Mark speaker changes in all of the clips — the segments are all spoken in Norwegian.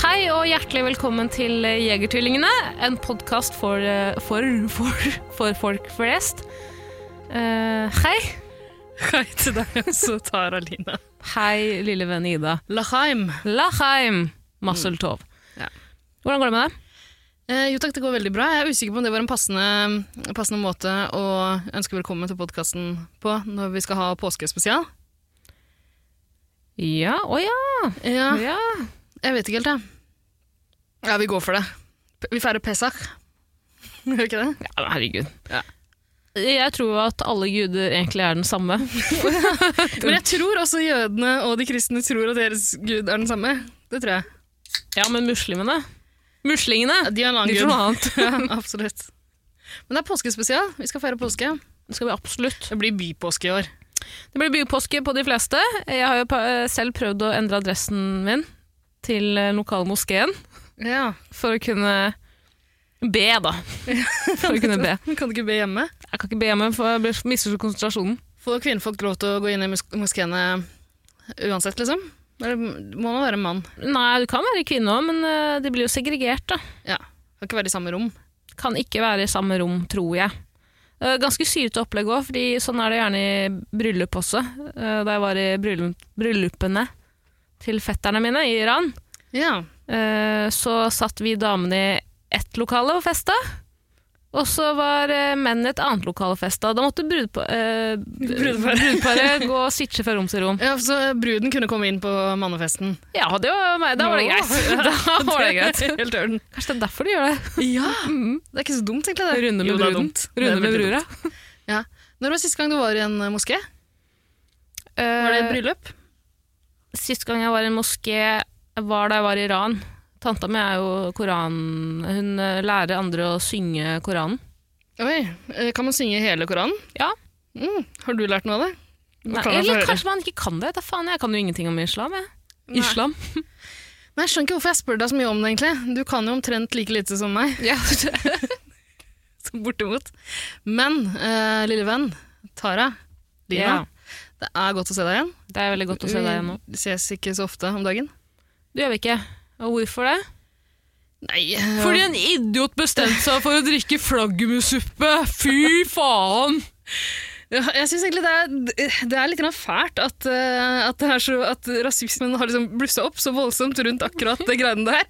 Speaker 1: Hei og hjertelig velkommen til Jegertvillingene, en podkast for, eh, for, for, for folk flest. Eh, hei.
Speaker 2: Hei til deg også, Tara Line.
Speaker 1: Hei, lille venn Ida. Mm.
Speaker 2: Laheim.
Speaker 1: Laheim Masseltov.
Speaker 2: Ja.
Speaker 1: Hvordan går det med deg?
Speaker 2: Eh, jo takk, det går veldig bra. Jeg er usikker på om det var en passende, passende måte å ønske velkommen til podkasten på når vi skal ha påskespesial.
Speaker 1: Ja, å ja.
Speaker 2: Ja,
Speaker 1: ja.
Speaker 2: jeg vet ikke helt, jeg. Ja, vi går for det. P- Vi feirer Pesach. Gjør vi ikke det?
Speaker 1: Ja, men herregud.
Speaker 2: Ja.
Speaker 1: Jeg tror jo at alle guder egentlig er den samme.
Speaker 2: Men jeg tror også jødene og de kristne tror at deres gud er den samme. Det tror jeg.
Speaker 1: Ja, men muslimene Muslingene!
Speaker 2: Ja, de har en annen
Speaker 1: De tror noe
Speaker 2: gud.
Speaker 1: annet.
Speaker 2: Ja, absolutt. Men det er påskespesial. Vi skal feire påske.
Speaker 1: Det skal vi absolutt.
Speaker 2: Det blir bypåske i år.
Speaker 1: Det blir bypåske på de fleste. Jeg har jo pa- selv prøvd å endre adressen min til eh, lokalmoskeen
Speaker 2: Ja.
Speaker 1: for å kunne be, da. For å kunne be.
Speaker 2: Kan du ikke be hjemme?
Speaker 1: Jeg kan ikke be hjemme, for jeg blir- mister konsentrasjonen.
Speaker 2: Får kvinnfolk lov til å gå inn i mos moskeene uansett, liksom? Eller må man være mann?
Speaker 1: Nei, du kan være kvinne òg, men eh, det blir jo segregert, da.
Speaker 2: Ja. Kan ikke være i samme rom.
Speaker 1: Kan ikke være i samme rom, tror jeg. Eh, Ganske syrete opplegg òg, fordi sånn er det gjerne i bryllup også. Eh, Da jeg var i bryllup- bryllupene til fetterne mine i Iran,
Speaker 2: Ja.
Speaker 1: Eh, så satt vi damene i ett lokale og festa. Og så var eh, mennene i et annet lokale og festa. Da måtte brudpa, eh,
Speaker 2: Brudeparet.
Speaker 1: brudeparet gå og switche fra rom til rom.
Speaker 2: ja, så Bruden kunne komme inn på mannefesten.
Speaker 1: Ja, det var meg. Da var det
Speaker 2: Nå.
Speaker 1: greit. Da var det greit.
Speaker 2: Helt ørn.
Speaker 1: Kanskje det er derfor de gjør det.
Speaker 2: Ja! Det er ikke så dumt, egentlig. det.
Speaker 1: Runde med
Speaker 2: Jo, det er
Speaker 1: bruden.
Speaker 2: dumt. Det er
Speaker 1: Runde med
Speaker 2: veldig
Speaker 1: brura.
Speaker 2: dumt. Ja. Når var sist gang du var i en eh, moské? Var
Speaker 1: Eh,
Speaker 2: det et bryllup?
Speaker 1: Sist gang jeg var i en moské, var da jeg var i Iran. Tanta mi er jo koran... Hun eh, lærer andre å synge Koranen.
Speaker 2: Oi, eh, Kan man synge hele Koranen?
Speaker 1: Ja.
Speaker 2: Mm. Har du lært noe av det?
Speaker 1: Nei,
Speaker 2: kan man få
Speaker 1: eller
Speaker 2: høre?
Speaker 1: kanskje man ikke kan det. Da faen, jeg kan jo ingenting om islam. Jeg.
Speaker 2: Nei.
Speaker 1: Islam.
Speaker 2: Nei, Jeg skjønner ikke hvorfor jeg spør deg så mye om det. egentlig. Du kan jo omtrent like lite som meg.
Speaker 1: Ja,
Speaker 2: Så bortimot. Men, eh, lille venn, Tara, Lina,
Speaker 1: Ja.
Speaker 2: det er godt å se deg igjen.
Speaker 1: Det er veldig godt å se deg igjen nå.
Speaker 2: Vi ses ikke så ofte om dagen.
Speaker 1: Det gjør vi ikke. Og hvorfor det?
Speaker 2: Nei,
Speaker 1: Fordi en idiot bestemte seg for å drikke flaggermussuppe! Fy faen!
Speaker 2: ja, jeg syns egentlig det er, det er litt grann fælt at, eh, at, det er så, at rasismen har liksom blussa opp så voldsomt rundt akkurat det greiene der.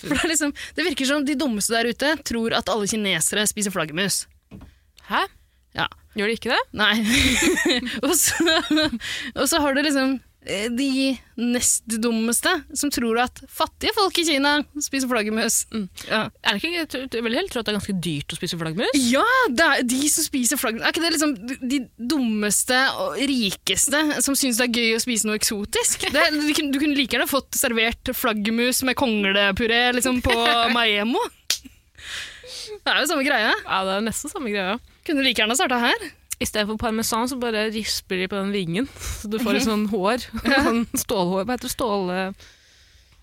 Speaker 2: For det, er liksom, det virker som de dummeste der ute tror at alle kinesere spiser flaggermus.
Speaker 1: Hæ?
Speaker 2: Ja.
Speaker 1: Gjør de ikke det?
Speaker 2: Nei. og, så, og så har du liksom eh, de nest dummeste som tror at fattige folk i Kina spiser flaggermus. Ja.
Speaker 1: Er det ikke, jeg tror- jeg vil heller tro at det er ganske dyrt å spise flaggermus.
Speaker 2: Ja, det er de som spiser flaggermus. Er ikke det liksom de dummeste og rikeste som syns det er gøy å spise noe eksotisk? Det, du, kunne, du kunne like gjerne fått servert flaggermus med konglepuré liksom, på Maiemo. Det er jo samme greie.
Speaker 1: Ja, det er nesten samme greia.
Speaker 2: Kunne like gjerne starta her.
Speaker 1: I stedet for parmesan, så bare risper de på den vingen. Så du får litt sånn hår. Sånn stålhår. Hva heter det? Stål... eh?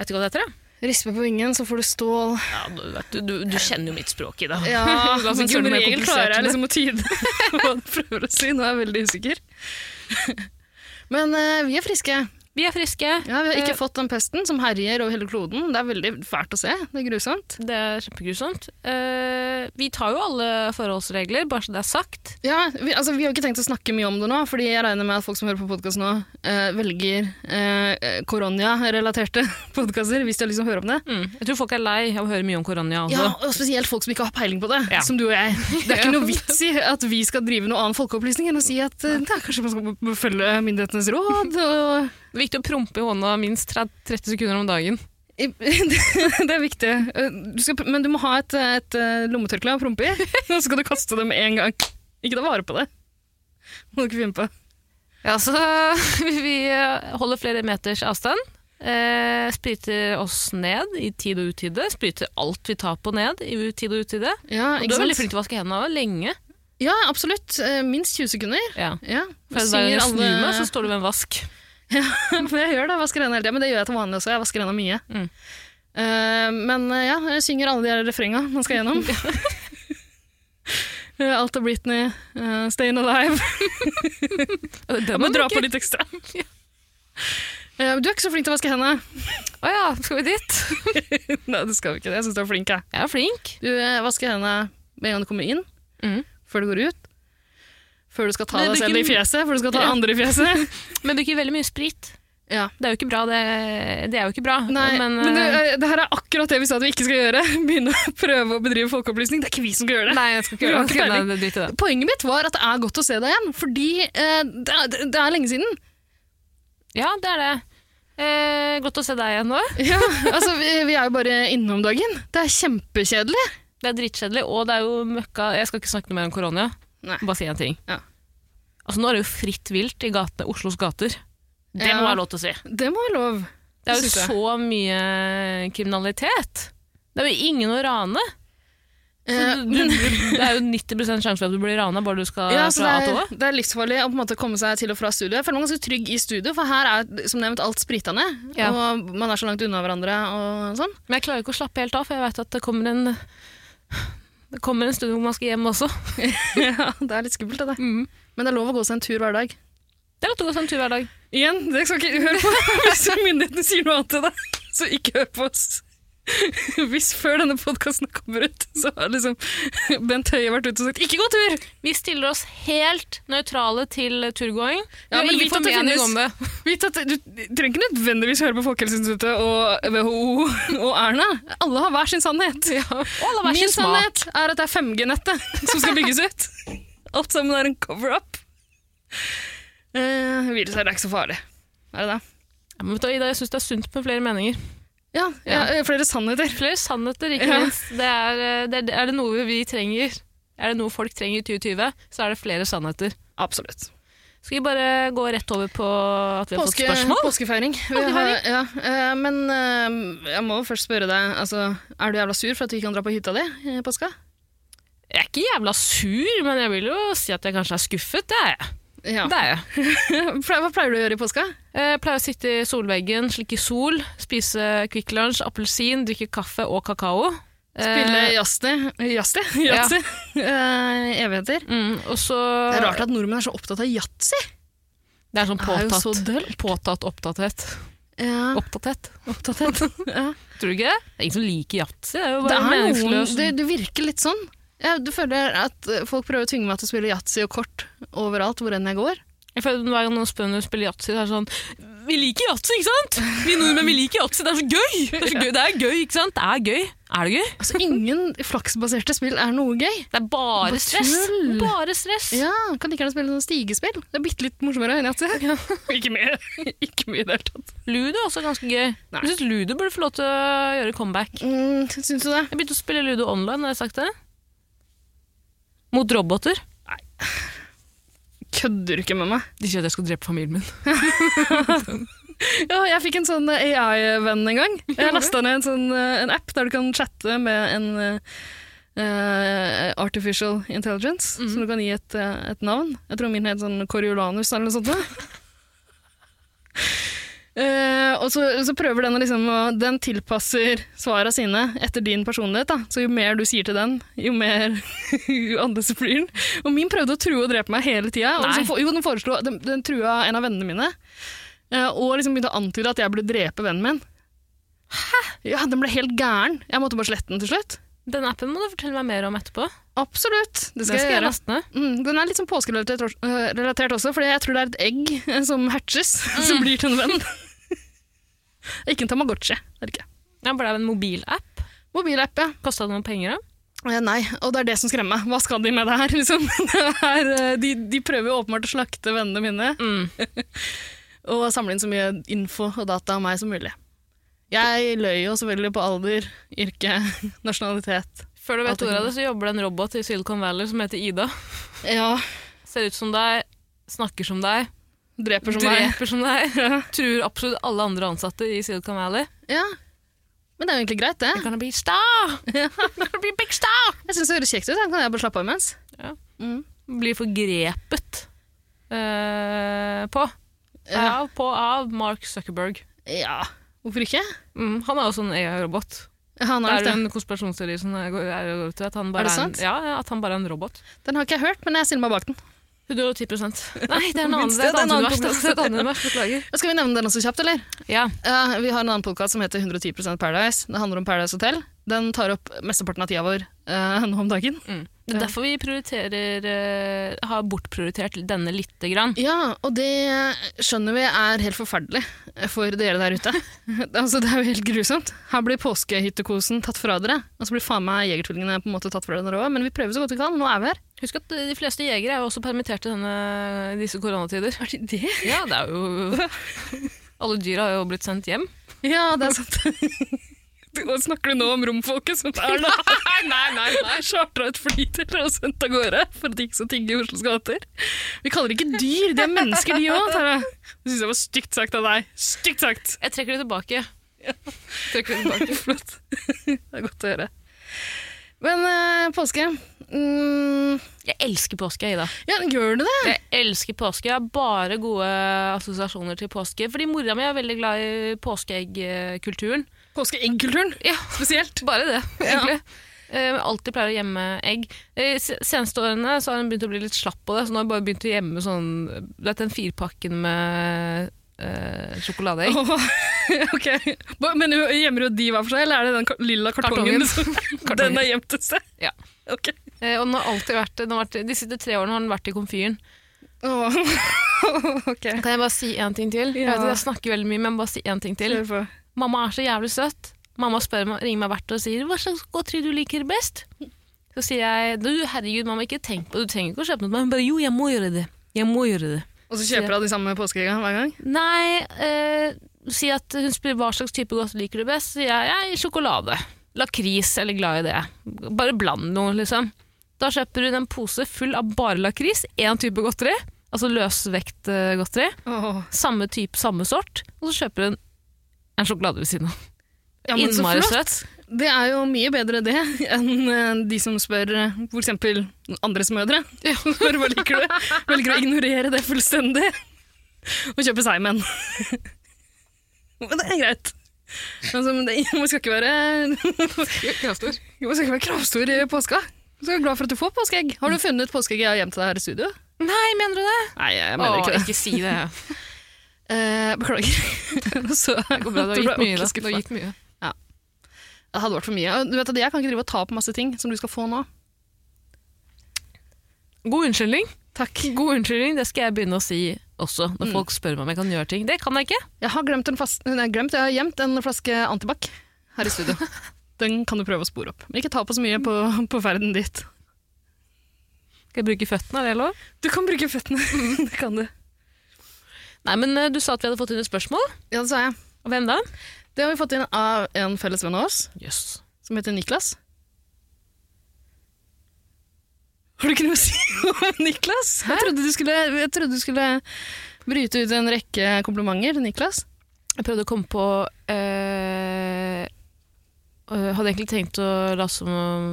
Speaker 1: Vet du hva det heter? da?
Speaker 2: Rispe på vingen, så får du stål.
Speaker 1: Ja, du, vet, du, du, du kjenner jo mitt språk i det.
Speaker 2: Ja,
Speaker 1: La oss
Speaker 2: men
Speaker 1: ikke gjøre
Speaker 2: som
Speaker 1: det mer
Speaker 2: regel
Speaker 1: komplisert
Speaker 2: klarer jeg
Speaker 1: enn det.
Speaker 2: liksom å tyde hva du prøver å si. Nå er jeg veldig usikker. Men eh, vi er friske.
Speaker 1: Vi er friske.
Speaker 2: Ja, Vi har
Speaker 1: Eh,
Speaker 2: ikke fått den pesten som herjer over hele kloden. Det er veldig fælt å se. Det er grusomt.
Speaker 1: Det er kjempegrusomt. Eh, vi tar jo alle forholdsregler, bare så det er sagt.
Speaker 2: Ja, vi, altså, vi har jo ikke tenkt å snakke mye om det nå, fordi jeg regner med at folk som hører på podkast nå, eh, velger eh, koronia-relaterte podkaster hvis de har lyst til å høre om det.
Speaker 1: Jeg tror folk er lei av å høre mye om korona.
Speaker 2: Ja,
Speaker 1: Altså.
Speaker 2: og Spesielt folk som ikke har peiling på det,
Speaker 1: Ja.
Speaker 2: som du og jeg. Det er ikke noe vits i at vi skal drive noe annen folkeopplysning enn å si at eh, da, kanskje man skal følge myndighetenes råd. Og,
Speaker 1: Det er viktig å prompe i hånda minst 30 sekunder om dagen.
Speaker 2: I- det er viktig. Eh, Du skal, pr- men du må ha et, eh, et eh, lommetørkle å prompe i, og så skal du kaste det med en gang. Ikke ta vare på det. Må du ikke finne på.
Speaker 1: Ja, så vi eh, holder flere meters avstand. Eh, spriter oss ned i tid og utide. Spriter alt vi tar på ned i tid og utide.
Speaker 2: Ja,
Speaker 1: Og Du
Speaker 2: ikke
Speaker 1: er veldig
Speaker 2: sant?
Speaker 1: flink til å vaske hendene også, lenge.
Speaker 2: Ja, absolutt. Eh, Minst 20 sekunder.
Speaker 1: Ja.
Speaker 2: Ja.
Speaker 1: For hver gang jeg snur meg, så står du med en vask.
Speaker 2: For jeg gjør det, jeg vasker hendene hele tiden, men det gjør jeg til vanlig også. Jeg vasker hendene mye.
Speaker 1: Mm.
Speaker 2: Eh, men eh, ja, jeg synger alle de her refrenga man skal gjennom. Eh, Alt av Britney, eh, Stayin' Alive.
Speaker 1: Den
Speaker 2: Jeg må dra på litt ekstra. Eh, du er ikke så flink til å vaske hendene.
Speaker 1: Å ja, skal vi dit?
Speaker 2: Nei, det skal vi ikke. Jeg syns du er flink, jeg.
Speaker 1: Jeg er flink.
Speaker 2: Du eh, vasker hendene med en gang du kommer inn,
Speaker 1: Mm.
Speaker 2: før du går ut. Før du skal ta
Speaker 1: Men
Speaker 2: deg
Speaker 1: du
Speaker 2: selv
Speaker 1: kunne-
Speaker 2: i fjeset, før du skal ta
Speaker 1: Ja.
Speaker 2: andre i fjeset.
Speaker 1: Men bruker veldig mye sprit.
Speaker 2: Ja.
Speaker 1: Det er jo ikke bra, det. det er jo ikke bra.
Speaker 2: Nei, men,
Speaker 1: men,
Speaker 2: det,
Speaker 1: eh,
Speaker 2: eh, det her er akkurat det vi sa at vi ikke skal gjøre. Begynne å prøve å bedrive folkeopplysning. Det er ikke vi som skal gjøre det.
Speaker 1: Nei, jeg skal
Speaker 2: eh,
Speaker 1: ikke gjøre
Speaker 2: Du har
Speaker 1: det.
Speaker 2: ikke
Speaker 1: Nei,
Speaker 2: peiling.
Speaker 1: det- Drit i det.
Speaker 2: Poenget mitt var at det er godt å se deg igjen, fordi eh, det, er, det er lenge siden.
Speaker 1: Ja, det er det. Eh, godt å se deg igjen nå.
Speaker 2: Ja, altså, vi, vi er jo bare innom dagen. Det er kjempekjedelig.
Speaker 1: Det er dritkjedelig, og det er jo møkka Jeg skal ikke snakke noe mer om korona.
Speaker 2: Nei.
Speaker 1: Bare si en ting.
Speaker 2: Ja.
Speaker 1: Altså, nå er det jo fritt vilt i gatene, Oslos gater. Det
Speaker 2: Ja.
Speaker 1: må være lov til å si.
Speaker 2: Det må være lov.
Speaker 1: Det er jo
Speaker 2: Det synes jeg.
Speaker 1: så mye kriminalitet. Det er jo ingen å rane. Så
Speaker 2: Eh,
Speaker 1: du, du, det er jo 90 sjanse for at du blir rana bare du skal
Speaker 2: ja, så
Speaker 1: fra A
Speaker 2: det,
Speaker 1: til Å.
Speaker 2: er, det er livsfarlig å på en måte komme seg til og fra studio. Jeg føler meg ganske trygg i studio, for her er som nevnt alt sprita ned.
Speaker 1: Ja.
Speaker 2: Og man er så langt unna hverandre og sånn.
Speaker 1: Men jeg klarer ikke å slappe helt av, for jeg vet at det kommer en det kommer en stund hvor man skal hjem også.
Speaker 2: Ja, det er litt skummelt, det. der.
Speaker 1: Mhm.
Speaker 2: Men det er lov å gå seg en tur hver dag.
Speaker 1: Det er lov til å gå seg en tur hver dag.
Speaker 2: Igjen, det skal ikke høre på hvis myndighetene sier noe annet til deg. Så ikke hør på oss. Hvis før denne podkasten kommer ut, så har liksom Bent Høie vært ute og sagt 'ikke gå tur'!
Speaker 1: Vi stiller oss helt nøytrale til turgåing.
Speaker 2: Ja, men vit at det finnes-
Speaker 1: det.
Speaker 2: Vit at Du trenger ikke nødvendigvis høre på Folkehelseinstituttet og WHO og Erna. Alle har hver sin sannhet.
Speaker 1: Alle har hver
Speaker 2: Min
Speaker 1: sin smak.
Speaker 2: sannhet er at det er 5G-nettet som skal bygges ut. Alt sammen er en cover-up. Eh, viruset er ikke så farlig. Er det det?
Speaker 1: Ja, men vet du, hva, Ida, jeg syns det er sunt med flere meninger.
Speaker 2: Ja, ja.
Speaker 1: Ja.
Speaker 2: eh, flere sannheter.
Speaker 1: Flere sannheter, ikke
Speaker 2: Ja.
Speaker 1: minst. Det er, eh, det er, er det noe vi trenger, er det noe folk trenger i 2020, så er det flere sannheter.
Speaker 2: Absolutt.
Speaker 1: Skal vi bare gå rett over på at vi har
Speaker 2: Påske,
Speaker 1: fått spørsmål?
Speaker 2: påskefeiring. Vi har, ja, eh, men eh, jeg må jo først spørre deg, altså, er du jævla sur for at du ikke kan dra på hytta di i påska?
Speaker 1: Jeg er ikke jævla sur, men jeg vil jo si at jeg kanskje er skuffet. Det er jeg.
Speaker 2: Ja.
Speaker 1: Det er jeg.
Speaker 2: Ple- Hva pleier du å gjøre i påska?
Speaker 1: jeg Eh, pleier å sitte i solveggen, slikke sol, spise Kvikk Lunsj, appelsin, drikke kaffe og kakao.
Speaker 2: Spille
Speaker 1: Eh,
Speaker 2: jazzy? Jazzy? Jazzy? Eh, evigheter?
Speaker 1: mm, og så
Speaker 2: Det er rart at nordmenn er så opptatt av yatzy.
Speaker 1: Det er sånn
Speaker 2: Det er jo
Speaker 1: påtatt,
Speaker 2: så dølt.
Speaker 1: påtatt opptatthet.
Speaker 2: Ja.
Speaker 1: Opptatthet.
Speaker 2: Opptatthet. ja.
Speaker 1: Tror du ikke det? Det er ingen som liker yatzy. Det er jo
Speaker 2: Det,
Speaker 1: bare
Speaker 2: er noen,
Speaker 1: meningsløst.
Speaker 2: det, det virker litt sånn. Jeg du føler at eh, folk prøver å tvinge meg til å spille yatzy og kort overalt hvor enn jeg går.
Speaker 1: Jeg føler at Hver gang noen spør om du spiller yatzy, så er det sånn Vi liker yatzy, ikke sant? Vi nordmenn vi liker yatzy. Det er så gøy! Det er, så gøy. Det er gøy, ikke sant? Det er gøy. Er det gøy?
Speaker 2: Altså, ingen flaksbaserte spill er noe gøy.
Speaker 1: Det er bare stress.
Speaker 2: tull.
Speaker 1: Bare stress.
Speaker 2: Ja, kan like gjerne spille sånn stigespill. Det er bitte litt morsommere enn yatzy. ikke mye. ikke mye i det hele tatt.
Speaker 1: Ludo er også ganske gøy.
Speaker 2: Nei.
Speaker 1: Jeg syns Ludo burde få lov til å gjøre comeback.
Speaker 2: Mm, syns du det?
Speaker 1: Jeg begynte å spille Ludo online, har jeg sagt det? Mot roboter.
Speaker 2: Kødder du ikke med meg?
Speaker 1: De sier at jeg skal drepe familien min.
Speaker 2: Ja, jeg fikk en sånn eh, AI-venn en gang. Jeg lasta ned en sånn eh, en app der du kan chatte med en eh, eh, artificial intelligence, som du kan gi et, eh, et navn. Jeg tror min het sånn Coriolanus eller noe sånt. da. Eh, og så, så prøver den å liksom å- Den tilpasser svara sine etter din personlighet. da Så jo mer du sier til den, jo mer annerledes blir den. Og min prøvde å true og drepe meg hele tida. og
Speaker 1: Nei.
Speaker 2: Liksom, for- jo, den, foreslo- den, den trua en av vennene mine. Eh, Og liksom begynte å antyde at jeg burde drepe vennen min. Hæ? Ja, Den ble helt gæren. Jeg måtte bare slette den til slutt.
Speaker 1: Den appen må du fortelle meg mer om etterpå.
Speaker 2: Absolutt. Det
Speaker 1: Den
Speaker 2: skal, jeg gjøre.
Speaker 1: laste ned.
Speaker 2: Mm, den er litt sånn påskerelatert også- eh, relatert også, fordi jeg tror det er et egg eh, som hatches, som blir til en venn. Det er ikke en Tamagotchi. Det er det ikke.
Speaker 1: Jeg ble av en mobilapp.
Speaker 2: Mobilapp, ja.
Speaker 1: Kosta det noen penger? da?
Speaker 2: Eh, Nei, og det er det som skremmer meg. Hva skal de med det her? Liksom? Det er, eh, de, de prøver jo åpenbart å slakte vennene mine
Speaker 1: Mm.
Speaker 2: og samle inn så mye info og data om meg som mulig. Jeg løy jo selvfølgelig på alder, yrke, nasjonalitet.
Speaker 1: Før du
Speaker 2: Alt
Speaker 1: vet
Speaker 2: er
Speaker 1: ordet av
Speaker 2: kul.
Speaker 1: det, så jobber det en robot i Silicon Valley som heter Ida.
Speaker 2: Ja,
Speaker 1: Ser ut som deg, snakker som deg,
Speaker 2: Dreper som meg.
Speaker 1: Dreper som deg.
Speaker 2: Ja.
Speaker 1: Truer absolutt alle andre ansatte i Silicon Valley.
Speaker 2: ja. Men det er jo egentlig greit, det.
Speaker 1: You're gonna be star! You're gonna be big star!
Speaker 2: Jeg syns det høres kjekt ut. Da kan jeg bare slappe av imens.
Speaker 1: Ja.
Speaker 2: Mm.
Speaker 1: Blir forgrepet eh, på.
Speaker 2: Ja.
Speaker 1: Av, på av Mark Zuckerberg.
Speaker 2: ja. Hvorfor ikke?
Speaker 1: Mm, han er jo sånn AI-robot.
Speaker 2: Han
Speaker 1: Det
Speaker 2: har
Speaker 1: er jo
Speaker 2: nok det.
Speaker 1: en konspirasjonsteori som jeg går jeg går ut til. At han
Speaker 2: Er
Speaker 1: bare
Speaker 2: det
Speaker 1: er, en,
Speaker 2: sant?
Speaker 1: ja, ja, at han bare er en robot.
Speaker 2: Den har ikke jeg hørt, men jeg stiller meg bak den.
Speaker 1: 110 Nei, det er en annen,
Speaker 2: Minst
Speaker 1: det er et
Speaker 2: det,
Speaker 1: annet univers.
Speaker 2: det
Speaker 1: Det er
Speaker 2: er en annen
Speaker 1: et annet univers, Beklager.
Speaker 2: Skal vi nevne den også kjapt, eller?
Speaker 1: Ja.
Speaker 2: Ja, vi har en annen podkast som heter 110 Paradise. Det handler om Paradise Hotel. Den tar opp mesteparten av tida vår eh, nå om dagen.
Speaker 1: Mm. Det er
Speaker 2: Ja.
Speaker 1: derfor vi prioriterer, eh, har bortprioritert denne lite grann.
Speaker 2: Ja, og det skjønner vi er helt forferdelig for dere der ute. altså, det er jo helt grusomt. Her blir påskehyttekosen tatt fra dere. Og så blir faen meg Jegertvillingene på en måte tatt fra dere òg, men vi prøver så godt vi kan. Nå er vi her.
Speaker 1: Husk at eh, de fleste jegere er jo også permittert i denne, disse koronatider.
Speaker 2: Var det det?
Speaker 1: Ja, det er jo... Alle dyra har jo blitt sendt hjem.
Speaker 2: Ja, det er sant. Du, nå snakker du nå om romfolket som er da Nei, nei, nei. nei. Chartra et fly til og sendt av gårde for at de ikke skal tigge i Oslos gater. Vi kaller det ikke dyr, de er mennesker de òg, Tara. Det syns jeg var stygt sagt av deg. Stygt sagt.
Speaker 1: Jeg trekker det tilbake.
Speaker 2: Trekker vi tilbake. Flott. Det er godt å høre. Men eh, påske mm,
Speaker 1: Jeg elsker påske, Ida.
Speaker 2: Ja, gjør du det?
Speaker 1: Jeg elsker påske. Jeg har bare gode assosiasjoner til påske. Fordi mora mi er veldig glad i påskeeggkulturen.
Speaker 2: Påskeeggkulturen
Speaker 1: Ja,
Speaker 2: spesielt.
Speaker 1: bare det, egentlig. Eh, alltid pleier å gjemme egg. Eh, se- seneste årene så har hun begynt å bli litt slapp på det, så nå har hun bare begynt å gjemme sånn Du vet den firpakken med eh, sjokoladeegg?
Speaker 2: ok. Ba- Men gjemmer du de hver for seg, eller er det den ka- lilla kartongen?
Speaker 1: Kartongen.
Speaker 2: som- Den er gjemt et sted?
Speaker 1: Ja.
Speaker 2: Ok.
Speaker 1: Eh, og den har alltid vært, den har vært De siste tre årene har den vært i komfyren.
Speaker 2: Åh, ok.
Speaker 1: Kan jeg bare si én ting til? Jeg
Speaker 2: Ja.
Speaker 1: vet at jeg snakker veldig mye, men bare si én ting til.
Speaker 2: Kjør på.
Speaker 1: Mamma er så jævlig søt. Mamma spør meg, ringer meg hvert år og sier 'Hva slags godteri du liker best?' Så sier jeg du, 'Herregud, mamma, ikke tenk på det. Du trenger ikke å kjøpe noe.' Men hun bare 'Jo, jeg må gjøre det. Jeg må gjøre det.'
Speaker 2: Og så kjøper hun de samme påskeeggene hver gang?
Speaker 1: Nei, eh, si at hun spør hva slags type godteri liker du best, så sier jeg «Jeg, sjokolade. Lakris, eller glad i det. Bare bland noe, liksom. Da kjøper hun en pose full av bare lakris, én type godteri, altså løsvektgodteri, samme type, samme sort, og så kjøper hun en sjokolade ved siden av.
Speaker 2: Ja, men så
Speaker 1: Innmari
Speaker 2: flott.
Speaker 1: søt.
Speaker 2: Det er jo mye bedre det enn eh, de som spør eh, for eksempel andres mødre. Spør hva liker du? Velger å ignorere det fullstendig og kjøpe seg med en. Men det er greit. Altså, men det, man skal ikke være Kravstor. Man skal ikke være kravstor i påska. Du skal være glad for at du får påskeegg. Har du funnet påskeegg jeg har gjemt til deg her i studio?
Speaker 1: Nei, mener du det?
Speaker 2: Nei, jeg mener ikke
Speaker 1: Åh,
Speaker 2: det.
Speaker 1: ikke si det.
Speaker 2: Eh, beklager. Så,
Speaker 1: Det går bra, det
Speaker 2: du
Speaker 1: har
Speaker 2: ble
Speaker 1: gitt mye. Da.
Speaker 2: ordentlig
Speaker 1: Det har
Speaker 2: skuffet.
Speaker 1: gitt mye.
Speaker 2: Det hadde vært for mye. Og Du vet at Jeg kan ikke drive og ta på masse ting som du skal få nå.
Speaker 1: God unnskyldning.
Speaker 2: Takk.
Speaker 1: God unnskyldning, det skal jeg begynne å si også,
Speaker 2: Mm.
Speaker 1: når folk spør meg om jeg kan gjøre ting. Det kan jeg ikke.
Speaker 2: Jeg har glemt en, fas nei, glemt, jeg har gjemt en flaske antibac her i studio. Den kan du prøve å spore opp. Men ikke ta på så mye på, på ferden dit.
Speaker 1: Skal jeg bruke føttene, er det lov?
Speaker 2: Du kan bruke føttene. det kan du.
Speaker 1: Nei, men eh, du sa at vi hadde fått inn et spørsmål.
Speaker 2: Ja, det sa jeg.
Speaker 1: Og hvem da?
Speaker 2: Det har vi fått inn av en felles venn av oss,
Speaker 1: Jøss.
Speaker 2: som heter Niklas. Har du ikke noe å si om Niklas? Jeg trodde, du skulle, jeg trodde du skulle bryte ut en rekke komplimenter til Niklas.
Speaker 1: Jeg prøvde å komme på eh, eh, Hadde egentlig tenkt å late som om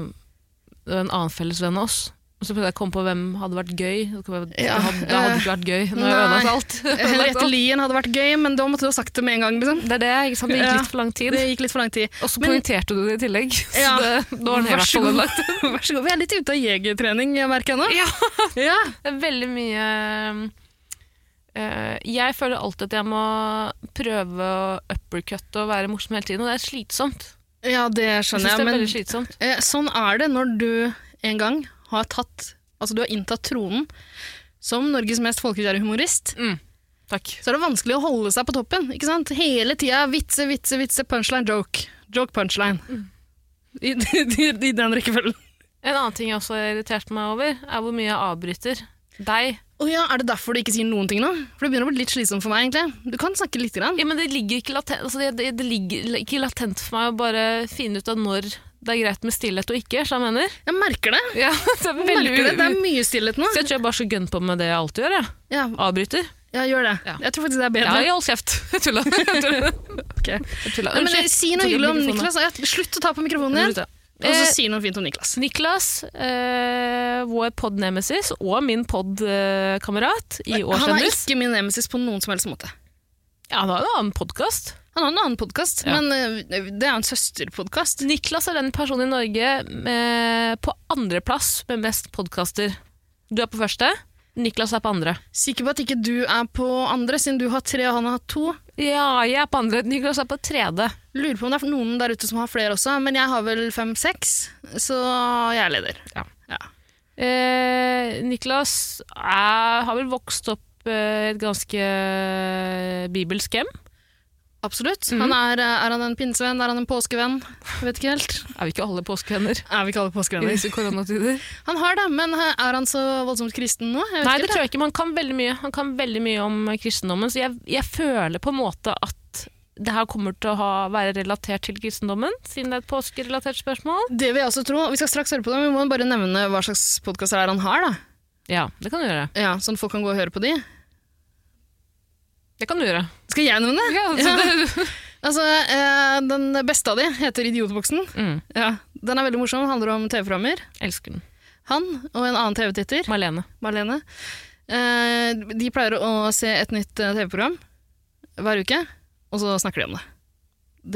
Speaker 1: det var en annen felles venn av oss. Og så prøvde jeg å komme på hvem hadde vært gøy. Og så kom jeg på,
Speaker 2: Ja,
Speaker 1: Det hadde det hadde
Speaker 2: eh,
Speaker 1: ikke vært gøy. Nå har jeg
Speaker 2: nei.
Speaker 1: ødelagt alt.
Speaker 2: Henriette Lien hadde vært gøy, men da måtte du ha sagt det med en gang. Liksom.
Speaker 1: Det er det, ikke sant? Det gikk
Speaker 2: Ja.
Speaker 1: litt for lang tid.
Speaker 2: Det gikk litt for lang tid.
Speaker 1: Og så
Speaker 2: Men-
Speaker 1: poengterte du det i tillegg. Så
Speaker 2: Ja.
Speaker 1: det, nå har den i
Speaker 2: Vær
Speaker 1: hvert
Speaker 2: så
Speaker 1: fall
Speaker 2: god.
Speaker 1: ødelagt.
Speaker 2: Vær så god. Vi er litt ute av jegertrening, jeg merker jeg nå.
Speaker 1: Ja.
Speaker 2: Ja.
Speaker 1: Det er veldig mye eh, Jeg føler alltid at jeg må prøve å uppercutte og være morsom hele tiden, og det er slitsomt.
Speaker 2: ja, det
Speaker 1: Jeg
Speaker 2: skjønner
Speaker 1: synes
Speaker 2: jeg.
Speaker 1: det er
Speaker 2: Men
Speaker 1: veldig slitsomt.
Speaker 2: eh, sånn er det når du en gang har tatt Altså, du har inntatt tronen som Norges mest folkekjære humorist.
Speaker 1: Takk.
Speaker 2: Så er det vanskelig å holde seg på toppen. ikke sant? Hele tida vitse, vitse, vitse, punchline, joke. Joke, punchline.
Speaker 1: Mm.
Speaker 2: I, i, I den rekkefølgen.
Speaker 1: En annen ting jeg også har irritert meg over, er hvor mye jeg avbryter deg.
Speaker 2: Å ja, Er det derfor du ikke sier noen ting nå? For det begynner å bli litt slitsomt for meg, egentlig. Du kan snakke litt. Grann.
Speaker 1: Ja, men det ligger ikke latent, altså det, det, det ligger ikke latent for meg å bare finne ut av når det er greit med stillhet og ikke, så jeg mener.
Speaker 2: Jeg merker det.
Speaker 1: Ja, det er
Speaker 2: Jeg
Speaker 1: veldig
Speaker 2: merker det. det er mye stillhet nå.
Speaker 1: Så jeg tror jeg bare skal gønne på med det jeg alltid gjør, jeg.
Speaker 2: Ja,
Speaker 1: Avbryter.
Speaker 2: Ja, gjør det.
Speaker 1: Ja.
Speaker 2: Jeg tror faktisk det er bedre.
Speaker 1: Ja, hold kjeft. Jeg tulla. Jeg tulla.
Speaker 2: Ok.
Speaker 1: Jeg tulla.
Speaker 2: Nei, men, eh,
Speaker 1: Unnskyld.
Speaker 2: si
Speaker 1: Tok
Speaker 2: noe
Speaker 1: jeg
Speaker 2: hyggelig om
Speaker 1: mikrofonen
Speaker 2: Niklas. Ja, slutt å ta på mikrofonen igjen.
Speaker 1: nå?
Speaker 2: Og så
Speaker 1: Eh,
Speaker 2: si noe fint om Niklas.
Speaker 1: Niklas, eh, vår pod-nemesis og min pod-kamerat i
Speaker 2: Han er
Speaker 1: Årskjendis.
Speaker 2: ikke min nemesis på noen som helst måte.
Speaker 1: Ja, han har en annen podkast.
Speaker 2: Han har en annen podkast,
Speaker 1: Ja.
Speaker 2: men eh, det er jo en søsterpodkast.
Speaker 1: Niklas er den personen i Norge eh, på andreplass med mest podkaster. Du er på første, Niklas er på andre.
Speaker 2: Sikker på at ikke du er på andre, siden du har tre og han har to.
Speaker 1: Ja, jeg er på andre. Niklas er på tredje.
Speaker 2: Lurer på om det er noen der ute som har flere også, men jeg har vel fem-seks, så jeg er leder.
Speaker 1: Ja.
Speaker 2: Ja.
Speaker 1: Eh, Niklas er, har vel vokst opp eh, et ganske eh, bibelsk hjem.
Speaker 2: Absolutt. Han er, eh, er han en pinsevenn? Er han en påskevenn? Jeg vet ikke helt.
Speaker 1: Er vi ikke alle påskevenner
Speaker 2: Er vi ikke alle
Speaker 1: i
Speaker 2: påskevenner?
Speaker 1: disse koronatider?
Speaker 2: Han har det, men eh, er han så voldsomt kristen nå? Jeg vet
Speaker 1: Nei,
Speaker 2: ikke
Speaker 1: det
Speaker 2: helt,
Speaker 1: tror jeg ikke. Man kan veldig mye, han kan veldig mye om kristendommen, så jeg, jeg føler på en måte at det her kommer til å ha, være relatert til kristendommen, siden det er et påskerelatert spørsmål.
Speaker 2: Det vil jeg også tro. Vi skal straks høre på det, men vi må bare nevne hva slags podkaster han har. da.
Speaker 1: Ja, det kan du gjøre.
Speaker 2: Ja, Sånn folk kan gå og høre på de.
Speaker 1: Det kan du gjøre.
Speaker 2: Skal jeg nevne?
Speaker 1: Ja,
Speaker 2: Ja.
Speaker 1: så det,
Speaker 2: Altså, eh, Den beste av de heter Idiotboksen.
Speaker 1: mm,
Speaker 2: Ja, Den er veldig morsom, handler om TV-programmer.
Speaker 1: elsker den.
Speaker 2: Han og en annen TV-titter,
Speaker 1: Marlene.
Speaker 2: Marlene, eh, de pleier å se et nytt eh, TV-program hver uke, og så snakker de om det.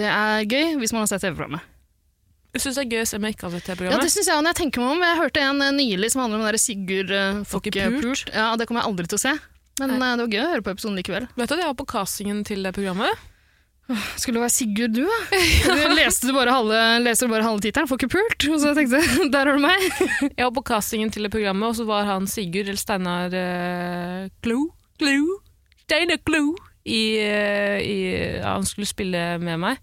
Speaker 2: Det er gøy hvis man har sett TV-programmet.
Speaker 1: Jeg syns det er gøy å se meg ikke av dette
Speaker 2: Ja,
Speaker 1: programmet.
Speaker 2: det synes jeg, og når jeg tenker meg om, jeg hørte en eh, nylig som handler om den der Sigurd eh,
Speaker 1: Får ikke
Speaker 2: Fokke
Speaker 1: pult.
Speaker 2: Pult. Ja, det kommer jeg aldri til å se. Men eh, det var gøy å høre på episoden likevel.
Speaker 1: Vet du at jeg var på castingen til det programmet?
Speaker 2: Skulle det være Sigurd du, da? Du leste du bare halve, leser du bare halve tittelen, får ikke pult. Og så tenkte jeg, der har du meg.
Speaker 1: Jeg var på castingen til det programmet, og så var han Sigurd eller Steinar eh, Klo. Klo. Steinar Klo. I, eh, i, ja, han skulle spille med meg.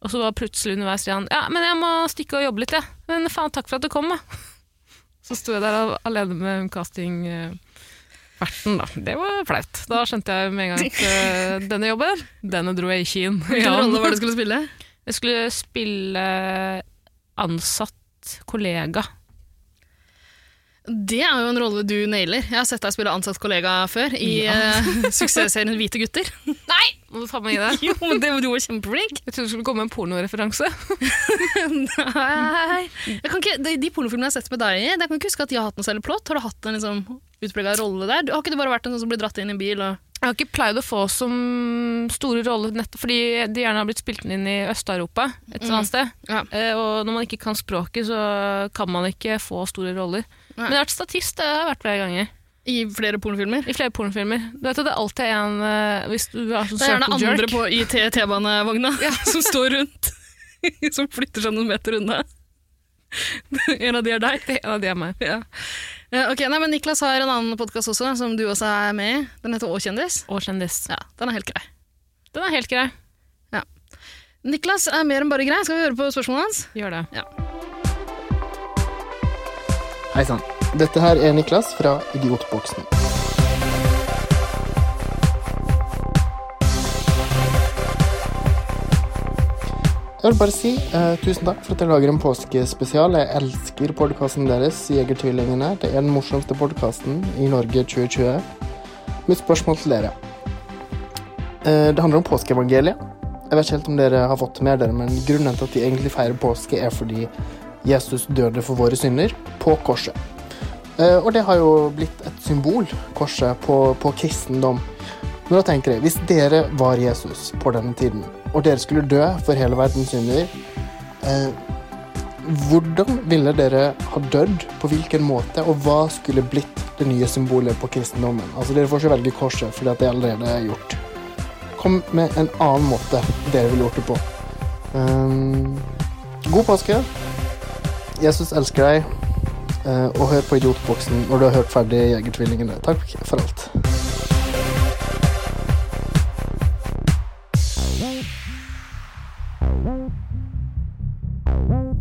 Speaker 1: Og så var plutselig underveis sier han ja, men jeg må stikke og jobbe litt, jeg. Men faen, takk for at du kom, da. Så sto jeg der al- alene med castingverten, da. Det var flaut. Da skjønte jeg med en gang at eh, denne jobben, denne dro jeg ikke inn.
Speaker 2: Hvilken
Speaker 1: Ja.
Speaker 2: rolle var det du skulle spille?
Speaker 1: Jeg skulle spille ansatt kollega.
Speaker 2: Det er jo en rolle du nailer. Jeg har sett deg spille ansatt kollega før i eh, suksessserien Hvite gutter.
Speaker 1: Nei! Må du faen meg gi deg.
Speaker 2: Jo, men det, du var kjempeflink.
Speaker 1: Jeg trodde det skulle komme en pornoreferanse.
Speaker 2: Nei. Jeg kan ikke, de, de pornofilmene jeg har sett med deg i, jeg kan ikke huske at de har hatt noe særlig plott. Har du hatt en liksom, utprega rolle der? Har ikke du bare vært en sånn som blir dratt inn i en bil? Og...
Speaker 1: Jeg har ikke pleid å få som store roller, nettopp fordi de gjerne har blitt spilt inn i Øst-Europa et eller annet sted.
Speaker 2: Ja.
Speaker 1: Eh, og når man ikke kan språket, så kan man ikke få store roller. Men jeg har vært statist det har jeg vært flere ganger.
Speaker 2: I flere pornofilmer?
Speaker 1: I flere pornofilmer. Du vet at det er alltid en eh, Hvis du er sånn
Speaker 2: Det er gjerne
Speaker 1: circle
Speaker 2: andre
Speaker 1: jerk.
Speaker 2: på, i T- T-banevogna som står rundt. som flytter seg noen meter unna. en av de er deg.
Speaker 1: Det er en av de jeg er med.
Speaker 2: Ja. Eh, Ok, nei, men Niklas har en annen podkast også, som du også er med i. Den heter Å kjendis.
Speaker 1: Og kjendis.
Speaker 2: Ja, den er helt grei.
Speaker 1: Den er helt grei.
Speaker 2: Niklas er mer enn bare grei. Skal vi høre på spørsmålet hans?
Speaker 1: Gjør det.
Speaker 3: Hei sann. Dette her er Niklas fra Idiotboksen. Jeg vil bare si eh, tusen takk for at dere lager en påskespesial. Jeg elsker podkasten deres, Jegertvillingene. Det er den morsomste podkasten i Norge 2020. Mitt spørsmål til dere eh, Det handler om påskeevangeliet. Jeg vet ikke helt om dere har fått det med dere, men grunnen til at de egentlig feirer påske, er fordi Jesus døde for våre synder på korset. Eh, Og det har jo blitt et symbol, korset, på, på kristendom. Men da tenker jeg, hvis dere var Jesus på denne tiden, og dere skulle dø for hele verdens synder, eh, hvordan ville dere ha dødd, på hvilken måte, og hva skulle blitt det nye symbolet på kristendommen? Altså, dere får ikke velge korset, fordi at det allerede er gjort. Kom med en annen måte dere ville gjort det på. Um, god påske. Jesus elsker deg. Eh, og hør på Idiotboksen når du har hørt ferdig Jegertvillingene. Takk for alt.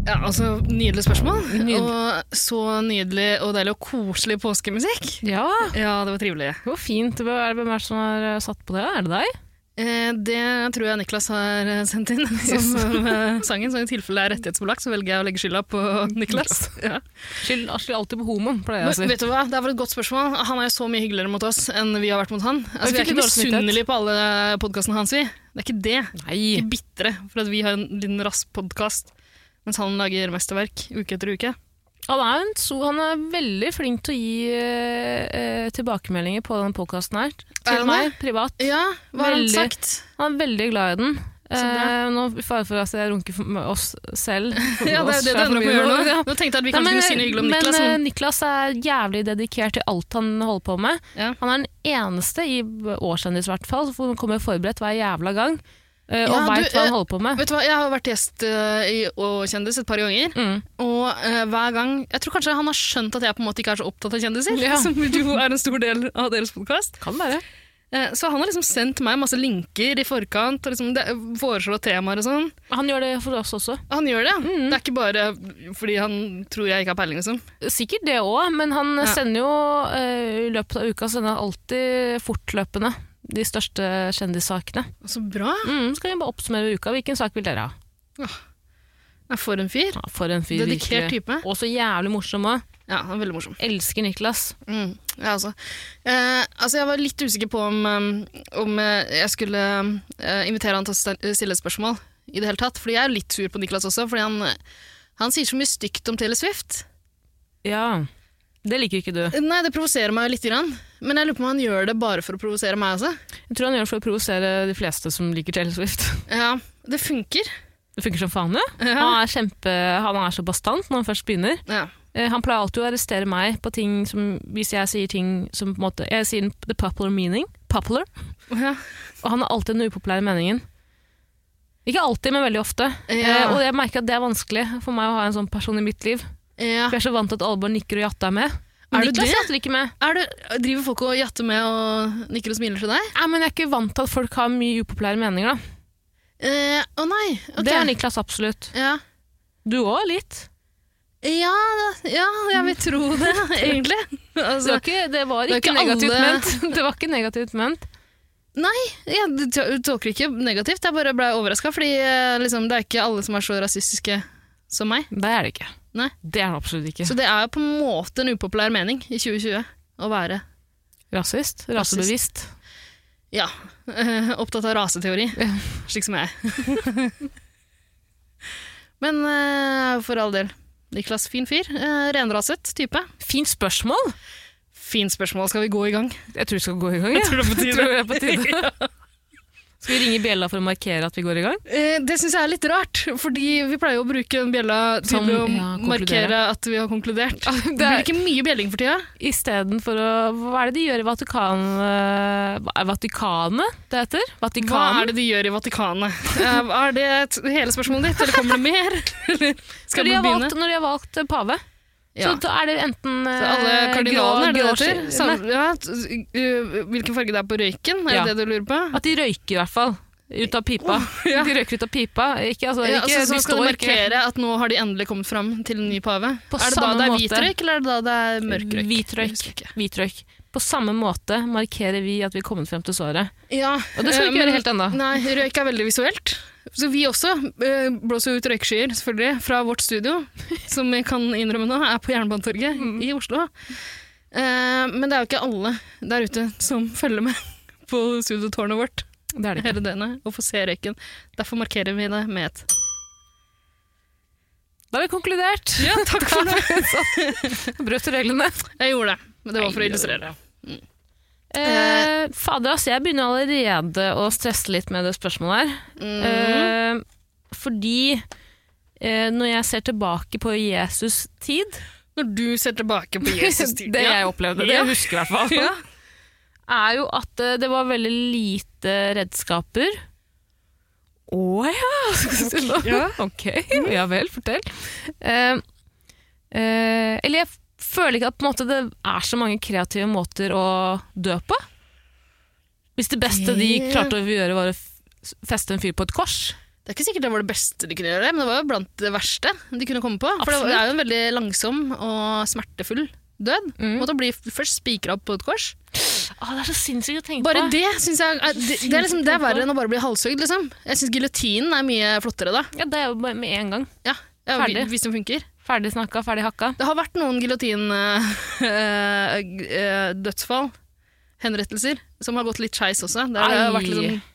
Speaker 2: Ja, altså, Nydelig spørsmål.
Speaker 1: Nydelig.
Speaker 2: Og så nydelig og deilig og koselig påskemusikk.
Speaker 1: Ja,
Speaker 2: Ja, det var trivelig.
Speaker 1: det var fint. Hvem er det hvem er det som har eh, satt på det? Er det deg?
Speaker 2: Eh, Det tror jeg Niklas har eh, sendt inn som eh, sangen. Så i tilfelle det er rettighetsbelagt, så velger jeg å legge skylda på Niklas. Ja.
Speaker 1: Skyld skyld alltid på homoen, pleier jeg å
Speaker 2: Men,
Speaker 1: si.
Speaker 2: vet du hva? Det var et godt spørsmål. Han er jo så mye hyggeligere mot oss enn vi har vært mot han.
Speaker 1: Jeg
Speaker 2: Altså, vi er
Speaker 1: fikk
Speaker 2: ikke
Speaker 1: litt dårlig samvittighet.
Speaker 2: misunnelige på alle podkastene hans. Vi. Det er ikke det. Vi
Speaker 1: Nei.
Speaker 2: er bitre for at vi har en liten rask podkast, mens han lager mesterverk uke etter uke.
Speaker 1: Han er, en, so- han er veldig flink til å gi eh, eh, tilbakemeldinger på den podkasten her.
Speaker 2: Er
Speaker 1: Til
Speaker 2: han
Speaker 1: meg, privat.
Speaker 2: Ja,
Speaker 1: hva har han
Speaker 2: sagt?
Speaker 1: Han er veldig glad i den.
Speaker 2: Så bra.
Speaker 1: Eh, nå I fare for at jeg runker for- med oss selv.
Speaker 2: Ja, det er jo det du ender opp med å gjøre nå. Nå tenkte jeg at
Speaker 1: Nei,
Speaker 2: vi kanskje
Speaker 1: men,
Speaker 2: kunne si noe hyggelig om Niklas,
Speaker 1: men eh,
Speaker 2: men
Speaker 1: Niklas er jævlig dedikert til alt han holder på med.
Speaker 2: Ja.
Speaker 1: Han er den eneste i årskjendis, i hvert fall, som kommer forberedt hver jævla gang. eh, og
Speaker 2: Ja, du,
Speaker 1: veit hva
Speaker 2: eh,
Speaker 1: han holder på med.
Speaker 2: Vet du hva, Jeg har vært gjest eh, i Og kjendis et par ganger,
Speaker 1: Mm.
Speaker 2: og eh, hver gang Jeg tror kanskje han har skjønt at jeg på en måte ikke er så opptatt av kjendiser,
Speaker 1: Ja.
Speaker 2: som jo er en stor del av deres podkast.
Speaker 1: Kan være.
Speaker 2: Så han har liksom sendt meg masse linker i forkant, og liksom det, foreslår temaer og sånn.
Speaker 1: Han gjør det for oss også.
Speaker 2: Han gjør det. Det er ikke bare fordi han tror jeg ikke har peiling, liksom.
Speaker 1: Sikkert det òg, men han
Speaker 2: Ja.
Speaker 1: sender jo eh, i løpet av uka sender han alltid fortløpende de største kjendissakene.
Speaker 2: Så bra.
Speaker 1: Mm, så kan vi bare oppsummere uka. Hvilken sak vil dere ha?
Speaker 2: Jeg får en fyr.
Speaker 1: Ja, for en fyr,
Speaker 2: Dedikert
Speaker 1: virkelig.
Speaker 2: type.
Speaker 1: Og så jævlig morsom òg.
Speaker 2: Ja, han er veldig morsom.
Speaker 1: Elsker Niklas.
Speaker 2: Mm, jeg også. Eh, altså, jeg var litt usikker på om, eh, om eh, jeg skulle eh, invitere han til å stel- stille et spørsmål i det hele tatt. Fordi jeg er litt sur på Niklas også, fordi han, eh, han sier så mye stygt om Taylor Swift.
Speaker 1: Ja. Det liker ikke du.
Speaker 2: Eh, Nei, det provoserer meg litt, grann. men jeg lurer på om han gjør det bare for å provosere meg også.
Speaker 1: Jeg tror han gjør det for å provosere de fleste som liker Taylor Swift.
Speaker 2: Ja, det funker.
Speaker 1: Det funker som faen, det.
Speaker 2: Ja.
Speaker 1: Han er, kjempe, han er så bastant når han først begynner.
Speaker 2: Ja.
Speaker 1: Eh, Han pleier alltid å arrestere meg på ting som Hvis jeg sier ting som på en måte Jeg sier the popular meaning. Popular.
Speaker 2: Ja.
Speaker 1: Og han har alltid den upopulære meningen. Ikke alltid, men veldig ofte.
Speaker 2: Ja.
Speaker 1: Eh, og jeg merker at det er vanskelig for meg å ha en sånn person i mitt liv.
Speaker 2: Ja.
Speaker 1: For jeg er så vant til at alle bare nikker og jatter er med.
Speaker 2: Er
Speaker 1: Men
Speaker 2: du
Speaker 1: Niklas
Speaker 2: det?
Speaker 1: jatter ikke med.
Speaker 2: Er det, driver folk og jatter med og nikker og smiler til deg?
Speaker 1: Nei, men jeg er ikke vant til at folk har mye upopulære meninger, da.
Speaker 2: Eh, Å nei. ok.
Speaker 1: Det er Niklas absolutt.
Speaker 2: Ja.
Speaker 1: Du òg, litt.
Speaker 2: Ja, da- ja, jeg vil tro det, egentlig.
Speaker 1: Det
Speaker 2: Altså,
Speaker 1: var ikke, det var
Speaker 2: det er
Speaker 1: ikke,
Speaker 2: ikke
Speaker 1: negativt
Speaker 2: alle-
Speaker 1: ment. Det var ikke negativt ment.
Speaker 2: jeg t- tolker ikke negativt, jeg bare ble overraska, fordi eh, liksom, det er ikke alle som er så rasistiske som meg.
Speaker 1: Det er det ikke.
Speaker 2: Nei.
Speaker 1: Det er det absolutt ikke.
Speaker 2: Så det er jo på en måte en upopulær mening i 2020 å være
Speaker 1: Rasist. Rasebevisst.
Speaker 2: ja, eh, opptatt av raseteori,
Speaker 1: Ja.
Speaker 2: slik som jeg er. Men eh, for all del. Niklas, fin fyr. Eh, renraset type.
Speaker 1: Fint spørsmål!
Speaker 2: Fint spørsmål, skal vi gå i gang?
Speaker 1: Jeg tror vi skal gå i gang. Jeg tror det er på tide. Skal vi ringe bjella for å markere at vi går i gang?
Speaker 2: Eh, Det syns jeg er litt rart, fordi vi pleier jo å bruke den bjella til
Speaker 1: Som-
Speaker 2: å
Speaker 1: ja, konkludere.
Speaker 2: markere at vi har konkludert.
Speaker 1: det
Speaker 2: Det
Speaker 1: er-
Speaker 2: blir ikke mye bjelling for tida.
Speaker 1: Istedenfor å Hva er det de gjør i Vatikan... eh, hva Er Vatikanet det heter?
Speaker 2: Hva
Speaker 1: Vatikanen?
Speaker 2: er det de gjør i Vatikanet? Eh, Er det et- hele spørsmålet ditt, eller kommer det mer? Eller Skal
Speaker 1: Når de
Speaker 2: vi
Speaker 1: har
Speaker 2: begynne?
Speaker 1: valgt, når de har valgt eh, pave, så
Speaker 2: Ja.
Speaker 1: da er det enten eh,
Speaker 2: Så alle kardinalene, er det det heter? Sam- Ja, t- uh, hvilken farge det er på røyken, er
Speaker 1: Ja.
Speaker 2: det det du lurer på?
Speaker 1: At de røyker i hvert fall. Ut av pipa.
Speaker 2: ja.
Speaker 1: De røyker ut av pipa. Ikke, altså,
Speaker 2: Ja,
Speaker 1: ikke,
Speaker 2: altså, så
Speaker 1: de
Speaker 2: skal de
Speaker 1: står ikke
Speaker 2: markere at nå har de endelig kommet fram til en ny pave.
Speaker 1: På
Speaker 2: er det da
Speaker 1: samme
Speaker 2: det er
Speaker 1: måte.
Speaker 2: hvit røyk, eller er det da det er mørk røyk?
Speaker 1: Hvit
Speaker 2: Jeg
Speaker 1: røyk.
Speaker 2: husker ikke.
Speaker 1: hvit røyk. På samme måte markerer vi at vi er kommet frem til såret.
Speaker 2: Ja,
Speaker 1: Og det skal vi
Speaker 2: eh,
Speaker 1: ikke gjøre
Speaker 2: men-
Speaker 1: helt ennå.
Speaker 2: Nei, røyk er veldig visuelt. Så vi også eh, blåser ut røykskyer, selvfølgelig, fra vårt studio, som vi kan innrømme nå, er på Jernbanetorget i Oslo. Eh, men det er jo ikke alle der ute som følger med på studiotårnet vårt
Speaker 1: Det er det ikke.
Speaker 2: hele døgnet og får se røyken. Derfor markerer vi det med et
Speaker 1: Da har vi konkludert.
Speaker 2: Ja, takk for det!
Speaker 1: Brøt reglene.
Speaker 2: Jeg gjorde det, men det var for å
Speaker 1: Nei,
Speaker 2: illustrere.
Speaker 1: Eh, fader, altså, jeg begynner allerede å stresse litt med det spørsmålet her. Eh, fordi eh, når jeg ser tilbake på Jesus' tid
Speaker 2: Når du ser tilbake på Jesus' tid
Speaker 1: Det jeg opplevde, det
Speaker 2: Ja.
Speaker 1: jeg husker i hvert fall,
Speaker 2: Ja.
Speaker 1: er jo at eh, det var veldig lite redskaper. Å ja!
Speaker 2: Ja.
Speaker 1: ok, ja vel, fortell. Eh, eh, eller jeg føler ikke at på en måte, det er så mange kreative måter å dø på. Hvis det beste de
Speaker 2: Det-
Speaker 1: klarte å gjøre, var å f- feste en fyr på et kors.
Speaker 2: Det er ikke sikkert det var det beste de kunne gjøre, men det var jo blant det verste de kunne komme på. For det
Speaker 1: Absolutt.
Speaker 2: er jo en veldig langsom og smertefull død.
Speaker 1: Mm.
Speaker 2: Måtte bli f- først spikra opp på et kors.
Speaker 1: Å, det er så sinnssykt å tenke
Speaker 2: Bare
Speaker 1: på.
Speaker 2: det synes jeg er, det, det er liksom, det er verre enn å bare bli halshugd, liksom. Jeg syns giljotinen er mye flottere da.
Speaker 1: Ja, det er jo bare med en gang.
Speaker 2: Ja, ja
Speaker 1: Ferdig.
Speaker 2: Hvis den funker.
Speaker 1: Ferdig snakka, ferdig hakka.
Speaker 2: Det har vært noen eh, giljotin-dødsfall, henrettelser, som har gått litt skeis også. Der har det
Speaker 1: Ai.
Speaker 2: vært litt sånn,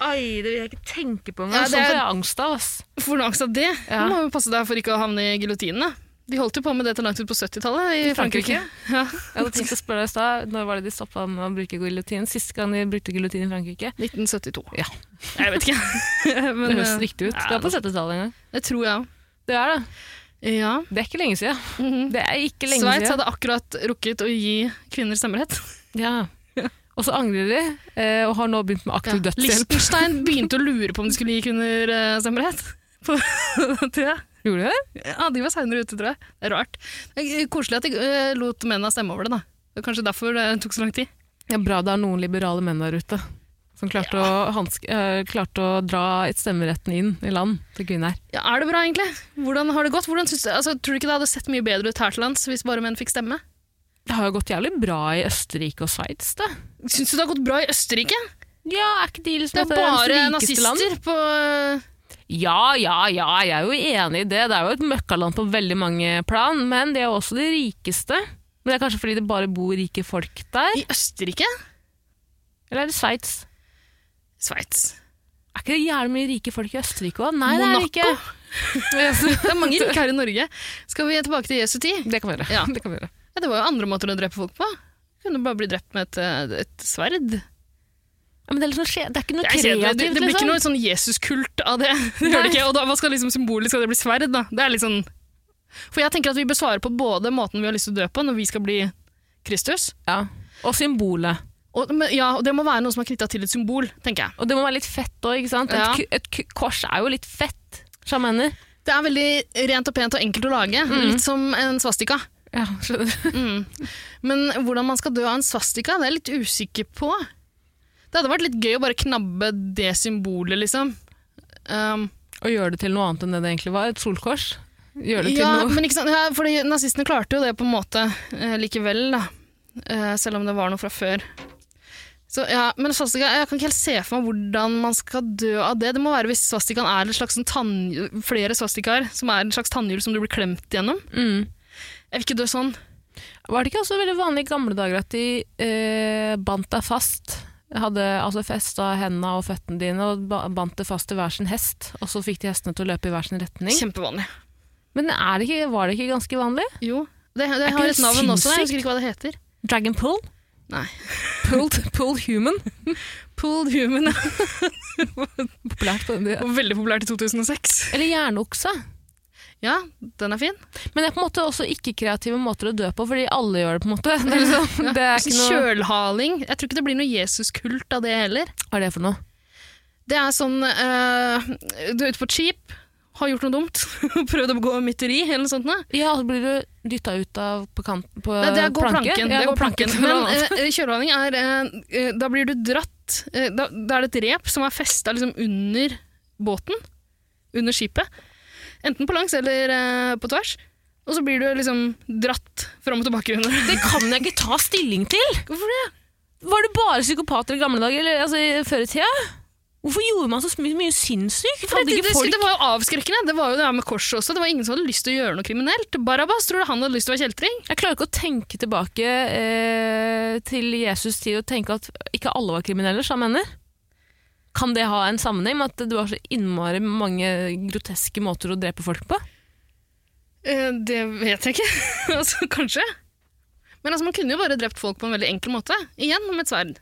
Speaker 1: Ai, det vil jeg ikke tenke på
Speaker 2: Ja,
Speaker 1: engang.
Speaker 2: det
Speaker 1: sånn
Speaker 2: er-
Speaker 1: får jeg angst av, ass.
Speaker 2: Får du angst av det?
Speaker 1: Ja.
Speaker 2: Du må jo passe deg for ikke å havne i giljotinen. da. De holdt jo på med det til langt ut på 70-tallet i
Speaker 1: I Frankrike?
Speaker 2: Frankrike. Ja.
Speaker 1: Jeg hadde tenkt å spørre deg i stad, når var det de stoppa med å bruke giljotin? Sist gang de brukte giljotin i Frankrike?
Speaker 2: 1972.
Speaker 1: Ja.
Speaker 2: Jeg vet ikke. Men,
Speaker 1: Det høres
Speaker 2: eh,
Speaker 1: riktig ut.
Speaker 2: ja,
Speaker 1: Det var på 70-tallet en gang.
Speaker 2: Det tror jeg òg.
Speaker 1: altså- Det er det.
Speaker 2: Ja.
Speaker 1: Det er ikke lenge siden.
Speaker 2: Mhm.
Speaker 1: Det er ikke lenge
Speaker 2: Sveits
Speaker 1: siden.
Speaker 2: hadde akkurat rukket å gi kvinner stemmerett.
Speaker 1: Ja. Og så angrer de, eh, og har nå begynt med aktiv dødshjelp.
Speaker 2: Liechtenstein begynte å lure på om de skulle gi kvinner eh, stemmerett. På, tror jeg.
Speaker 1: Gjorde de det?
Speaker 2: Ja, de var seinere ute, tror jeg. Det er rart. Det er koselig at de eh, lot mennene stemme over det, da. Det er kanskje derfor det tok så lang tid.
Speaker 1: Ja, bra det er noen liberale menn der ute. Som klarte, å, hanske, eh, klarte å dra et stemmeretten inn i land til kvinner.
Speaker 2: Ja, er det bra, egentlig? Hvordan har det gått? Hvordan syns du, altså, tror du ikke det hadde sett mye bedre ut her til lands hvis bare menn fikk stemme?
Speaker 1: Det har jo gått jævlig bra i Østerrike og Sveits, det.
Speaker 2: Syns du det har gått bra i Østerrike?
Speaker 1: Ja, er ikke de liksom
Speaker 2: Det er bare nazister på
Speaker 1: Ja, ja, ja, jeg er jo enig i det. Det er jo et møkkaland på veldig mange plan, men de er jo også de rikeste. Men det er kanskje fordi det bare bor rike folk der?
Speaker 2: eh, I Østerrike?
Speaker 1: Eller er det Sveits?
Speaker 2: Sveits.
Speaker 1: Er ikke det jævlig mye rike folk i Østerrike òg? Nei, det er det ikke.
Speaker 2: Det er mange rike her i Norge. Skal vi tilbake til Jesu tid?
Speaker 1: Det kan vi gjøre.
Speaker 2: Ja.
Speaker 1: Det kan vi gjøre.
Speaker 2: Ja, det var jo andre måter å drepe folk på. Du kunne bare bli drept med et, eh, et sverd.
Speaker 1: Ja, men det er, liksom, skje- det er ikke noe
Speaker 2: Jeg ser
Speaker 1: kreativt,
Speaker 2: det, det, det blir ikke
Speaker 1: liksom.
Speaker 2: noe sånn Jesus-kult av det. det gjør det ikke. Og da, hva skal liksom symbolisk skal det bli sverd, da? Det er litt sånn For jeg tenker at vi bør svare på både måten vi har lyst til å dø på når vi skal bli Kristus,
Speaker 1: Ja. Og symbolet.
Speaker 2: og, men, ja, og det må være noe som er knytta til et symbol, tenker jeg.
Speaker 1: Og det må være litt fett òg, ikke sant?
Speaker 2: Ja.
Speaker 1: Et, ku- et ku- kors er jo litt fett, sjamaner.
Speaker 2: Det er veldig rent og pent og enkelt å lage,
Speaker 1: Mm.
Speaker 2: litt som en svastika.
Speaker 1: Ja, skjønner du.
Speaker 2: Mm. Men hvordan man skal dø av en svastika, det er jeg litt usikker på. Det hadde vært litt gøy å bare knabbe det symbolet, liksom. Um,
Speaker 1: Og gjøre det til noe annet enn det det egentlig var. Et solkors. Gjøre det til
Speaker 2: Ja,
Speaker 1: noe
Speaker 2: men ikke sant? Ja, fordi nazistene klarte jo det på en måte eh, likevel, da. Eh, selv om det var noe fra før. Så, ja, men svastika, jeg kan ikke helt se for meg hvordan man skal dø av det. Det må være hvis svastikaen er et slags sånn tann, flere svastikaer, som er en slags tannhjul som du blir klemt gjennom.
Speaker 1: mm.
Speaker 2: Jeg vil ikke dø sånn.
Speaker 1: Var det ikke også veldig vanlig i gamle dager at de eh, bandt deg fast? Hadde altså festa hendene og føttene dine og ba- bandt det fast til hver sin hest. Og så fikk de hestene til å løpe i hver sin retning.
Speaker 2: Kjempevanlig.
Speaker 1: Men er det ikke, var det ikke ganske vanlig?
Speaker 2: Jo, det, det,
Speaker 1: ikke
Speaker 2: har
Speaker 1: det
Speaker 2: et navn også,
Speaker 1: sinnssykt?
Speaker 2: jeg husker ikke hva det heter.
Speaker 1: Dragon pull?
Speaker 2: Nei.
Speaker 1: Pulled, pull human?
Speaker 2: Pulled human, ja.
Speaker 1: Populært på den
Speaker 2: veldig populært i 2006.
Speaker 1: Eller jernokse.
Speaker 2: Ja, den er fin.
Speaker 1: Men det er på en måte også ikke-kreative måter å dø på, fordi alle gjør det, på en måte. Det er, liksom, det er ikke noe
Speaker 2: Altså, Kjølhaling. Jeg tror ikke det blir noe Jesus-kult av det heller.
Speaker 1: Hva er det for noe?
Speaker 2: Det er sånn eh, Du er ute på et skip, har gjort noe dumt, prøvd å begå mytteri eller noe sånt. Nei,
Speaker 1: Ja, så blir du dytta ut av på kanten på
Speaker 2: det er gå
Speaker 1: planke.
Speaker 2: planken.
Speaker 1: Ja,
Speaker 2: det er
Speaker 1: gå
Speaker 2: gå planken.
Speaker 1: planken.
Speaker 2: Men uh, kjølehaling er eh, eh, Da blir du dratt eh, da, da er det et rep som er festa liksom under båten, under skipet. Enten på langs eller eh, på tvers. Og så blir du liksom dratt fram og tilbake under.
Speaker 1: det kan jeg ikke ta stilling til!
Speaker 2: Hvorfor det?
Speaker 1: Var det bare psykopater i gamle dager, eller altså, i- før i tida? Hvorfor gjorde man så mye, mye sinnssykt? For
Speaker 2: Det,
Speaker 1: hadde
Speaker 2: det,
Speaker 1: ikke folk...
Speaker 2: det var jo avskrekkende. Det var jo det her med korset også. Det var ingen som hadde lyst til å gjøre noe kriminelt. Barabas, tror du han hadde lyst til å være kjeltring?
Speaker 1: Jeg klarer ikke å tenke tilbake eh, til Jesus' tid og tenke at ikke alle var kriminelle, sa mener. Kan det ha en sammenheng med at det var så innmari mange groteske måter å drepe folk på?
Speaker 2: Eh, Det vet jeg ikke. altså, kanskje. Men altså, man kunne jo bare drept folk på en veldig enkel måte. Igjen med et sverd.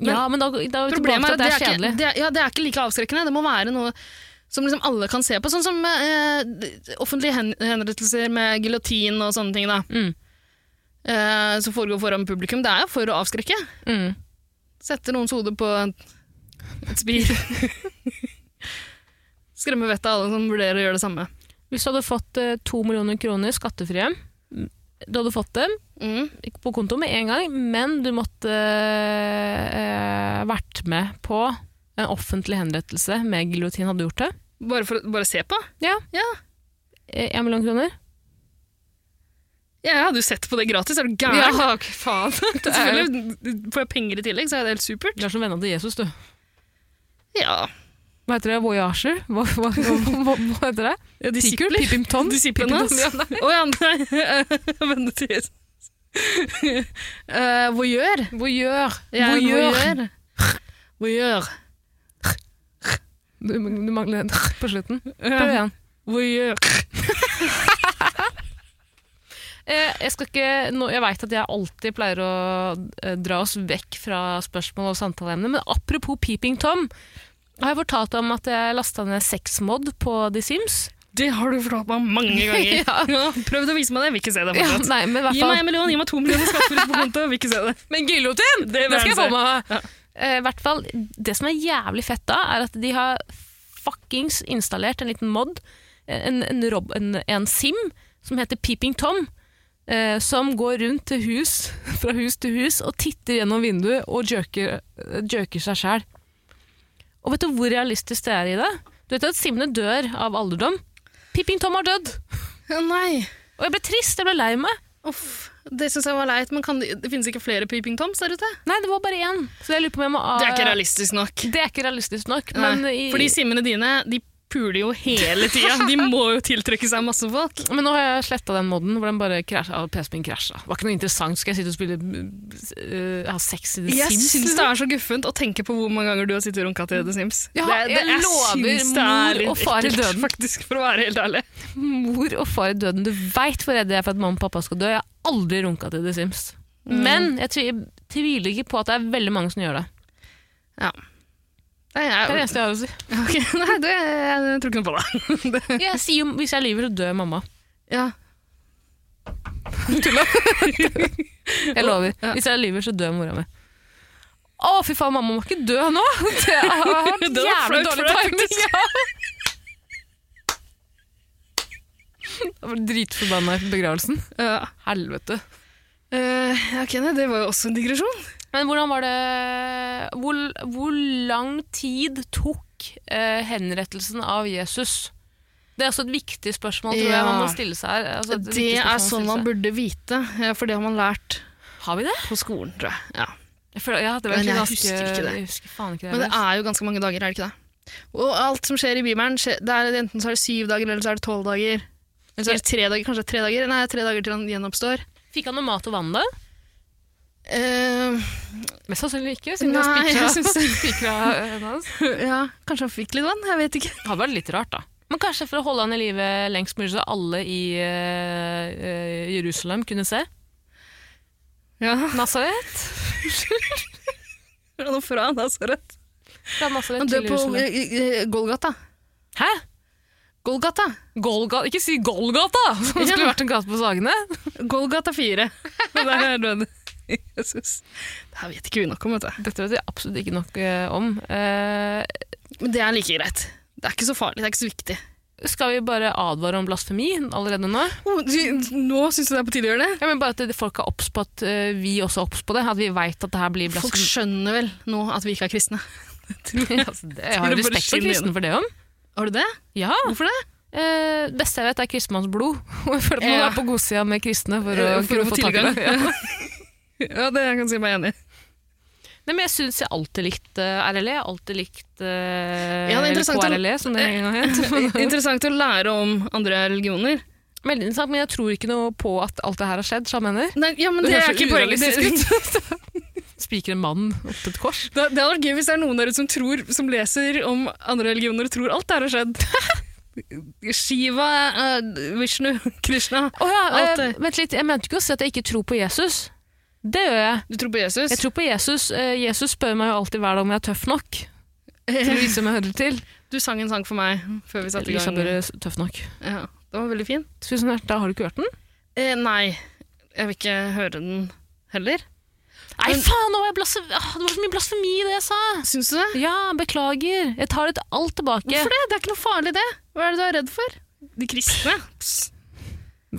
Speaker 2: Men-
Speaker 1: ja, men da, da er vi tilbake til
Speaker 2: Problemet er
Speaker 1: at det
Speaker 2: at det
Speaker 1: er
Speaker 2: er,
Speaker 1: kjedelig.
Speaker 2: ikke, det, er- ja, det er ikke like avskrekkende. Det må være noe som liksom alle kan se på. Sånn som eh, d- offentlige hen henrettelser med giljotin og sånne ting. da.
Speaker 1: Mm.
Speaker 2: Eh, som foregår foran publikum. Det er jo for å avskrekke.
Speaker 1: Mm.
Speaker 2: Sette noens hode på et spir. Skremme vettet av alle som vurderer å gjøre det samme.
Speaker 1: Hvis du hadde fått eh, to millioner kroner skattefrie, du hadde fått dem
Speaker 2: Mm.
Speaker 1: på konto med en gang, men du måtte eh, vært med på en offentlig henrettelse med giljotin hadde du gjort det.
Speaker 2: Bare for å bare se på.
Speaker 1: Ja.
Speaker 2: Ja.
Speaker 1: Eh, En million kroner.
Speaker 2: Jeg hadde jo sett på det gratis, er du gæren?
Speaker 1: Ja, ok, faen.
Speaker 2: Selvfølgelig får jeg penger i tillegg, så er det helt supert.
Speaker 1: Du er som vennene til Jesus, du.
Speaker 2: Ja,
Speaker 1: Hva heter det? Voyager? Hva, hva, hva, hva, hva heter det?
Speaker 2: ja
Speaker 1: Tikul?
Speaker 2: disipler.
Speaker 1: Pippimton?
Speaker 2: Disiplene.
Speaker 1: Pippimton, ja, nei.
Speaker 2: Å ja, nei. Vennene til Jesus. Eh, voyeur.
Speaker 1: Voyeur.
Speaker 2: Jeg er en
Speaker 1: Voyeur.
Speaker 2: Voyeur.
Speaker 1: Du, du mangler en på slutten. Prøv
Speaker 2: Voyeur.
Speaker 1: igjen.
Speaker 2: Voyeur.
Speaker 1: Eh, Jeg, skal ikke, nå- jeg vet at jeg alltid pleier å eh, dra oss vekk fra spørsmål og samtaleemner, men apropos Peeping Tom, har jeg fortalt om at jeg lasta ned sexmod på The Sims?
Speaker 2: Det har du fortalt meg mange ganger.
Speaker 1: Ja.
Speaker 2: Prøvd å vise meg det, vil ikke se det.
Speaker 1: Ja,
Speaker 2: fortsatt.
Speaker 1: nei, men i hvert
Speaker 2: Gi meg
Speaker 1: fall.
Speaker 2: en million, gi meg to millioner skattefritt på konto, vil ikke se det.
Speaker 1: Men giljotin! Det,
Speaker 2: vil
Speaker 1: skal jeg
Speaker 2: jeg
Speaker 1: få
Speaker 2: se.
Speaker 1: med meg.
Speaker 2: Ja.
Speaker 1: Eh, i hvert fall, det som er jævlig fett da, er at de har fuckings installert en liten mod, eh, en, en, rob, en, en sim, som heter Peeping Tom, eh, som går rundt til hus, fra hus til hus, og titter gjennom vinduet og jerker, jerker seg sjæl. Og vet du hvor realistisk det er i det? Du vet at simene dør av alderdom. Peeping Tom har dødd.
Speaker 2: Ja, nei.
Speaker 1: Og jeg ble trist, jeg ble lei meg.
Speaker 2: Uff, det syns jeg var leit, men kan det, det finnes ikke flere Peeping Toms der ute?
Speaker 1: Nei, det var bare én. Så jeg lurer på om jeg må
Speaker 2: Det er ikke realistisk nok.
Speaker 1: Det er ikke realistisk nok,
Speaker 2: Nei.
Speaker 1: men, i,
Speaker 2: Fordi simmene dine de puler jo hele tida. De må jo tiltrekke seg masse folk.
Speaker 1: men nå har jeg sletta den moden hvor den bare krasja, ah, PC-en min krasja. Det var ikke noe interessant. Skal jeg sitte og spille øh, ha sex i The
Speaker 2: Jeg
Speaker 1: Sims?
Speaker 2: syns det er så guffent å tenke på hvor mange ganger du har sittet og runka til The Sims.
Speaker 1: Ja,
Speaker 2: det, er- det,
Speaker 1: jeg lover
Speaker 2: syns
Speaker 1: mor
Speaker 2: litt
Speaker 1: og far i
Speaker 2: ekkelt,
Speaker 1: døden.
Speaker 2: Faktisk, for å være helt ærlig.
Speaker 1: Mor og far i døden. Du veit hvor redd jeg er for at mamma og pappa skal dø. Jeg har aldri runka til The Sims.
Speaker 2: Mm.
Speaker 1: Men jeg tvi, tviler ikke på at det er veldig mange som gjør det.
Speaker 2: Nei,
Speaker 1: Det er det
Speaker 2: jeg,
Speaker 1: eneste jeg har å si.
Speaker 2: ok, nei det, jeg tror ikke noe på det. det.
Speaker 1: Jeg sier jo hvis jeg lyver, så dør mamma.
Speaker 2: Ja.
Speaker 1: Jeg lover.
Speaker 2: Ja.
Speaker 1: Hvis jeg lyver, så dør mora mi. Å, fy faen, mamma må ikke dø nå! Det har vært
Speaker 2: Det var
Speaker 1: jævlig
Speaker 2: flaut for
Speaker 1: dårlig
Speaker 2: deg,
Speaker 1: timing. Ja. Jeg var dritforbanna i begravelsen.
Speaker 2: ja.
Speaker 1: Helvete.
Speaker 2: Eh, ok, nei, det var jo også en digresjon.
Speaker 1: Men hvordan var det Hvor, hvor lang tid tok eh, henrettelsen av Jesus? Det er også et viktig spørsmål tror jeg
Speaker 2: Ja.
Speaker 1: man må stille seg her. Altså, et viktig
Speaker 2: Det
Speaker 1: spørsmål
Speaker 2: er
Speaker 1: å
Speaker 2: sånn
Speaker 1: stille
Speaker 2: man
Speaker 1: seg.
Speaker 2: burde vite, eh, for det har man lært
Speaker 1: Har vi det?
Speaker 2: på skolen, tror jeg. Ja.
Speaker 1: Jeg føler, ja, det var
Speaker 2: Men
Speaker 1: egentlig
Speaker 2: jeg
Speaker 1: ganske-
Speaker 2: husker ikke det.
Speaker 1: Jeg husker faen ikke det.
Speaker 2: Men det
Speaker 1: heller.
Speaker 2: er jo ganske mange dager, er det ikke det? Og alt som skjer i Bibelen, skje- det er enten så er det syv dager, eller så er det tolv dager. Eller så er det tre dager, kanskje det er tre dager. Nei, tre dager til han gjenoppstår.
Speaker 1: Fikk han noe mat og vann da?
Speaker 2: Eh,
Speaker 1: Mest sannsynlig ikke, siden
Speaker 2: Nei,
Speaker 1: Nei,
Speaker 2: jeg
Speaker 1: spikra,
Speaker 2: syns det-
Speaker 1: spikra eh, øynene hans.
Speaker 2: ja, kanskje han fikk litt vann, jeg vet ikke.
Speaker 1: Det hadde vært litt rart, da. Men kanskje for å holde han i live lengst mulig, så alle i eh, eh, Jerusalem kunne se.
Speaker 2: Ja,
Speaker 1: Nazaret.
Speaker 2: nå får han da, så rett.
Speaker 1: Fra Nazaret
Speaker 2: Han dør
Speaker 1: til
Speaker 2: på
Speaker 1: Jerusalem.
Speaker 2: eh, eh, Golgata.
Speaker 1: Hæ?
Speaker 2: Golgata.
Speaker 1: Golgata? Ikke si Golgata! Som
Speaker 2: Ja.
Speaker 1: skulle vært en gate på Sagene.
Speaker 2: Golgata 4. Det der er døden. Jesus. Det her vet ikke vi nok om, vet du.
Speaker 1: Dette vet jeg absolutt ikke nok eh, om. Eh,
Speaker 2: Men det er like greit. Det er ikke så farlig, det er ikke så viktig.
Speaker 1: skal vi bare advare om blasfemi allerede nå?
Speaker 2: Oh, du- nå syns du det er på tide å gjøre det?
Speaker 1: Ja, men bare at det- folk er obs på at eh, vi også er obs på det. At vi veit at det her blir
Speaker 2: Folk
Speaker 1: blasfemi.
Speaker 2: skjønner vel nå at vi ikke er kristne.
Speaker 1: Altså, det- jeg har
Speaker 2: Tror det bare
Speaker 1: respekt for
Speaker 2: skinner
Speaker 1: kristne for det òg.
Speaker 2: Har du det?
Speaker 1: Ja.
Speaker 2: Hvorfor det?
Speaker 1: Eh, beste jeg vet er kristenmannsblod. Og jeg føler at man
Speaker 2: Ja.
Speaker 1: er på godsida med kristne for å,
Speaker 2: Eh,
Speaker 1: kunne
Speaker 2: for å få
Speaker 1: få tak i det. Ja.
Speaker 2: Ja, det kan jeg si meg enig i.
Speaker 1: Nei, men jeg syns jeg alltid eh, likte RLE. E. Jeg har alltid likt eh,
Speaker 2: Ja, det er
Speaker 1: eller
Speaker 2: interessant å-
Speaker 1: KRLE, som det en gang het.
Speaker 2: Interessant å lære om andre religioner.
Speaker 1: Veldig interessant, men jeg tror ikke noe på at alt det her har skjedd, sa jeg mener.
Speaker 2: Nei, ja, men det, er
Speaker 1: høres
Speaker 2: ikke
Speaker 1: så
Speaker 2: poenget. Det,
Speaker 1: urealistisk ut. Spiker en mann opp til et kors.
Speaker 2: det hadde vært gøy hvis det er noen der ute som, tror, som leser om andre religioner og tror alt det her har skjedd. Shiva, eh, Vishnu, Krishna.
Speaker 1: Å ja,
Speaker 2: Alt
Speaker 1: eh,
Speaker 2: det.
Speaker 1: vent litt. Jeg mente ikke å si at jeg ikke tror på Jesus. Det gjør jeg.
Speaker 2: Du tror på Jesus?
Speaker 1: Jeg tror på Jesus. Eh, Jesus spør meg jo alltid hver dag om jeg er tøff nok. Til å vise om jeg hører til.
Speaker 2: Du sang en sang for meg før vi satte i
Speaker 1: Lisha
Speaker 2: gang.
Speaker 1: Børre, tøff nok.
Speaker 2: Ja, det var veldig fin.
Speaker 1: Tusen hjertelig, da har du ikke hørt den?
Speaker 2: Eh, nei, jeg vil ikke høre den heller.
Speaker 1: Nei,
Speaker 2: Men-
Speaker 1: faen, nå var jeg blasfe... ah, det var så mye blasfemi i det jeg sa!
Speaker 2: Syns du det?
Speaker 1: Ja, beklager. Jeg tar det alt tilbake.
Speaker 2: Hvorfor det? Det er ikke noe farlig, det. Hva er det du er redd for? De kristne? Psst.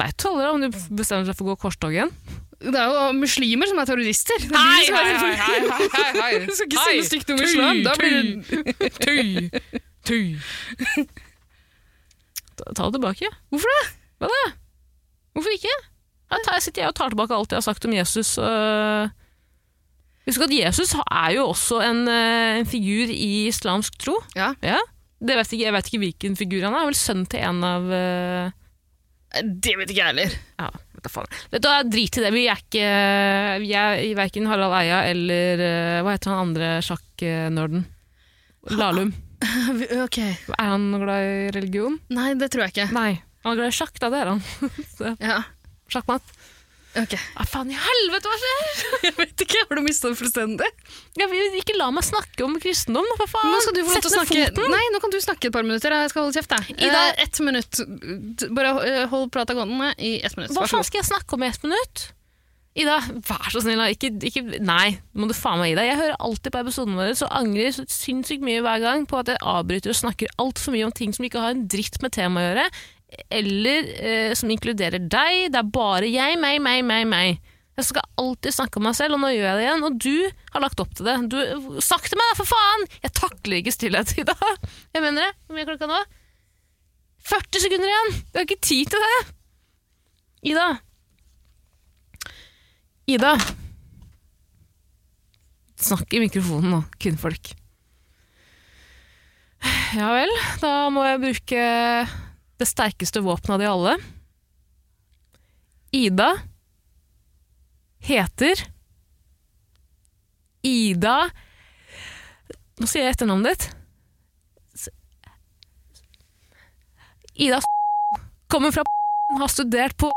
Speaker 1: Veit du aldri om du bestemmer seg for å gå korstogen?
Speaker 2: Det er jo muslimer som er terrorister. Det er de som er- Du skal ikke si noe stygt om islam. Da blir du
Speaker 1: Tøy! Tøy! Ta ta det tilbake.
Speaker 2: Hvorfor
Speaker 1: det? Hva da? Hvorfor ikke? Da tar jeg, sitter jeg og tar tilbake alt jeg har sagt om Jesus. øh. Husk at Jesus er jo også en, øh, en figur i islamsk tro.
Speaker 2: Ja.
Speaker 1: Det vet ikke, jeg vet ikke hvilken figur han er. Han er vel sønn til en av øh,
Speaker 2: Det vet ikke jeg heller.
Speaker 1: ja, vet da faen. Vet du, hva, Drit i det. Vi er ikke vi er verken Harald Eia eller øh, Hva heter han andre sjakknerden? Lahlum.
Speaker 2: ok.
Speaker 1: Er han glad i religion?
Speaker 2: Nei, det tror jeg ikke.
Speaker 1: Nei. Han er glad i sjakk, da. Det er han.
Speaker 2: Ja,
Speaker 1: Sjakkmatt.
Speaker 2: ok.
Speaker 1: Ah, faen i helvete, hva skjer?
Speaker 2: Jeg vet ikke, Har du mista det fullstendig? Ah,
Speaker 1: Jeg vil ikke la meg snakke om kristendom, da, for faen.
Speaker 2: Nå skal du få lov
Speaker 1: Sett
Speaker 2: til å
Speaker 1: ned
Speaker 2: snakke.
Speaker 1: foten.
Speaker 2: Nei, nå kan du snakke et par minutter. Jeg skal holde kjeft. jeg.
Speaker 1: Ida-
Speaker 2: Eh, ett minutt. Bare eh, hold prata gående i ett minutt.
Speaker 1: Hva
Speaker 2: Vær så
Speaker 1: faen
Speaker 2: god.
Speaker 1: skal jeg snakke om i ett minutt? Ida, vær så snill, da. Ikke, ikke, nei, nå må du faen meg gi deg. Jeg hører alltid på episodene våre, så angrer jeg så sinnssykt mye hver gang på at jeg avbryter og snakker altfor mye om ting som ikke har en dritt med temaet å gjøre, eller eh, som inkluderer deg. Det er bare jeg, meg, meg, meg, meg. Jeg skal alltid snakke om meg selv, og nå gjør jeg det igjen. Og du har lagt opp til det. Du, snakk til meg, da, for faen! Jeg takler ikke stillhet, Ida. Jeg mener det. Hvor mye er klokka nå? 40 sekunder igjen! Vi har ikke tid til det. Ida. Ida. Snakk i mikrofonen nå, kvinnfolk. Ja vel, da må jeg bruke det sterkeste våpenet av de alle. Ida heter Ida Nå sier jeg etternavnet ditt. S- Ida kommer fra har studert på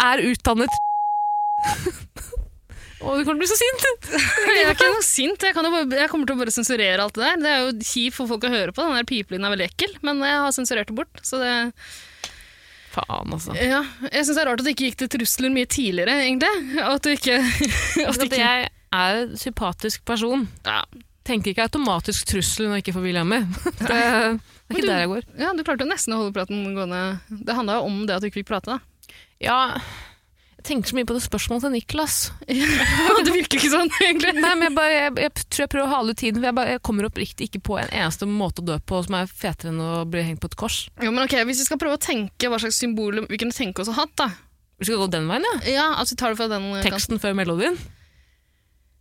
Speaker 1: er utdannet Å, du kommer til å bli så sint!
Speaker 2: Jeg er ikke noe sint. Jeg, kan jo bare, jeg kommer til å bare sensurere alt det der. Det er jo kjipt for folk å høre på. Den der pipelyden er veldig ekkel, men jeg har sensurert det bort. Så det,
Speaker 1: Faen, altså.
Speaker 2: ja. Jeg syns det er rart at det ikke gikk til trusler mye tidligere, egentlig. Og at du ikke, at du
Speaker 1: At
Speaker 2: ikke
Speaker 1: jeg er en sympatisk person.
Speaker 2: ja.
Speaker 1: Tenker ikke automatisk trussel når jeg ikke får viljen min. Det, det er ikke der jeg går.
Speaker 2: ja, du klarte jo nesten å holde praten gående. Det handla jo om det at du ikke fikk prate, da.
Speaker 1: Ja, jeg tenker så mye på det spørsmålet til Niklas.
Speaker 2: det virker ikke sånn, egentlig.
Speaker 1: Nei, men jeg, bare, jeg, jeg tror jeg prøver å hale ut tiden, for jeg, bare, jeg kommer oppriktig ikke på en eneste måte å dø på som er fetere enn å bli hengt på et kors.
Speaker 2: Jo, men ok, Hvis vi skal prøve å tenke hva slags symbol vi kunne tenke oss å ha hatt, da.
Speaker 1: Vi skal gå den veien, ja.
Speaker 2: Ja, at vi tar det fra den eh, kanten.
Speaker 1: Teksten før melodien.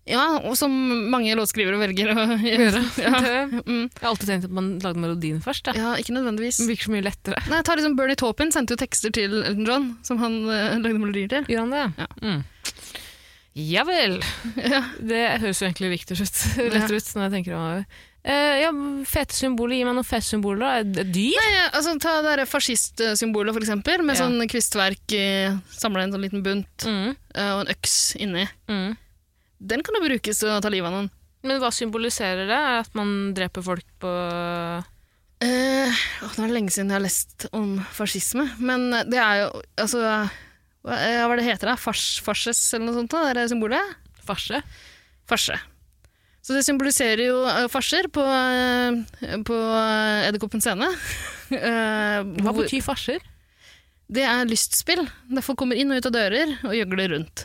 Speaker 2: Ja, og som mange låtskrivere velger å gjøre.
Speaker 1: Gjøre.
Speaker 2: Ja.
Speaker 1: Det-
Speaker 2: Mm.
Speaker 1: Jeg har alltid tenkt at man lagde melodien først. Ja.
Speaker 2: ja, ikke nødvendigvis.
Speaker 1: Det virker så mye lettere.
Speaker 2: Nei, ta liksom Bernie Taupin sendte jo tekster til Elton John, som han eh, lagde melodier til.
Speaker 1: Gjør han det?
Speaker 2: Ja.
Speaker 1: Mm. Ja vel.
Speaker 2: Ja.
Speaker 1: Det høres jo egentlig riktig ut. Lettere ut når jeg tenker over det. Eh, ja, fete symboler. Gi meg noen fete symboler, da. Et- Et dyr?
Speaker 2: Nei, altså Ta det der fascistsymbolet, for eksempel, med
Speaker 1: Ja.
Speaker 2: sånn kvistverk samla i en sånn liten bunt,
Speaker 1: Mm.
Speaker 2: eh, og en øks inni.
Speaker 1: Mm.
Speaker 2: Den kan jo brukes til å ta livet av noen.
Speaker 1: Men hva symboliserer det? Er At man dreper folk på
Speaker 2: Eh, åh, nå er det lenge siden jeg har lest om fascisme, men det er jo Altså, hva, eh, hva er det heter det? Fars, farses, eller noe sånt? da, Det der symbolet?
Speaker 1: farse?
Speaker 2: Farse. Så det symboliserer jo eh, farser på, eh, på eh, Edderkoppens scene. Eh,
Speaker 1: Hva
Speaker 2: hvor-
Speaker 1: betyr farser?
Speaker 2: Det er lystspill. Der folk kommer inn og ut av dører og gjøgler rundt.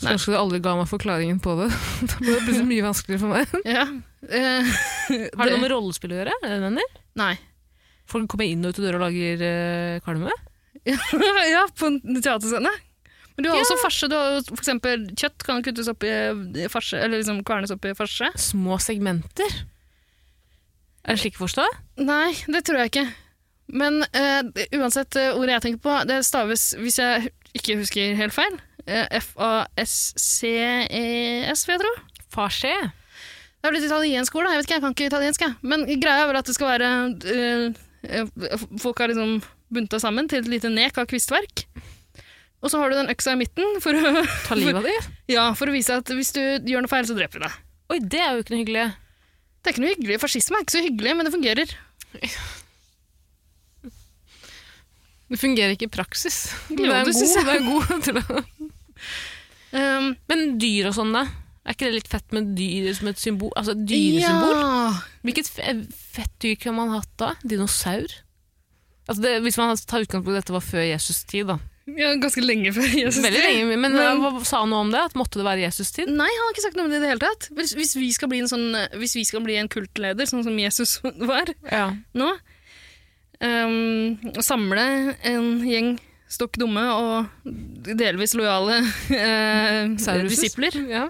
Speaker 1: Skulle ønske du aldri ga meg forklaringen på det. da ble det plutselig mye vanskeligere for meg.
Speaker 2: Ja. eh,
Speaker 1: Har det noe med rollespill å gjøre? Er det det du mener?
Speaker 2: Nei.
Speaker 1: Folk kommer inn og ut av døra og lager eh, kalme?
Speaker 2: ja, på en teaterscene. Men du har også farse. Du har jo for eksempel kjøtt kan kuttes opp i eh, farse, eller liksom kvernes opp i farse.
Speaker 1: Små segmenter? Er det slik å forstå?
Speaker 2: Nei, det tror jeg ikke. Men eh, det- uansett eh, ordet jeg tenker på, det staves, hvis jeg ikke husker helt feil, eh, F-A-S-C-E-S, E vil jeg tro.
Speaker 1: Farse?
Speaker 2: Det er blitt italiensk ord, da. Jeg vet ikke, jeg kan ikke italiensk, jeg. Men greia er vel at det skal være øh, øh, Folk har liksom bunta sammen til et lite nek av kvistverk. Og så har du den øksa i midten for å,
Speaker 1: Ta livet av de?
Speaker 2: ja, for å vise at hvis du gjør noe feil, så dreper vi deg.
Speaker 1: Oi, det er jo ikke noe hyggelig.
Speaker 2: Det er ikke noe hyggelig. Fascisme er ikke så hyggelig, men det fungerer.
Speaker 1: Det fungerer ikke i praksis.
Speaker 2: Jo,
Speaker 1: det er
Speaker 2: det synes
Speaker 1: god, det er god til å
Speaker 2: Um,
Speaker 1: Men dyr og sånn, da? Er ikke det litt fett med dyr som et symbol? Altså et dyresymbol?
Speaker 2: Ja.
Speaker 1: Hvilket fe- fett dyr kunne man hatt da? Dinosaur? Altså det, hvis man tar utgangspunkt i at dette var før Jesus' tid, da.
Speaker 2: ja, ganske lenge før Jesus.
Speaker 1: Veldig lenge, men, eh,
Speaker 2: Men-
Speaker 1: hva sa han noe om det? At måtte det være Jesus' tid?
Speaker 2: Nei, han har ikke sagt noe om det i det hele tatt. Hvis, hvis, vi, eh, skal bli en sånn, øh, hvis vi skal bli en kultleder, sånn som Jesus var,
Speaker 1: Ja.
Speaker 2: nå, um, samle en gjeng stokk dumme og delvis lojale eh,
Speaker 1: Sauruses?
Speaker 2: disipler.
Speaker 1: Ja.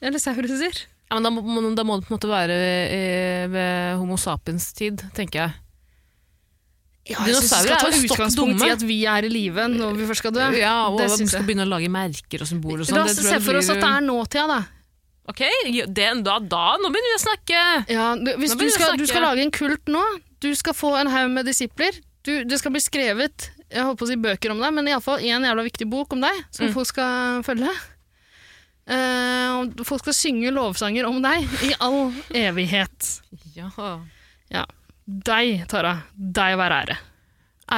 Speaker 2: Eller sauruser.
Speaker 1: Ja, men da, må- må- da må det på en måte være eh, ved Homo sapiens tid, tenker jeg.
Speaker 2: jeg synes vi
Speaker 1: Dinosaurer
Speaker 2: skal
Speaker 1: er
Speaker 2: ta
Speaker 1: jo stokk
Speaker 2: utgangspunkt
Speaker 1: dumme.
Speaker 2: i at vi er i live når vi først skal dø.
Speaker 1: Ja, og
Speaker 2: det
Speaker 1: at de
Speaker 2: syns
Speaker 1: skal
Speaker 2: jeg.
Speaker 1: begynne å lage merker og symboler og sånn.
Speaker 2: La oss se for oss at det er nåtida, da.
Speaker 1: Ok, ja, den, da, da, nå begynner vi å snakke!
Speaker 2: Ja, du, hvis
Speaker 1: Nå begynner
Speaker 2: du
Speaker 1: vi å
Speaker 2: skal, du
Speaker 1: snakke.
Speaker 2: skal lage en kult nå, du skal få en haug med disipler, du, det skal bli skrevet jeg håper å si bøker om deg, men iallfall én jævla viktig bok om deg, som
Speaker 1: Mm.
Speaker 2: folk skal følge. Eh, og folk skal synge lovsanger om deg i all evighet.
Speaker 1: Ja.
Speaker 2: Deg, Tara. Deg være ære.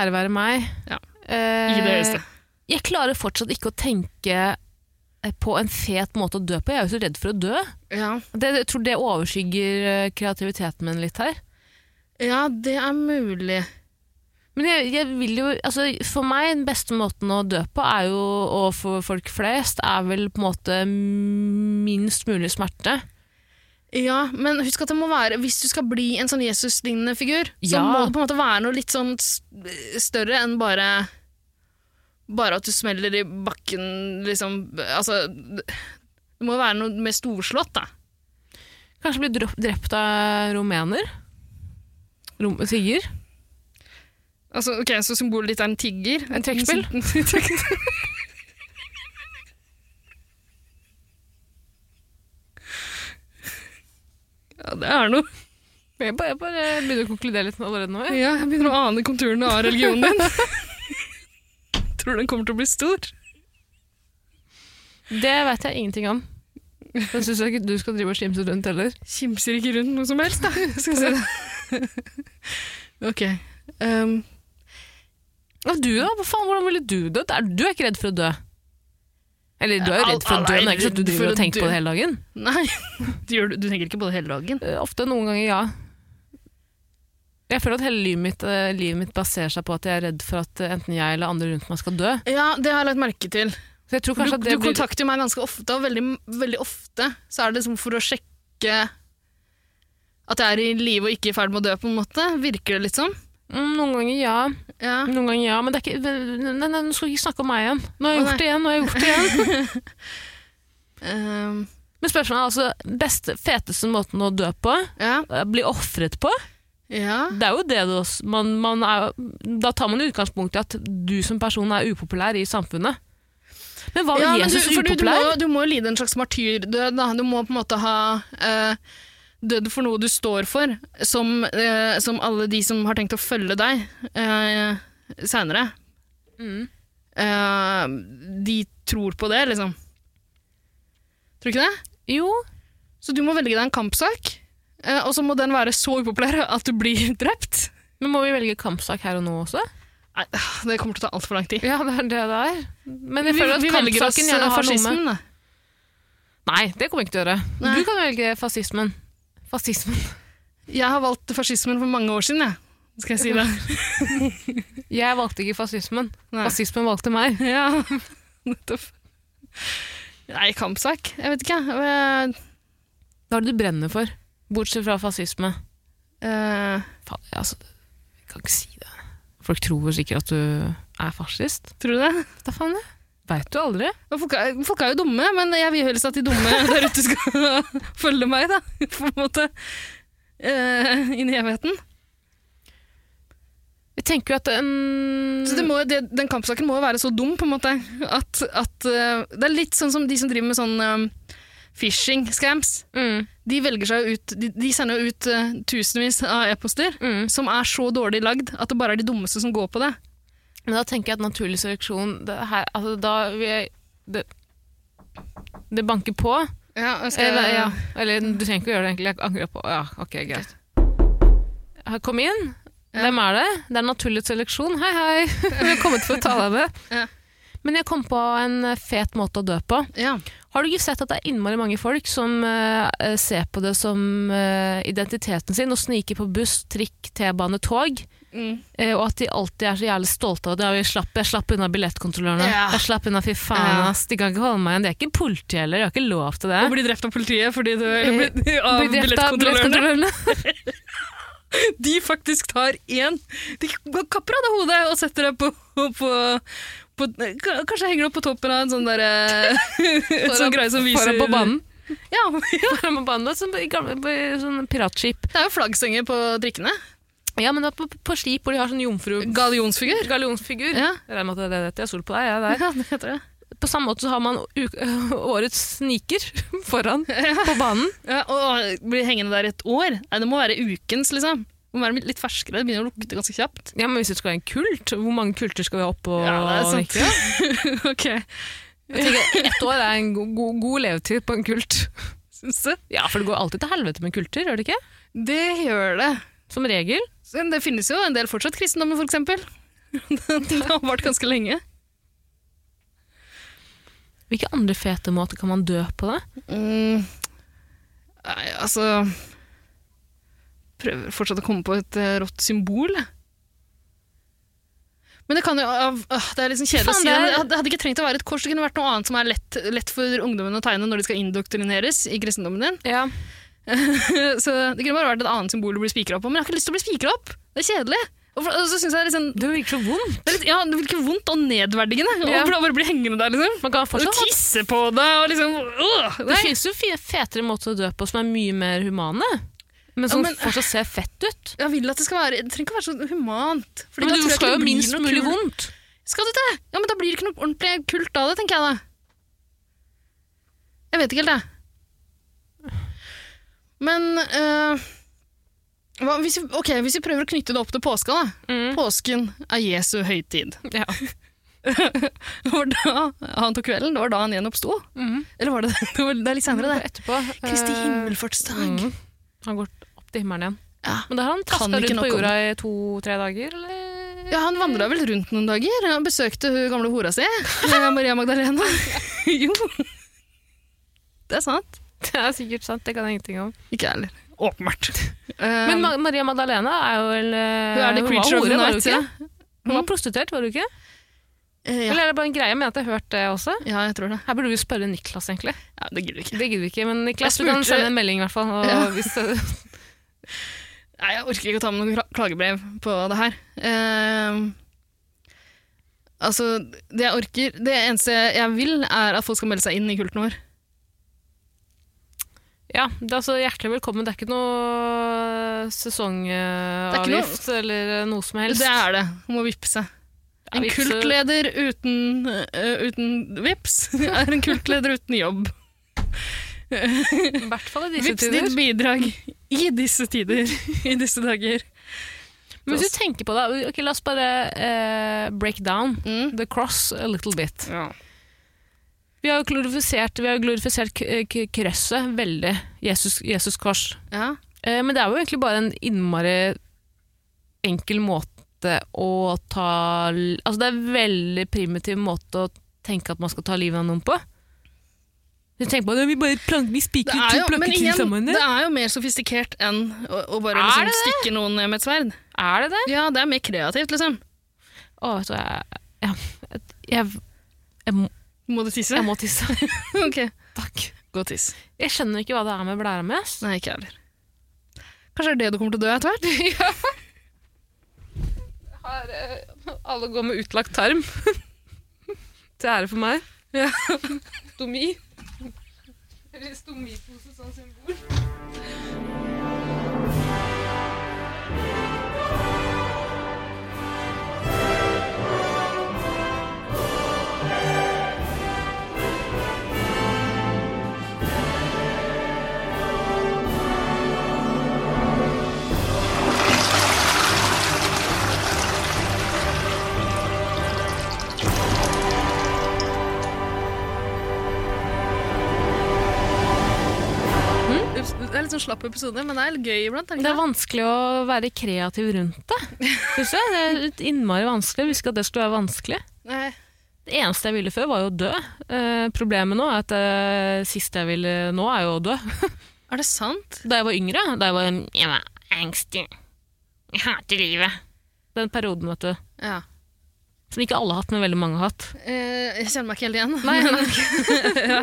Speaker 1: Ære være meg.
Speaker 2: Ja.
Speaker 1: Eh,
Speaker 2: I det høyeste.
Speaker 1: Jeg klarer fortsatt ikke å tenke eh, på en fet måte å dø på. Jeg er jo så redd for å dø.
Speaker 2: Ja.
Speaker 1: Det, jeg tror det overskygger eh, kreativiteten min litt her.
Speaker 2: ja, det er mulig.
Speaker 1: Men jeg, jeg vil jo, altså for meg, den beste måten å dø på, er jo, og for folk flest, er vel på en måte minst mulig smerte.
Speaker 2: Ja, men husk at det må være Hvis du skal bli en sånn Jesus-lignende figur, så
Speaker 1: Ja.
Speaker 2: må det på en måte være noe litt sånn s- større enn bare Bare at du smeller i bakken, liksom Altså Det må jo være noe mer storslått, da.
Speaker 1: Kanskje bli drop- drept av rumener? Rom Sigurd?
Speaker 2: Altså, ok, Så symbolet ditt er en tigger?
Speaker 1: En trekkspill?
Speaker 2: ja, det er noe.
Speaker 1: Jeg bare, jeg bare begynner å konkludere litt allerede nå. jeg.
Speaker 2: Ja, jeg begynner å ane konturene av religionen din. Tror du den kommer til å bli stor?
Speaker 1: Det vet jeg ingenting om. Det syns jeg ikke du skal drive og skimse rundt heller.
Speaker 2: Kimser ikke rundt noe som helst, da. Skal vi se. ok. Um,
Speaker 1: Og du da? Hva faen, hvordan ville du dødd? Er- Du er ikke redd for å dø? Eller du er jo
Speaker 2: Al-
Speaker 1: redd for å
Speaker 2: alle
Speaker 1: dø,
Speaker 2: er
Speaker 1: men det er ikke sånn at du
Speaker 2: redd for
Speaker 1: driver
Speaker 2: å
Speaker 1: og tenker på
Speaker 2: dø.
Speaker 1: det hele dagen?
Speaker 2: nei, du, gjør, du tenker ikke på det hele dagen.
Speaker 1: Eh, Ofte, noen ganger ja. Jeg føler at hele livet mitt, eh, livet mitt baserer seg på at jeg er redd for at eh, enten jeg eller andre rundt meg skal dø.
Speaker 2: Ja, det har jeg lagt merke til.
Speaker 1: Så jeg tror
Speaker 2: Du,
Speaker 1: kanskje at
Speaker 2: du
Speaker 1: det blir...
Speaker 2: kontakter meg ganske ofte, og veldig, veldig ofte så er det liksom for å sjekke at jeg er i live og ikke i ferd med å dø, på en måte. Virker det litt som.
Speaker 1: Mm, noen ganger ja,
Speaker 2: Ja.
Speaker 1: noen ganger ja, men det er ikke... Nei, nei, nei, nå skal vi ikke snakke om meg igjen. Nå har jeg
Speaker 2: Å, nei.
Speaker 1: gjort det igjen, nå har jeg gjort det igjen.
Speaker 2: Um,
Speaker 1: Men spørsmålet er altså, beste, feteste måten å dø på,
Speaker 2: ja.
Speaker 1: eh, bli offret på,
Speaker 2: ja.
Speaker 1: det er jo det det også. Man, man er, da tar man utgangspunkt i at du som person er upopulær i samfunnet. Men hva
Speaker 2: ja,
Speaker 1: var
Speaker 2: men
Speaker 1: Jesus
Speaker 2: du, for du, du,
Speaker 1: upopulær?
Speaker 2: må, du må jo lide en slags martyrdød. Da. Du må på en måte ha eh, dødd for noe du står for, som, eh, som alle de som har tenkt å følge deg uh, seinere.
Speaker 1: Mm.
Speaker 2: Eh, de tror på det, liksom. Tror du ikke det?
Speaker 1: Jo,
Speaker 2: Så du må velge deg en kampsak, eh, og så må den være så upopulær at du blir drept.
Speaker 1: men må vi velge kampsak her og nå også?
Speaker 2: Nei, det kommer til å ta altfor lang tid.
Speaker 1: Ja, det er det det er. Men jeg
Speaker 2: Vi,
Speaker 1: føler at
Speaker 2: vi velger oss
Speaker 1: kampsaken gjerne
Speaker 2: eh,
Speaker 1: har noe med
Speaker 2: fascismen, da.
Speaker 1: Nei, det kommer jeg ikke til å gjøre.
Speaker 2: Nei.
Speaker 1: Du kan velge fascismen. Fascismen.
Speaker 2: Jeg har valgt fascismen for mange år siden, jeg. Skal jeg si det?
Speaker 1: Jeg valgte ikke fascismen.
Speaker 2: Nei.
Speaker 1: Fascismen valgte meg.
Speaker 2: Ja, nettopp. Nei, kampsak. Jeg vet ikke. jeg.
Speaker 1: Hva er det du brenner for? Bortsett fra fascisme.
Speaker 2: Eh, eh,
Speaker 1: Faen, jeg, altså, jeg kan ikke si det. Folk tror sikkert at du er fascist.
Speaker 2: tror du det?
Speaker 1: Da faen jeg. Veit du aldri.
Speaker 2: Men Folk er, folk er jo dumme, men jeg vil helst at de dumme der ute skal følge meg, da. På en måte. Eh, Inn i evigheten.
Speaker 1: Jeg tenker jo at en
Speaker 2: Så det må, jo- det, den kampsaken må jo være så dum, på en måte, at, at eh, Det er litt sånn som de som driver med sånn eh, phishing scams.
Speaker 1: mm,
Speaker 2: De velger seg jo ut De, de sender jo ut eh, tusenvis av e-poster
Speaker 1: mm.
Speaker 2: som er så dårlig lagd at det bare er de dummeste som går på det.
Speaker 1: Men da tenker jeg at naturlig seleksjon det her, altså, Da vil jeg det, det banker på.
Speaker 2: Ja,
Speaker 1: Eller, ja. Eller du trenger ikke å gjøre det, egentlig. Jeg angrer på Ja, ok, greit. Her, Kom inn. Hvem er det? Det er naturlig seleksjon. Hei, hei. Vi har kommet for å ta deg med.
Speaker 2: Ja.
Speaker 1: Men jeg kom på en eh, fet måte å dø på.
Speaker 2: Ja.
Speaker 1: Har du ikke sett at det er innmari mange folk som eh, eh, ser på det som eh, identiteten sin, og sniker på buss, trikk, T-bane, tog?
Speaker 2: Mm.
Speaker 1: Eh, og at de alltid er så jævlig stolte av det. Jeg slapp, jeg slapp unna billettkontrollørene.
Speaker 2: Ja.
Speaker 1: Jeg slapp unna, fy faen,
Speaker 2: Ja.
Speaker 1: ass. De kan ikke holde meg igjen. De er ikke politi heller. Jeg har ikke lov til det.
Speaker 2: Og blir drept av politiet fordi du
Speaker 1: Eh,
Speaker 2: blir, av
Speaker 1: Blir drept av
Speaker 2: billettkontrollørene.
Speaker 1: billettkontrollørene.
Speaker 2: de faktisk tar én. De kapper av deg hodet og setter deg på, på, på Kanskje henger det opp på toppen av en sånn der, eh,
Speaker 1: Foran-
Speaker 2: sånn greie som viser
Speaker 1: Foran på banen.
Speaker 2: Ja,
Speaker 1: Foran på banen, det er sånn, i gamle- på- sånn piratskip.
Speaker 2: Det er jo flaggstenger på drikkene.
Speaker 1: Ja, men det er på, på skip hvor de har sånn jomfru...
Speaker 2: Gallionsfigur.
Speaker 1: Gallionsfigur.
Speaker 2: Ja.
Speaker 1: Jeg regner med at det er det jeg har sol på deg. Jeg er der.
Speaker 2: ja, det heter det.
Speaker 1: På samme måte så har man u- årets sniker foran på banen.
Speaker 2: Ja, og blir hengende der et år. Nei, det må være ukens, liksom. Det må være litt ferskere, det begynner å lukte ganske kjapt.
Speaker 1: Ja, men Hvis det skal være en kult, hvor mange kulter skal vi ha oppå? Nick?
Speaker 2: sant. ok,
Speaker 1: Jeg tenker, Ett år er en god, god, god levetid på en kult.
Speaker 2: syns du?
Speaker 1: Ja, For det går alltid til helvete med kulter, gjør det ikke?
Speaker 2: Det gjør det.
Speaker 1: Som regel.
Speaker 2: Så Det finnes jo en del fortsatt kristendommen, for eksempel. Det har vart ganske lenge.
Speaker 1: Hvilke andre fete måter kan man dø på det?
Speaker 2: Mm. Nei, altså Prøver fortsatt å komme på et eh, rått symbol. jeg. Men det kan jo av, øh, Det er liksom kjedelig
Speaker 1: Faen,
Speaker 2: å si.
Speaker 1: det er-
Speaker 2: Det hadde- det hadde ikke trengt å være et kors. Det kunne vært noe annet som er lett, lett for ungdommen å tegne når de skal indoktrineres i kristendommen din.
Speaker 1: Ja,
Speaker 2: Så det kunne bare vært et annet symbol du blir spikra opp på. Men jeg har ikke lyst til å bli spikra opp! Det er kjedelig. Og, for, og så synes jeg liksom,
Speaker 1: Det virker så vondt.
Speaker 2: det er litt, ja, det virker vondt og nedverdigende
Speaker 1: Ja.
Speaker 2: å bare- bare bli hengende der, liksom.
Speaker 1: Man kan
Speaker 2: Og
Speaker 1: fortsatt ha
Speaker 2: tisse på deg og liksom øh,
Speaker 1: Det
Speaker 2: nei.
Speaker 1: finnes jo fi- fetere måter å dø på som er mye mer humane, men som
Speaker 2: Ja, men-
Speaker 1: fortsatt ser fett ut.
Speaker 2: Jeg vil at det skal være Det trenger ikke være så humant. Fordi
Speaker 1: Men
Speaker 2: da
Speaker 1: du
Speaker 2: tror jeg ikke
Speaker 1: skal
Speaker 2: det
Speaker 1: jo
Speaker 2: blir
Speaker 1: minst
Speaker 2: noe
Speaker 1: mulig
Speaker 2: kul-
Speaker 1: vondt.
Speaker 2: Skal du det? Ja, men da blir det ikke noe ordentlig kult av det, tenker jeg da. Jeg vet ikke helt, jeg. Men øh, hva, hvis, vi, ok, hvis vi prøver å knytte det opp til påska, da.
Speaker 1: Mm.
Speaker 2: Påsken er Jesu høytid.
Speaker 1: Ja.
Speaker 2: Det var da han tok kvelden. Det var da han igjen oppsto.
Speaker 1: Mhm.
Speaker 2: Eller var det det? var- Det er litt senere, det.
Speaker 1: Etterpå eh,
Speaker 2: Kristi himmelfartsdag.
Speaker 1: Mm. Han går opp til himmelen igjen.
Speaker 2: Ja.
Speaker 1: Men da har han traska
Speaker 2: Kan ikke
Speaker 1: rundt på
Speaker 2: nok om
Speaker 1: jorda i to-tre dager, eller?
Speaker 2: Ja, Han vandra vel rundt noen dager. Han besøkte hun gamle hora si, eh, Maria Magdalena. jo. Det er sant.
Speaker 1: Det er sikkert sant, det kan jeg ingenting om.
Speaker 2: Ikke jeg heller. Eh, Åpenbart.
Speaker 1: Men Ma Maria Magdalena er jo vel eh,
Speaker 2: Um, hun er the
Speaker 1: var
Speaker 2: creature of
Speaker 1: hore,
Speaker 2: the
Speaker 1: var hun
Speaker 2: night.
Speaker 1: ikke?
Speaker 2: Ja.
Speaker 1: Hun var
Speaker 2: Mm.
Speaker 1: prostituert, var hun ikke?
Speaker 2: Eh,
Speaker 1: Eller
Speaker 2: ja.
Speaker 1: er det bare en greie med at jeg har hørt det også?
Speaker 2: ja, jeg tror det.
Speaker 1: Her burde vi spørre Niklas, egentlig.
Speaker 2: Ja, det gidder vi ikke.
Speaker 1: Det gidder vi ikke, men Niklas,
Speaker 2: Jeg
Speaker 1: du kan
Speaker 2: spurte-
Speaker 1: sende en melding i hvert fall. Og
Speaker 2: Ja.
Speaker 1: hvis det,
Speaker 2: Nei, Jeg orker ikke å ta med noe kla- klagebrev på det her. Eh, altså, det jeg orker Det eneste jeg vil, er at folk skal melde seg inn i kulten vår.
Speaker 1: ja, det er altså hjertelig velkommen. Det er ikke noe eh,
Speaker 2: Det er ikke
Speaker 1: sesongavgift eller eh, noe som helst.
Speaker 2: Det er det. Hun må vippse.
Speaker 1: Ja,
Speaker 2: En
Speaker 1: vips, så-
Speaker 2: kultleder uten, eh, uten vips er en kultleder uten jobb.
Speaker 1: I hvert fall i disse
Speaker 2: Vips ditt
Speaker 1: tider.
Speaker 2: bidrag i disse tider, i disse dager.
Speaker 1: Men hvis du tenker på det, ok, la oss bare eh, break down
Speaker 2: Mm.
Speaker 1: the cross a little bit.
Speaker 2: Ja.
Speaker 1: Vi har jo glorifisert, vi har jo glorifisert k- eh, k- krøsset veldig. Jesus, Jesus kors. Eh, Men det er jo egentlig bare en innmari enkel måte å ta Altså det er en veldig primitiv måte å tenke at man skal ta livet av noen på. Du tenker på det, vi bare plank, vi
Speaker 2: Det
Speaker 1: spiker
Speaker 2: er
Speaker 1: to
Speaker 2: jo, men
Speaker 1: planker til
Speaker 2: igjen,
Speaker 1: sammen.
Speaker 2: det er jo mer sofistikert enn å, å bare
Speaker 1: Er
Speaker 2: liksom
Speaker 1: det
Speaker 2: stikke noen med et sverd.
Speaker 1: Er det det?
Speaker 2: Ja, det er mer kreativt, liksom.
Speaker 1: Å, vet du, jeg, ja, jeg, jeg, må-
Speaker 2: Må du tisse?
Speaker 1: jeg må tisse.
Speaker 2: Ok,
Speaker 1: Takk.
Speaker 2: gå og tiss.
Speaker 1: Jeg skjønner ikke hva det er med blæra mi. ass.
Speaker 2: Nei, ikke jeg heller. Kanskje det er det du kommer til å dø etter hvert?
Speaker 1: Alle går med utlagt tarm. Til ære for meg.
Speaker 2: Ja.
Speaker 1: Stomi. Eller stomipose som symbol.
Speaker 2: Ups, Det er litt sånn slapp episode, men det er litt gøy iblant. er
Speaker 1: Det
Speaker 2: det
Speaker 1: er
Speaker 2: ikke
Speaker 1: vanskelig å være kreativ rundt det. Synes jeg. Det er litt innmari vanskelig. Jeg visste ikke at det skulle være vanskelig.
Speaker 2: det? Nei.
Speaker 1: Det eneste jeg ville før, var jo å dø. Eh, problemet nå er at det siste jeg ville nå, er jo å dø.
Speaker 2: Er det sant?
Speaker 1: Da jeg var yngre, da jeg var, jeg var angstig Jeg hater livet. Den perioden, vet du.
Speaker 2: Ja.
Speaker 1: Som ikke alle har hatt, men veldig mange har hatt.
Speaker 2: Eh, jeg kjenner meg ikke helt igjen.
Speaker 1: Nei,
Speaker 2: ja.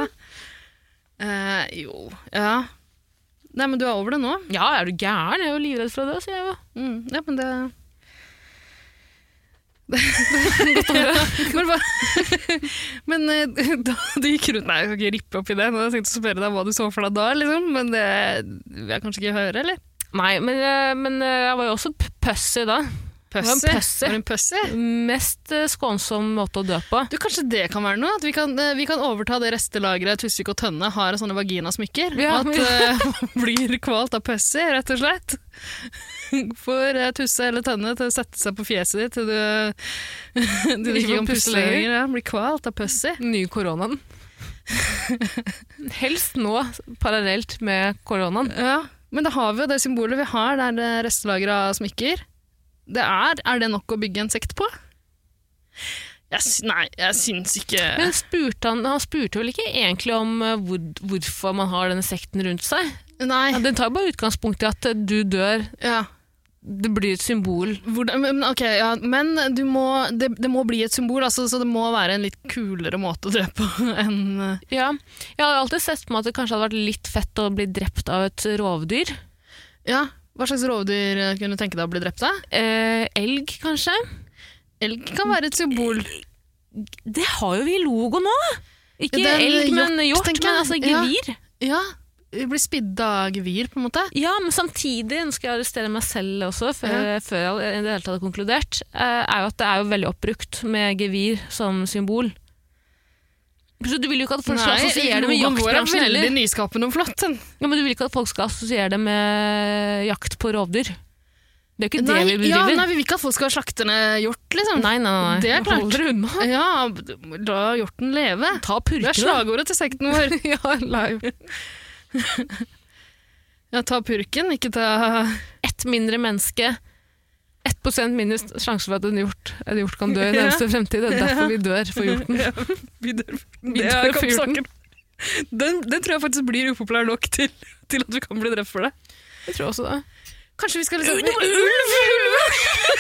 Speaker 2: Eh, jo, ja. Nei, men du er over det nå.
Speaker 1: Ja, er du gæren? Jeg er jo livredd for å dø, sier jeg jo.
Speaker 2: Mm. Ja, men det Godt å høre. Men, hva- men eh, da du gikk rundt Nei, jeg skal ikke rippe opp i det. men Jeg tenkte å spørre deg hva du så for deg da, liksom. men det vil jeg kanskje ikke høre, eller?
Speaker 1: Nei, men, eh, men eh, jeg var jo også p- pussy da. var en pøsser.
Speaker 2: Var det en pøsser?
Speaker 1: Mest eh, skånsom måte å dø på.
Speaker 2: Du, Kanskje det kan være noe? At vi kan, eh, vi kan overta det restelageret Tusvik og Tønne har av sånne vaginasmykker?
Speaker 1: Ja,
Speaker 2: at
Speaker 1: men-
Speaker 2: eh, man blir kvalt av pussy, rett og slett? Får eh, Tusse eller Tønne til å sette seg på fjeset ditt til du, til du ikke kan puste lenger. Ja, blir kvalt av pussy.
Speaker 1: Den nye koronaen. Helst nå parallelt med koronaen.
Speaker 2: Ja, men da har vi jo det symbolet vi har, det er det restelageret av smykker. Det er, er det nok å bygge en sekt på? Jeg, sy- nei, jeg syns ikke
Speaker 1: Men spurte han, han spurte vel ikke egentlig om eh, hvor, hvorfor man har denne sekten rundt seg?
Speaker 2: Nei.
Speaker 1: Ja, den tar jo bare utgangspunkt i at eh, du dør,
Speaker 2: Ja.
Speaker 1: det blir et symbol.
Speaker 2: Hvordan, men, ok, ja, men du må, det, det må bli et symbol, altså, så det må være en litt kulere måte å drepe på enn eh,
Speaker 1: Ja. Jeg har alltid sett på meg at det kanskje hadde vært litt fett å bli drept av et rovdyr.
Speaker 2: Ja, hva slags rovdyr eh, kunne du tenke deg å bli drept av?
Speaker 1: Eh, elg, kanskje?
Speaker 2: Elg kan være et symbol.
Speaker 1: Det har jo vi i logo nå! Ikke
Speaker 2: Ja, det er
Speaker 1: elg, men
Speaker 2: hjort,
Speaker 1: hjort,
Speaker 2: tenker jeg.
Speaker 1: men altså
Speaker 2: Ja.
Speaker 1: gevir.
Speaker 2: Ja, bli spidd av gevir, på en måte.
Speaker 1: Ja. men samtidig, nå skal jeg arrestere meg selv også, før, før jeg i det hele tatt har konkludert, eh, er jo at det er jo veldig oppbrukt med gevir som symbol. Så du vil jo ikke at folk skal assosiere det med
Speaker 2: logoen vår er
Speaker 1: jaktbransjen heller.
Speaker 2: veldig nyskapende og flott. Den.
Speaker 1: Ja, men du vil ikke at folk skal assosiere det med eh, jakt på rovdyr? Det er jo ikke
Speaker 2: Nei,
Speaker 1: det vi
Speaker 2: ja,
Speaker 1: bedriver.
Speaker 2: nei, vi vil ikke at folk skal slakte ned hjort, liksom.
Speaker 1: nei, nei, nei.
Speaker 2: Det er klart.
Speaker 1: Hold dere unna.
Speaker 2: Ja, la hjorten leve.
Speaker 1: Ta
Speaker 2: Det er
Speaker 1: purkene.
Speaker 2: slagordet til sekten vår.
Speaker 1: ja, live.
Speaker 2: Ja, ta purken, ikke ta
Speaker 1: Ett mindre menneske. 1 mindre sjanse for at en hjort, en hjort kan dø i
Speaker 2: Ja.
Speaker 1: nærmeste fremtid. Det er derfor vi dør for hjorten.
Speaker 2: Det
Speaker 1: dør
Speaker 2: er
Speaker 1: for hjorten.
Speaker 2: kampsaken. Den, den tror jeg faktisk blir upopulær nok til, til at vi kan bli drept for det.
Speaker 1: Jeg tror også det.
Speaker 2: Kanskje vi skal liksom
Speaker 1: Ulv,
Speaker 2: Ulv!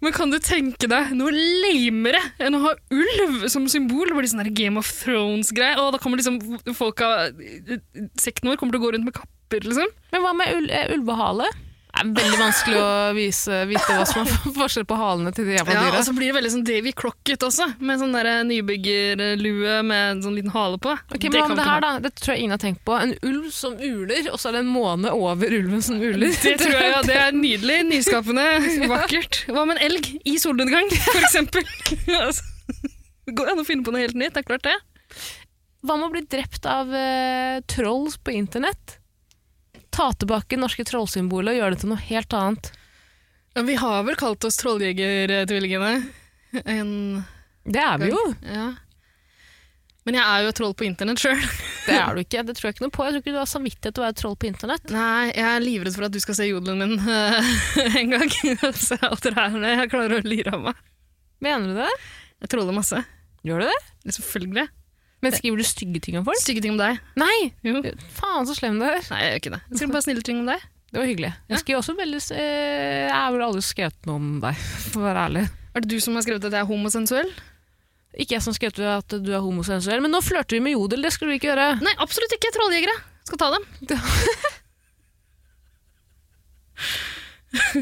Speaker 2: Men kan du tenke deg noe lamere enn å ha ulv som symbol? Det blir sånn der Game of Thrones-greie. Og da kommer liksom folka Sekten vår kommer til å gå rundt med kapper, liksom.
Speaker 1: Men hva med ul eh, ulvehale? Det er veldig vanskelig å vise, vite hva som er for- forskjell på halene til de jævla
Speaker 2: Ja,
Speaker 1: dyra.
Speaker 2: og så blir det veldig sånn Davy Crocket også, med sånn der nybyggerlue med en sånn liten hale på.
Speaker 1: Ok, men hva
Speaker 2: kan
Speaker 1: med det
Speaker 2: vi
Speaker 1: her
Speaker 2: ikke ha.
Speaker 1: da? Det tror jeg ingen har tenkt på. En ulv som uler, og så er det en måne over ulven som uler.
Speaker 2: Det tror jeg, ja, det er nydelig, nyskapende, vakkert. Hva med en elg i solnedgang, for eksempel? Altså, Det går an å finne på noe helt nytt, det er klart det.
Speaker 1: Hva med å bli drept av eh, trolls på internett? Ta tilbake norske trollsymbolet og gjøre det til noe helt annet.
Speaker 2: Ja, vi har vel kalt oss trolljegertvillingene. En...
Speaker 1: Det er vi jo.
Speaker 2: Ja. Men jeg er jo et troll på internett sjøl.
Speaker 1: Det er du ikke. Det tror jeg ikke noe på. Jeg tror ikke du har samvittighet til å være troll på internett.
Speaker 2: Nei, jeg er livredd for at du skal se jodelen min eh, en gang. Se alt det her når jeg klarer å lire av meg.
Speaker 1: Mener du det?
Speaker 2: Jeg troller masse.
Speaker 1: Gjør du det?
Speaker 2: Selvfølgelig.
Speaker 1: Men skriver du stygge ting om folk?
Speaker 2: Stygge ting om deg.
Speaker 1: Nei!
Speaker 2: Jo.
Speaker 1: Faen så slem du er.
Speaker 2: Nei, jeg gjør ikke det. Jeg skriver bare snille ting om deg.
Speaker 1: Det var hyggelig. Jeg skriver også veldig s- eh, Jeg har vel aldri skrevet noe om deg, for å være ærlig.
Speaker 2: Er det du som har skrevet at jeg er homosensuell?
Speaker 1: Ikke jeg som skrev til deg at du er homosensuell, men nå flørter vi med Jodel. Det skulle du ikke gjøre.
Speaker 2: Nei, absolutt ikke. Trolljegere. Skal ta dem.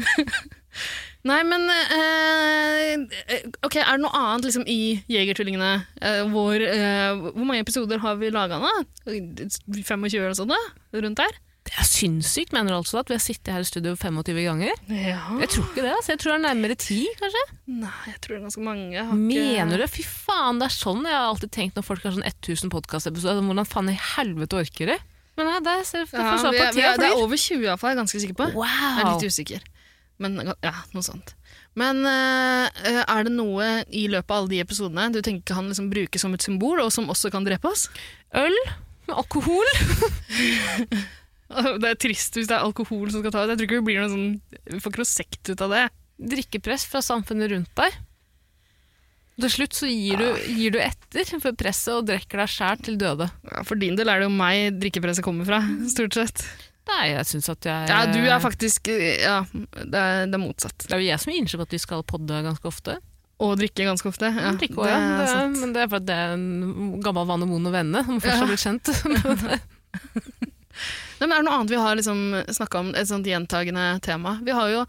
Speaker 2: Nei, men eh, eh, Ok, er det noe annet liksom, i Jegertvillingene? Eh, hvor, eh, hvor mange episoder har vi laga nå? 25 eller sånn? da? Rundt der?
Speaker 1: Det er sinnssykt, mener du altså at vi har sittet her i studio 25 ganger?
Speaker 2: Ja.
Speaker 1: Jeg tror ikke det. altså. Jeg tror det er nærmere ti, kanskje.
Speaker 2: Nei, jeg tror det er ganske mange. Jeg har ikke-
Speaker 1: Mener du det? Fy faen, det er sånn jeg har alltid tenkt når folk har sånn 1000 podkastepisoder. Altså, Hvordan faen i helvete orker de? Men nei, der ser du
Speaker 2: Ja,
Speaker 1: får svar
Speaker 2: vi
Speaker 1: på
Speaker 2: er,
Speaker 1: at
Speaker 2: vi
Speaker 1: tida
Speaker 2: er, det er
Speaker 1: flyr.
Speaker 2: over 20 iallfall, jeg er ganske sikker på. Jeg er
Speaker 1: Wow.
Speaker 2: litt usikker. Men ja, noe sånt. Men eh, er det noe i løpet av alle de episodene du tenker kan liksom brukes som et symbol, og som også kan drepe oss?
Speaker 1: Øl, alkohol
Speaker 2: Det er trist hvis det er alkohol som skal ta ut. Jeg tror ikke vi blir noe sånn Vi får ikke noe sekt ut av det.
Speaker 1: Drikkepress fra samfunnet rundt deg. Og Til slutt så gir du, gir du etter for presset og drikker deg sjæl til døde.
Speaker 2: Ja, for din del er det jo meg drikkepresset kommer fra, stort sett.
Speaker 1: Nei, jeg syns at jeg
Speaker 2: Ja, du er faktisk Ja, det er, det er motsatt.
Speaker 1: Det er jo jeg som gir inntrykk av at vi skal podde ganske ofte.
Speaker 2: Og drikke ganske ofte. Ja,
Speaker 1: Drikke også, ja.
Speaker 2: det er
Speaker 1: Det er-
Speaker 2: sant.
Speaker 1: Men det er fordi det er en gammel vane vond å vende, når man først
Speaker 2: Ja.
Speaker 1: har blitt kjent.
Speaker 2: Nei, men er det noe annet vi har liksom snakka om, et sånt gjentagende tema? Vi har jo,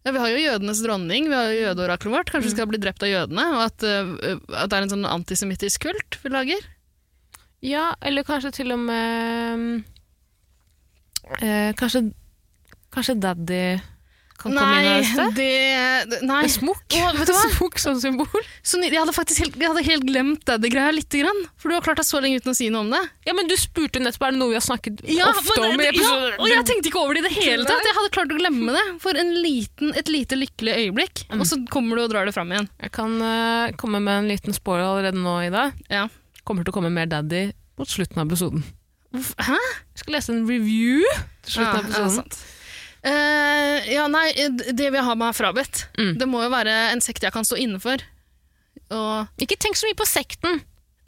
Speaker 2: ja, vi har jo jødenes dronning, vi har jo jødeoraklet vårt. Kanskje vi skal bli drept av jødene? Og at, øh, at det er en sånn antisemittisk kult vi lager?
Speaker 1: Ja, eller kanskje til og med eh, Kanskje, kanskje daddy kan komme inn og
Speaker 2: Nei,
Speaker 1: røyste?
Speaker 2: det, det- nei.
Speaker 1: Med smokk.
Speaker 2: Å, vet du hva?
Speaker 1: Smokk som symbol.
Speaker 2: Så ny- jeg hadde faktisk helt, jeg hadde helt glemt det, det greia lite grann. For du har klart deg så lenge uten å si noe om det.
Speaker 1: Ja, men du spurte nettopp er det noe vi har snakket ofte om i
Speaker 2: det-
Speaker 1: episoder.
Speaker 2: ja, og jeg tenkte ikke over det i det hele tatt. Jeg hadde klart å glemme det for en liten, et lite lykkelig øyeblikk. Og så kommer du og drar det fram igjen.
Speaker 1: Jeg kan eh, komme med en liten spoiler allerede nå, Ida.
Speaker 2: Ja.
Speaker 1: Kommer til å komme mer daddy mot slutten av episoden.
Speaker 2: Hvorf- Hæ?
Speaker 1: Jeg skal lese en review til slutten
Speaker 2: Ja, altså.
Speaker 1: av
Speaker 2: ja,
Speaker 1: episoden.
Speaker 2: sant. Eh, ja, nei, det vil jeg ha meg frabedt.
Speaker 1: Mm.
Speaker 2: Det må jo være en sekt jeg kan stå innenfor. Og
Speaker 1: Ikke tenk så mye på sekten.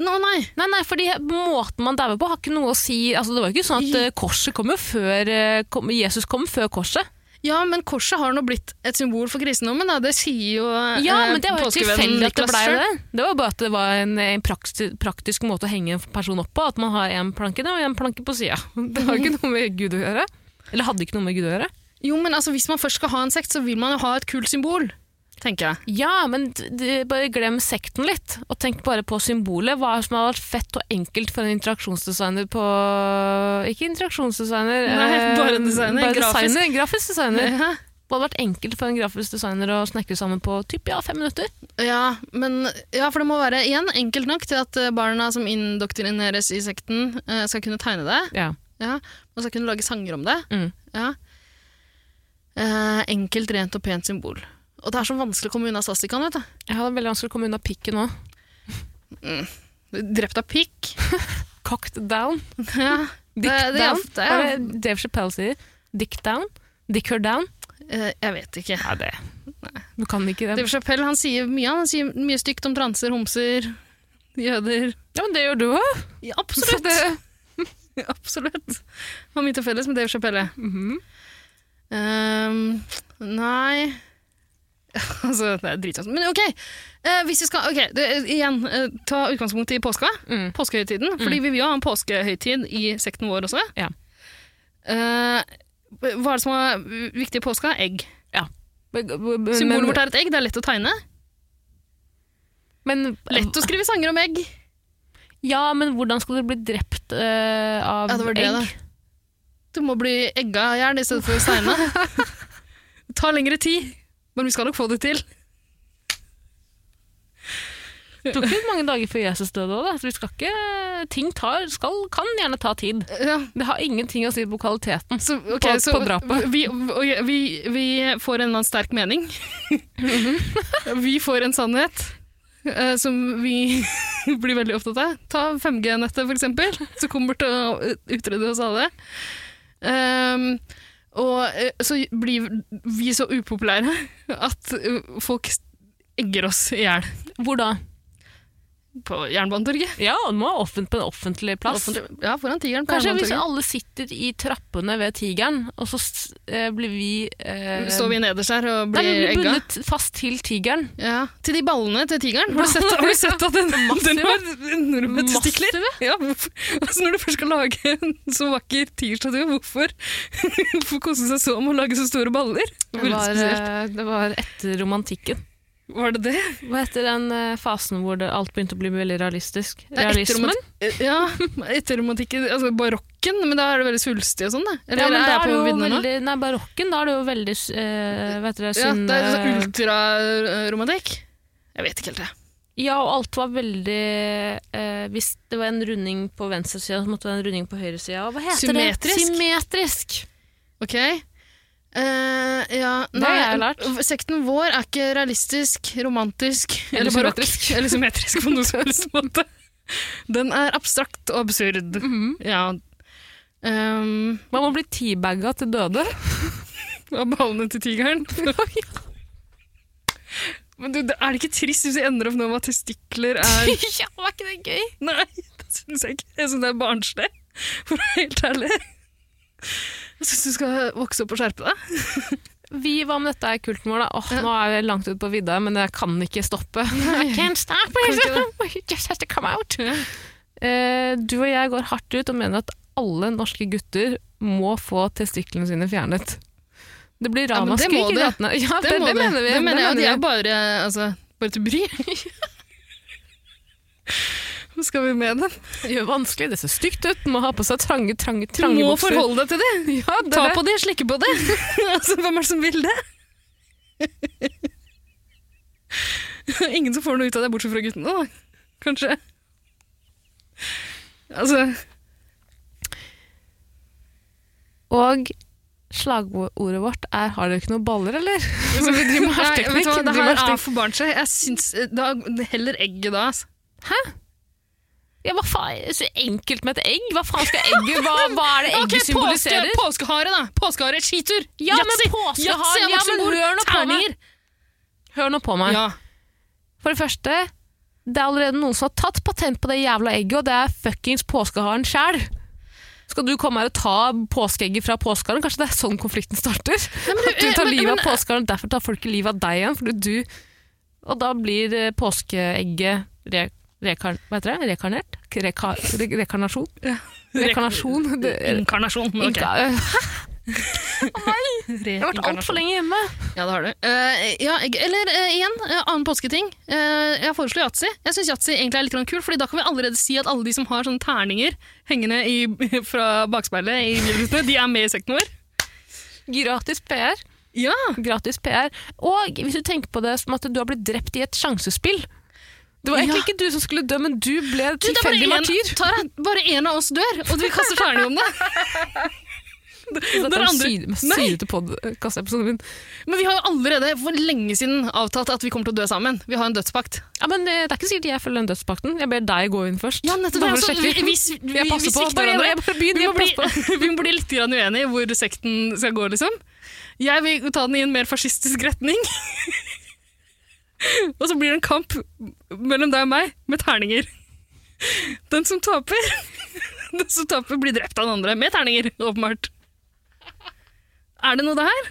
Speaker 2: Nå, nei!
Speaker 1: Nei, nei, fordi Måten man dauer på, har ikke noe å si. Altså, det var jo ikke sånn at eh, korset kom jo før eh, kom, Jesus kom før korset.
Speaker 2: Ja, men korset har nå blitt et symbol for kristendommen, da. Det sier jo eh,
Speaker 1: Ja, men Det var jo
Speaker 2: påskevennen
Speaker 1: tilfeldig at det
Speaker 2: Niklas
Speaker 1: ble
Speaker 2: selv.
Speaker 1: det. Det var bare at det var en, en praktisk, praktisk måte å henge en person opp på. At man har én planke ned og én planke på sida. Det har jo ikke noe med Gud å gjøre. Eller hadde ikke noe med Gud å gjøre.
Speaker 2: Jo, men altså, Hvis man først skal ha en sekt, så vil man jo ha et kult symbol, tenker jeg.
Speaker 1: Ja, men d- d- bare glem sekten litt, og tenk bare på symbolet. Hva som hadde vært fett og enkelt for en interaksjonsdesigner på Ikke interaksjonsdesigner,
Speaker 2: Nei,
Speaker 1: eh,
Speaker 2: bare designer,
Speaker 1: bare
Speaker 2: grafisk.
Speaker 1: designer, grafisk designer.
Speaker 2: Ja.
Speaker 1: Hva hadde vært enkelt for en grafisk designer å snekre sammen på typ, ja, fem minutter?
Speaker 2: Ja, men, ja, for det må være igjen enkelt nok til at eh, barna som indoktrineres i sekten, eh, skal kunne tegne det.
Speaker 1: Ja.
Speaker 2: Ja. Man skal kunne lage sanger om det.
Speaker 1: Mm.
Speaker 2: Ja. Eh, enkelt, rent og pent symbol. Og det er så vanskelig å komme unna svastikaen, vet du.
Speaker 1: Jeg hadde veldig vanskelig å komme unna pikken òg.
Speaker 2: Drept av pikk.
Speaker 1: Cocked down.
Speaker 2: ja.
Speaker 1: Dick
Speaker 2: Det- det er
Speaker 1: down.
Speaker 2: ofte-
Speaker 1: Hva er det Dave Chappelle sier. Dick down. Dick her down.
Speaker 2: Eh, jeg vet ikke.
Speaker 1: Nei, det Du kan ikke det.
Speaker 2: Dave Chappelle han sier mye. Han sier mye stygt om transer, homser, jøder.
Speaker 1: Ja, men det gjør du òg.
Speaker 2: Ja, absolutt! absolutt. Har mye til felles med Dave Chappelle.
Speaker 1: Mhm.
Speaker 2: Ehm, nei Altså, det er dritvanskelig. Men ok, eh, hvis vi skal ok, det, Igjen, eh, ta utgangspunkt i påska.
Speaker 1: Mm.
Speaker 2: Påskehøytiden. Fordi vi vil jo ha en påskehøytid i sekten vår også.
Speaker 1: Ja.
Speaker 2: Eh, hva er det som er viktig i påska? Egg. Symbolet
Speaker 1: Symbolet
Speaker 2: vårt er et egg. Det er lett å tegne.
Speaker 1: Men
Speaker 2: Lett å skrive sanger om egg.
Speaker 1: Ja, men hvordan skal du bli drept eh, av
Speaker 2: Ja, det var det,
Speaker 1: egg?
Speaker 2: da. Du må bli egga i hjel i stedet for steina. Det tar lengre tid, men vi skal nok få det til.
Speaker 1: Det tok ikke mange dager før Jesus døde òg, da. Så vi skal ikke Ting tar, skal, kan gjerne ta tid.
Speaker 2: Ja,
Speaker 1: Det har ingenting å si på kvaliteten.
Speaker 2: så, ok,
Speaker 1: På-
Speaker 2: så
Speaker 1: på drapet.
Speaker 2: Vi, og- vi, vi får en eller annen sterk mening.
Speaker 1: Mhm.
Speaker 2: vi får en sannhet eh, som vi blir veldig opptatt av. Ta 5G-nettet, for eksempel, som kommer til å utrydde oss alle. Ehm, og eh, så blir vi så upopulære at eh, folk egger oss i hjel
Speaker 1: Hvor da?
Speaker 2: på Jernbanetorget.
Speaker 1: Ja, det må være offent på en offentlig plass.
Speaker 2: Offentlig- Ja, foran tigeren på
Speaker 1: Kanskje hvis
Speaker 2: Jernbanetorget.
Speaker 1: alle sitter i trappene ved tigeren, og så s- eh, blir vi eh,
Speaker 2: Står vi nederst her og
Speaker 1: Nei, vi
Speaker 2: blir
Speaker 1: blir
Speaker 2: egga?
Speaker 1: bundet fast til tigeren.
Speaker 2: Ja, Til de ballene til tigeren. Har du sett, har du sett at den, den har enorme testikler? Ja, hvorfor- altså når du først skal lage en så vakker tigerstatue, hvorfor, hvorfor kose seg så med å lage så store baller?
Speaker 1: Det
Speaker 2: Det var,
Speaker 1: var,
Speaker 2: veldig spesielt.
Speaker 1: eh, det var etter romantikken.
Speaker 2: var det det?
Speaker 1: Hva heter den eh, fasen hvor det, alt begynte å bli veldig realistisk?
Speaker 2: Det er etter
Speaker 1: eh, Realismen?
Speaker 2: romant- Ja, etter romantikken, altså barokken, men da er det veldig svulstig og sånn, da. Eller
Speaker 1: Ja, men
Speaker 2: er
Speaker 1: da
Speaker 2: jeg
Speaker 1: er det
Speaker 2: på
Speaker 1: jo
Speaker 2: viddene nå?
Speaker 1: veldig, nei, barokken, da er det jo veldig eh, vet dere,
Speaker 2: Ja,
Speaker 1: synd,
Speaker 2: det er sånn
Speaker 1: eh,
Speaker 2: ultraromantikk. Jeg vet ikke helt det.
Speaker 1: ja, og alt var veldig eh, Hvis det var en runding på venstresida, så måtte det være en runding på høyresida. og Hva heter
Speaker 2: Symmetrisk?
Speaker 1: det? Symmetrisk!
Speaker 2: Ok. Eh, ja,
Speaker 1: Det har jeg lært.
Speaker 2: Sekten vår er ikke realistisk, romantisk eller,
Speaker 1: Eller
Speaker 2: barokk.
Speaker 1: symmetrisk.
Speaker 2: Eller symmetrisk på noen som helst måte. Den er abstrakt og absurd.
Speaker 1: Mhm.
Speaker 2: Ja. Ehm,
Speaker 1: Man må bli teabagga til døde.
Speaker 2: og ballene til tigeren. Men du, det- er det ikke trist hvis vi ender opp nå med at testikler er
Speaker 1: ja, var ikke det gøy?
Speaker 2: Nei, det syns jeg ikke. Jeg syns det er barnslig, for å være helt ærlig. Jeg syns du skal vokse opp og skjerpe deg.
Speaker 1: vi, hva om dette er kulten vår, da? Åh, Nå er vi langt ute på vidda, men jeg kan ikke stoppe. I can't stop, you just have to come out. Eh, du og jeg går hardt ut og mener at alle norske gutter må få testiklene sine fjernet. Det blir
Speaker 2: Ja, men det
Speaker 1: ramaskrik
Speaker 2: må
Speaker 1: i
Speaker 2: det.
Speaker 1: gatene. Ja, det, det,
Speaker 2: må du.
Speaker 1: mener vi.
Speaker 2: Det mener jeg, og de
Speaker 1: vi.
Speaker 2: er bare, altså, bare til bry. Hva skal vi med dem?
Speaker 1: Det gjør vanskelig, det ser stygt ut, må ha på seg trange, trange,
Speaker 2: Du
Speaker 1: trange
Speaker 2: må
Speaker 1: bukser.
Speaker 2: forholde deg til det.
Speaker 1: Ja, det,
Speaker 2: Ta
Speaker 1: er det.
Speaker 2: på det, slikke på det. altså, hvem er det som vil det? Ingen som får noe ut av det, bortsett fra guttene, da. Kanskje. Altså,
Speaker 1: Og slagordet vårt er 'har dere ikke noen baller', eller? Så vi driver med
Speaker 2: nei,
Speaker 1: hersketeknikk,
Speaker 2: vet du hva,
Speaker 1: driver
Speaker 2: det
Speaker 1: med
Speaker 2: her
Speaker 1: hersketeknikk.
Speaker 2: er for barn seg. Jeg syns, eh, da, heller egget da, altså.
Speaker 1: Ja, hva faen, så enkelt med et egg? Hva faen skal egget Hva, hva er det egget
Speaker 2: Ok,
Speaker 1: symboliserer?
Speaker 2: Påske, påskehare, da. Påskehare, skitur.
Speaker 1: Ja, men
Speaker 2: Yatzy.
Speaker 1: påskehare,
Speaker 2: Yatzy er
Speaker 1: ja, men
Speaker 2: voksenbord.
Speaker 1: hør nå på meg.
Speaker 2: Terninger.
Speaker 1: Hør nå på meg.
Speaker 2: Ja.
Speaker 1: For det første, det er allerede noen som har tatt patent på det jævla egget, og det er fuckings påskeharen sjæl. Skal du komme her og ta påskeegget fra påskeharen? Kanskje det er sånn konflikten starter? At du
Speaker 2: eh,
Speaker 1: tar
Speaker 2: men-
Speaker 1: livet av
Speaker 2: men-
Speaker 1: påskeharen, og derfor tar folk livet av deg igjen. Fordi du Og da blir eh, påskeegget re, rekar, hva heter det? rekarnert? Reka, re, rekarnasjon? Rekarnasjon? Det,
Speaker 2: Inkarnasjon. men ok.
Speaker 1: Inka, jeg har vært
Speaker 2: Reinkarnasjon.
Speaker 1: altfor lenge hjemme.
Speaker 2: Ja, det har du. Eh, ja, jeg- eller eh, igjen, eh, annen påsketing. Eh, jeg foreslår yatzy. Jeg syns yatzy egentlig er litt grann kul, fordi da kan vi allerede si at alle de som har sånne terninger hengende i, fra bakspeilet, i bilrutene, de er med i sekten vår.
Speaker 1: Gratis PR.
Speaker 2: Ja!
Speaker 1: Gratis PR. Og hvis du tenker på det som at du har blitt drept i et sjansespill Det var egentlig
Speaker 2: Ja.
Speaker 1: ikke du som skulle dø, men du ble
Speaker 2: Du, det er bare
Speaker 1: tilfeldig
Speaker 2: en,
Speaker 1: martyr.
Speaker 2: Tara, bare en av oss dør, og vi kaster terning om det.
Speaker 1: Dette
Speaker 2: når
Speaker 1: er
Speaker 2: sånn andre-
Speaker 1: den syre-
Speaker 2: Nei.
Speaker 1: syrete podkastepisoden min.
Speaker 2: Men vi har jo allerede for lenge siden avtalt at vi kommer til å dø sammen. Vi har en dødspakt.
Speaker 1: Ja, men eh, Det er ikke sikkert jeg følger den dødspakten. Jeg ber deg gå inn først. Da
Speaker 2: Altså,
Speaker 1: får du sjekke. jeg passer på. Bare, jeg, jeg bare begynner.
Speaker 2: vi, må
Speaker 1: Jeg
Speaker 2: bli,
Speaker 1: passer på.
Speaker 2: vi må bli litt grann uenige i hvor sekten skal gå, liksom. Jeg vil ta den i en mer fascistisk retning. og så blir det en kamp mellom deg og meg med terninger. Den som taper, den som taper blir drept av den andre med terninger, åpenbart. Er det noe det her?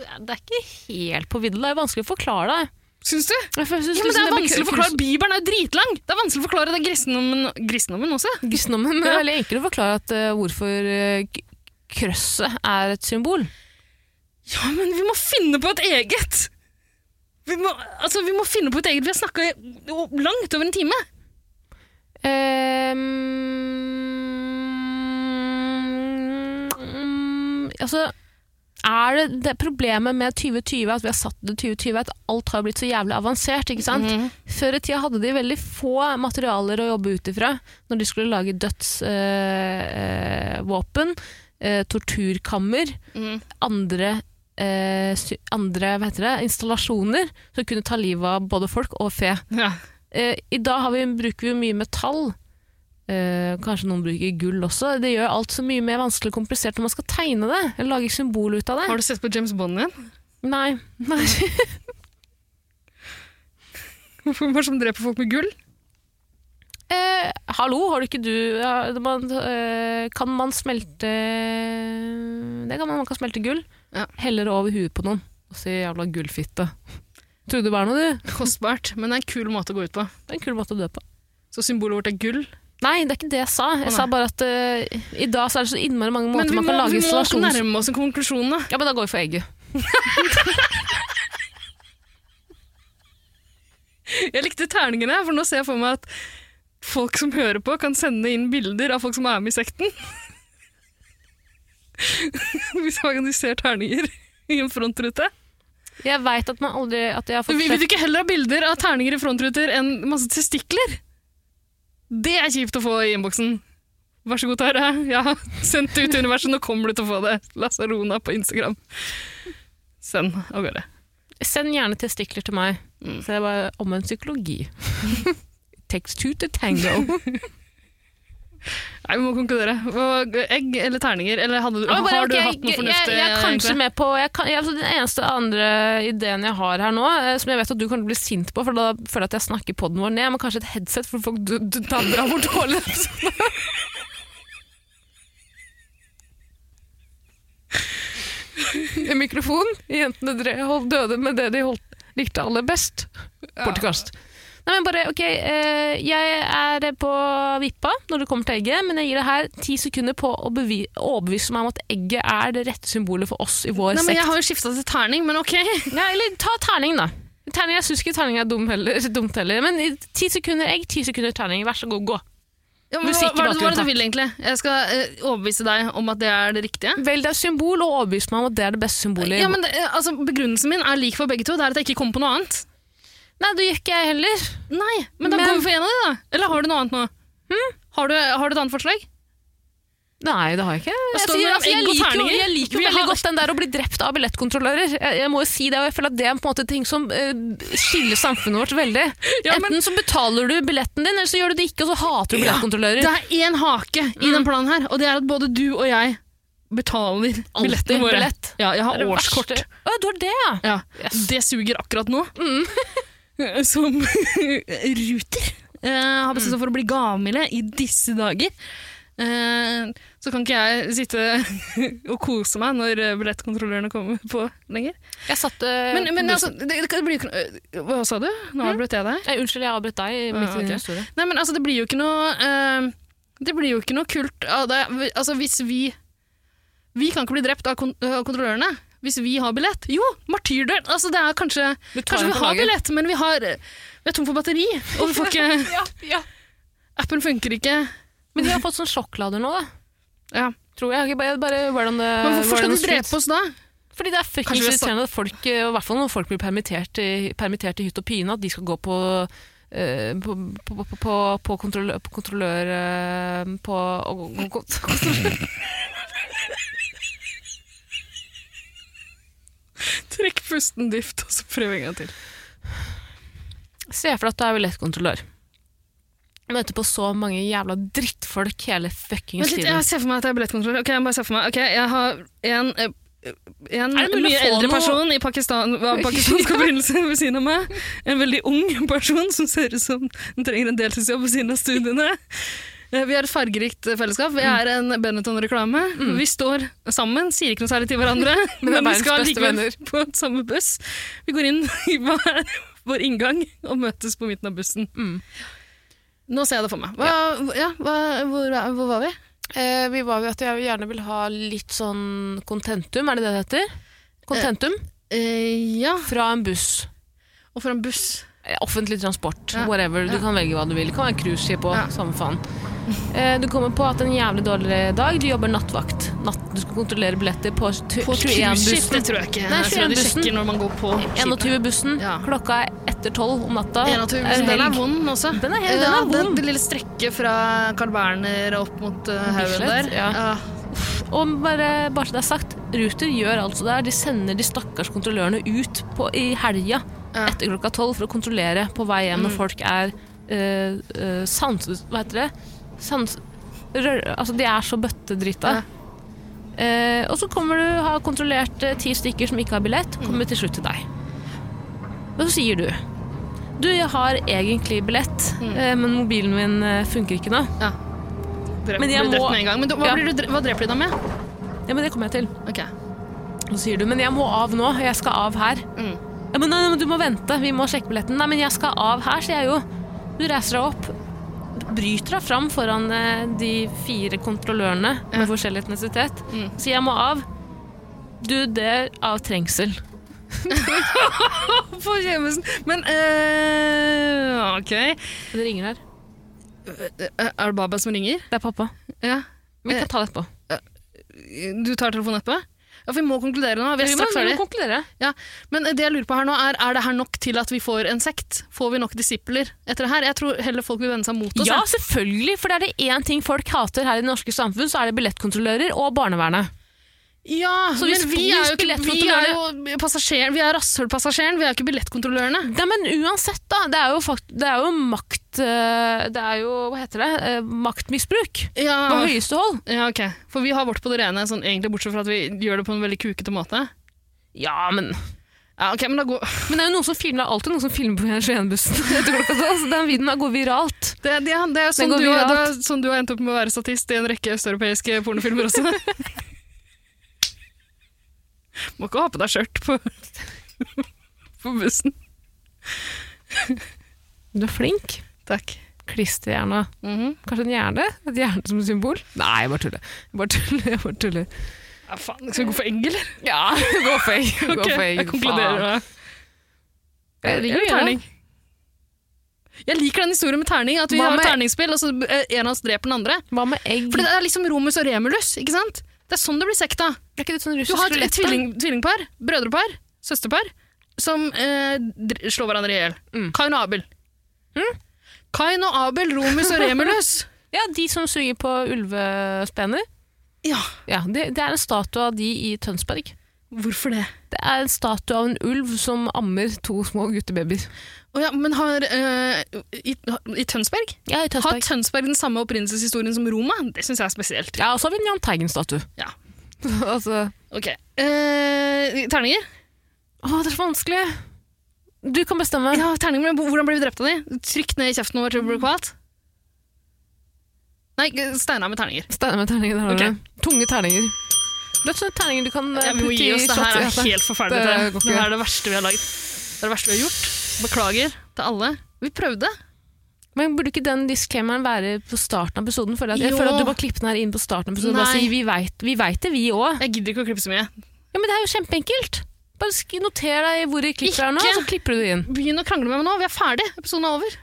Speaker 1: Det er ikke helt på vidda. Det er vanskelig å forklare deg.
Speaker 2: Syns du?
Speaker 1: Jeg føler-
Speaker 2: Ja,
Speaker 1: synes
Speaker 2: men det
Speaker 1: liksom
Speaker 2: er vanskelig å
Speaker 1: blir-
Speaker 2: forklare. Bibelen er jo dritlang! Det er vanskelig å forklare den kristendommen, kristendommen også.
Speaker 1: Kristendommen men det er
Speaker 2: Ja.
Speaker 1: veldig enkelt å forklare at eh, hvorfor eh, k- krøsset er et symbol.
Speaker 2: Ja, men vi må finne på et eget! Vi må, altså, vi må finne på et eget. Vi har snakka langt over en time.
Speaker 1: Ehm, mm, altså, er det, det problemet med 2020, at vi har satt det 2020, at alt har blitt så jævlig avansert, ikke sant?
Speaker 2: Mhm.
Speaker 1: Før i tida hadde de veldig få materialer å jobbe ut ifra når de skulle lage eh, dødsvåpen, eh, torturkammer,
Speaker 2: Mhm.
Speaker 1: andre, eh, sy- andre hva heter det, installasjoner som kunne ta livet av både folk og fe.
Speaker 2: Ja.
Speaker 1: Eh, I dag har vi, bruker vi jo mye metall. Eh, kanskje noen bruker gull også. Det gjør alt så mye mer vanskelig og komplisert når man skal tegne det. Eller lage symbol ut av det.
Speaker 2: Har du sett på James Bond igjen?
Speaker 1: Nei. Nei.
Speaker 2: Hva som dreper folk med gull?
Speaker 1: Eh, hallo, har du ikke du ja, det man, eh, Kan man smelte Det kan man, man kan smelte gull.
Speaker 2: Ja.
Speaker 1: Helle det over huet på noen og si 'jævla gullfitte'. Trodde det var noe, du.
Speaker 2: Kostbart, men det er en kul måte å gå ut på.
Speaker 1: Det er en kul måte å dø på.
Speaker 2: Så symbolet vårt er gull.
Speaker 1: Nei, det er ikke det jeg sa. Jeg
Speaker 2: Å, nei.
Speaker 1: sa bare at eh, i dag så er det så innmari mange
Speaker 2: Men
Speaker 1: måter
Speaker 2: vi
Speaker 1: man kan
Speaker 2: må,
Speaker 1: lage
Speaker 2: vi må
Speaker 1: installasjons...
Speaker 2: nærme oss en konklusjon, da.
Speaker 1: Ja, men da går vi for egget.
Speaker 2: Jeg likte terningene, for nå ser jeg for meg at folk som hører på, kan sende inn bilder av folk som er med i sekten. Hvis vi organiserer terninger i en frontrute.
Speaker 1: Jeg veit at man aldri at jeg har fått
Speaker 2: Vil, vil du ikke heller ha bilder av terninger i frontruter enn masse testikler? Det er kjipt å få i innboksen. Vær så god, Tara. Jeg har sendt det ut i universet. Nå kommer du til å få det. Lasarona på Instagram. Send av gårde.
Speaker 1: Send gjerne testikler til meg.
Speaker 2: Mm.
Speaker 1: Så det er bare omvendt psykologi. Takes two to tango.
Speaker 2: Nei, vi må konkludere. Og Egg eller terninger? Eller hadde, du-
Speaker 1: Ja, men bare,
Speaker 2: har du
Speaker 1: ok,
Speaker 2: hatt noe
Speaker 1: jeg,
Speaker 2: fornuftig?
Speaker 1: jeg, jeg er kanskje
Speaker 2: egentlig?
Speaker 1: med på jeg kan, jeg, altså, Den eneste andre ideen jeg har her nå, eh, som jeg vet at du kan bli sint på, for da føler jeg at jeg snakker podden vår ned, men kanskje et headset for folk du, du dabber av hvor dårlig episode en mikrofon. Jentene dre- holdt- døde med det de holdt, likte aller best. Podkast. Nei, men bare, ok, eh, Jeg er på vippa når det kommer til egget, men jeg gir det her ti sekunder på å bevi- overbevise meg om at egget er det rette symbolet for oss i vår
Speaker 2: Nei, men jeg
Speaker 1: sekt.
Speaker 2: har jo skifta til terning, men ok.
Speaker 1: Ja, eller ta terning, da. Terning, jeg syns ikke terning er dum heller, dumt heller. Men i ti sekunder egg, ti sekunder terning. Vær så god, gå.
Speaker 2: Ja, men, hva,
Speaker 1: Musikk i
Speaker 2: hva, er det- hva er det
Speaker 1: bakgrunnen,
Speaker 2: du vil egentlig? Jeg skal eh, overbevise deg om at det er det riktige.
Speaker 1: Velg deg et symbol og overbevis meg om at det er det beste symbolet. i
Speaker 2: Ja, men det, eh, altså, Begrunnelsen min er lik for begge to. Det er at jeg ikke kommer på noe annet.
Speaker 1: Nei, det gjør ikke jeg heller.
Speaker 2: Nei, Men Hm? da
Speaker 1: Men-
Speaker 2: går vi for en av de, da. Eller har du noe annet nå? Har, du, har du et annet forslag?
Speaker 1: Nei, det har jeg ikke. Jeg,
Speaker 2: står
Speaker 1: sier-
Speaker 2: mellom
Speaker 1: altså, jeg
Speaker 2: egg og
Speaker 1: liker jo,
Speaker 2: terninger.
Speaker 1: jeg liker
Speaker 2: Vi
Speaker 1: jo veldig
Speaker 2: har-
Speaker 1: godt den der å bli drept av billettkontrollører. Jeg, jeg må jo si det, og jeg føler at det er på en måte ting som eh, skiller samfunnet vårt veldig.
Speaker 2: Ja, men-
Speaker 1: Enten så betaler du billetten din, eller så gjør du det ikke, og så hater du billettkontrollører.
Speaker 2: Det er én hake i den planen her, og det er at både du og jeg betaler billettene våre.
Speaker 1: billett.
Speaker 2: Ja,
Speaker 1: Det
Speaker 2: jeg
Speaker 1: er
Speaker 2: har
Speaker 1: det
Speaker 2: årskort.
Speaker 1: verste. Å, du har det, ja.
Speaker 2: Ja,
Speaker 1: Yes.
Speaker 2: Det suger akkurat nå. Som Ruter eh, har bestemt seg for å bli gavmilde i disse dager. Eh, så kan ikke jeg sitte og kose meg når eh, billettkontrollørene kommer på lenger.
Speaker 1: Jeg satt eh,
Speaker 2: Men, men
Speaker 1: på
Speaker 2: altså, det, Hm? det blir jo ikke noe Hva sa du? Nå avbrøt jeg deg.
Speaker 1: bussen. Eh, Unnskyld, jeg avbrøt deg. i eh,
Speaker 2: Ah,
Speaker 1: midt i din
Speaker 2: ok.
Speaker 1: historie.
Speaker 2: Nei, men altså, det blir jo ikke noe eh, Det blir jo ikke noe kult av det. Altså, hvis vi Vi kan ikke bli drept av, kon av kontrollørene hvis vi har billett. Jo, martyrdød! Altså, det er kanskje
Speaker 1: Du tar
Speaker 2: Kanskje
Speaker 1: den
Speaker 2: vi
Speaker 1: på
Speaker 2: har
Speaker 1: laget.
Speaker 2: billett, men vi, har, vi er tom for batteri. Og vi får ikke
Speaker 1: Ja, ja.
Speaker 2: Appen funker ikke.
Speaker 1: Men de har fått sånn sjokklader nå, da.
Speaker 2: Ja.
Speaker 1: Tror jeg. Ikke bare, bare word on the
Speaker 2: Men hvorfor
Speaker 1: word
Speaker 2: skal
Speaker 1: on
Speaker 2: de
Speaker 1: the streets.
Speaker 2: drepe oss da?
Speaker 1: Fordi det er fucking
Speaker 2: Kanskje vi har sagt-
Speaker 1: irriterende at folk, eh, og i hvert fall når folk blir permittert i, permittert i hytt og pine, at de skal gå på eh, på, på, på, på, på kontrollør, på kontrollør eh, på, og, og, og,
Speaker 2: Trekk pusten dypt, og så prøv en gang til.
Speaker 1: Se for deg at du er billettkontrollør. Møter på så mange jævla drittfolk hele fuckings
Speaker 2: Vent litt,
Speaker 1: tiden.
Speaker 2: jeg ser for meg at jeg er billettkontrollør. Ok, jeg bare ser for meg. Ok, jeg har en, eh, en
Speaker 1: Er det mulig
Speaker 2: mye
Speaker 1: å få
Speaker 2: eldre
Speaker 1: noe-
Speaker 2: person i Pakistan, av pakistansk opprinnelse ved siden av meg. En veldig ung person som ser ut som den trenger en deltidsjobb ved siden av studiene. Eh, Vi er et fargerikt eh, fellesskap.
Speaker 1: Mm.
Speaker 2: Vi er en Benetton-reklame. Vi står sammen, sier ikke noe særlig til hverandre,
Speaker 1: Men
Speaker 2: men,
Speaker 1: er
Speaker 2: vi
Speaker 1: verdens
Speaker 2: skal
Speaker 1: beste
Speaker 2: likevel
Speaker 1: venner.
Speaker 2: på samme buss. Vi går inn i hver vår inngang og møtes på midten av bussen.
Speaker 1: Mm.
Speaker 2: Nå ser jeg det for meg. Hva, ja, hva, hvor, hvor var vi?
Speaker 1: Eh, vi var jo at jeg gjerne vil ha litt sånn kontentum, er det det det heter? Kontentum
Speaker 2: Eh, ja,
Speaker 1: fra en buss.
Speaker 2: og for en buss.
Speaker 1: Eh, Offentlig transport,
Speaker 2: Ja.
Speaker 1: whatever. Du
Speaker 2: Ja.
Speaker 1: kan velge hva du vil. Det kan være cruiseskip òg,
Speaker 2: Ja.
Speaker 1: samme faen. Eh, Du kommer på at en jævlig dårlig dag, du jobber nattvakt. Natt, du skal kontrollere billetter på, tu-
Speaker 2: På et
Speaker 1: 21-bussen.
Speaker 2: cruiseskip, det tror jeg ikke.
Speaker 1: Nei,
Speaker 2: jeg tror de
Speaker 1: 21-bussen.
Speaker 2: sjekker når man går på skipet.
Speaker 1: 21-bussen.
Speaker 2: Ja.
Speaker 1: Klokka er etter tolv om natta. Eh,
Speaker 2: 21 bussen, Den er vond også.
Speaker 1: Den er helt-
Speaker 2: ja,
Speaker 1: den er vond.
Speaker 2: Det lille strekket fra Carl Berner og opp mot eh, haugen
Speaker 1: Bislett,
Speaker 2: der.
Speaker 1: ja. Og bare, bare så det er sagt, Ruter gjør altså det her. De sender de stakkars kontrollørene ut på, i helga
Speaker 2: Ja. Mm.
Speaker 1: etter klokka tolv for å kontrollere på vei hjem når folk er eh, eh, sans... Hva heter det? Sans... Rør, altså, de er så bøttedrita.
Speaker 2: Ja.
Speaker 1: Eh, og så kommer du ha kontrollert eh, ti stykker som ikke har billett,
Speaker 2: Mm.
Speaker 1: kommer til slutt til deg. Og så sier du Du, jeg har egentlig billett,
Speaker 2: Mm.
Speaker 1: eh, men mobilen min eh, funker ikke nå.
Speaker 2: Drep,
Speaker 1: Men jeg
Speaker 2: blir drept
Speaker 1: må-
Speaker 2: med en gang. Men du, hva,
Speaker 1: Ja.
Speaker 2: blir du, dre- hva dreper de deg med?
Speaker 1: Ja, men det kommer jeg til.
Speaker 2: Ok.
Speaker 1: Og så sier du, men jeg må av nå, jeg skal av her.
Speaker 2: Mm.
Speaker 1: Ja, men nei, nei, men du må vente, vi må sjekke billetten. Nei, men jeg skal av her, sier jeg jo. Du reiser deg opp, bryter deg fram foran eh, de fire kontrollørene med forskjellig etnisitet.
Speaker 2: Mm.
Speaker 1: Sier jeg må av. Du, det er av trengsel.
Speaker 2: På Kjemesen. Men eh, ok.
Speaker 1: Det ringer her.
Speaker 2: Eh, Er det Baba som ringer?
Speaker 1: Det er pappa.
Speaker 2: Ja.
Speaker 1: Vi
Speaker 2: Eh,
Speaker 1: kan ta det etterpå.
Speaker 2: Du tar telefonen etterpå? Ja, for vi må konkludere nå. Vi er
Speaker 1: Vi må,
Speaker 2: straks
Speaker 1: vi
Speaker 2: ferdig.
Speaker 1: må konkludere.
Speaker 2: Ja, men det jeg lurer på her nå er, er det her nok til at vi får en sekt? Får vi nok disipler etter det her? Jeg tror heller folk vil vende seg mot oss.
Speaker 1: Ja,
Speaker 2: jeg.
Speaker 1: selvfølgelig, for det er det én ting folk hater her i det norske samfunn, så er det billettkontrollører og barnevernet.
Speaker 2: ja
Speaker 1: Så hvis
Speaker 2: men vi
Speaker 1: vi
Speaker 2: er jo
Speaker 1: skulle lett
Speaker 2: ikke vi er jo passasjer, vi er rasshølpassasjeren, vi er jo ikke billettkontrollørene.
Speaker 1: Nei, men uansett, da. Det er jo, fakt det er jo makt eh, Det er jo, hva heter det, Eh, maktmisbruk
Speaker 2: Ja.
Speaker 1: på høyeste hold.
Speaker 2: ja, ok. For vi har vårt på det rene, sånn, egentlig bortsett fra at vi gjør det på en veldig kukete måte.
Speaker 1: Ja, men
Speaker 2: Ja, ok, men da går...
Speaker 1: Men det er jo noen som filmer, det er alltid noen som filmer på Skien-bussen. etter klokka tolv, så altså. Den videoen her går viralt.
Speaker 2: Det, det, det er jo
Speaker 1: Den
Speaker 2: sånn
Speaker 1: går
Speaker 2: du,
Speaker 1: viralt.
Speaker 2: det er sånn du har endt opp med å være statist i en rekke østeuropeiske pornofilmer også. Må ikke ha på deg skjørt på, på bussen.
Speaker 1: Du er flink.
Speaker 2: Takk.
Speaker 1: Klisterhjerna.
Speaker 2: Mhm.
Speaker 1: Kanskje en hjerne? Et hjerne som symbol? Nei, jeg bare tuller. Jeg bare tuller, jeg bare tuller.
Speaker 2: Ja, faen, skal vi gå for egg, eller?
Speaker 1: Ja, gå for egg. Gå
Speaker 2: Ok,
Speaker 1: for egg.
Speaker 2: jeg konkluderer med det.
Speaker 1: Jeg liker
Speaker 2: Eller
Speaker 1: det.
Speaker 2: terning. Jeg liker den historien med terning. At vi
Speaker 1: Hva
Speaker 2: har
Speaker 1: med-
Speaker 2: terningspill, og så eh, en av oss dreper den andre.
Speaker 1: Hva med egg?
Speaker 2: For det er liksom Romus og Remulus, ikke sant? Det er sånn det blir sekta.
Speaker 1: er ikke det sånn
Speaker 2: Du
Speaker 1: russisk
Speaker 2: har et, et
Speaker 1: roulette, da?
Speaker 2: tvilling, tvillingpar, brødrepar, søsterpar, som eh, dr- slår hverandre i hjel.
Speaker 1: Mm.
Speaker 2: Kain og Abel. Kain og Abel, Romus og Remulus.
Speaker 1: Ja, de som suger på ulvespener.
Speaker 2: ja,
Speaker 1: Ja, det, det er en statue av de i Tønsberg.
Speaker 2: hvorfor det?
Speaker 1: Det er en statue av en ulv som ammer to små guttebabyer.
Speaker 2: Å ja, men har eh, i, I Tønsberg?
Speaker 1: Ja, i
Speaker 2: Har
Speaker 1: Tønsberg.
Speaker 2: Tønsberg den samme opprinnelseshistorien som Roma? Det syns jeg er spesielt.
Speaker 1: Ja, og så har vi en Jahn Teigen-statue.
Speaker 2: Ja.
Speaker 1: altså,
Speaker 2: Ok. Eh, terninger?
Speaker 1: å, det er så vanskelig. Du kan bestemme.
Speaker 2: Ja, terninger, men Hvordan ble vi drept av de? Trykt ned i kjeften vår til det ble kvalt? Nei, Steinar med terninger.
Speaker 1: Steiner med terninger, der har
Speaker 2: Ok.
Speaker 1: du. Tunge terninger. Rett og slett terninger du kan eh,
Speaker 2: Ja, vi må
Speaker 1: putte
Speaker 2: gi
Speaker 1: i
Speaker 2: oss. Det her er
Speaker 1: shotglasset.
Speaker 2: helt forferdelig.
Speaker 1: Det
Speaker 2: Tara.
Speaker 1: går ikke.
Speaker 2: Det her er det verste vi har lagd. Det er det verste vi har gjort. Beklager til alle. Vi prøvde.
Speaker 1: Men burde ikke den disclaimeren være på starten av episoden? Føler jeg, at- jeg
Speaker 2: Jo.
Speaker 1: føler at du bare klipper den her inn på starten av episoden. og Bare
Speaker 2: Nei.
Speaker 1: si, vi vet, vi vet det, vi òg.
Speaker 2: Jeg gidder ikke å klippe så mye.
Speaker 1: Ja, men det er jo kjempeenkelt. Bare sk- noter deg hvor det klipper er nå,
Speaker 2: Ikke.
Speaker 1: så klipper du det inn.
Speaker 2: Begynn å krangle med meg nå. Vi er ferdig. Episoden er over.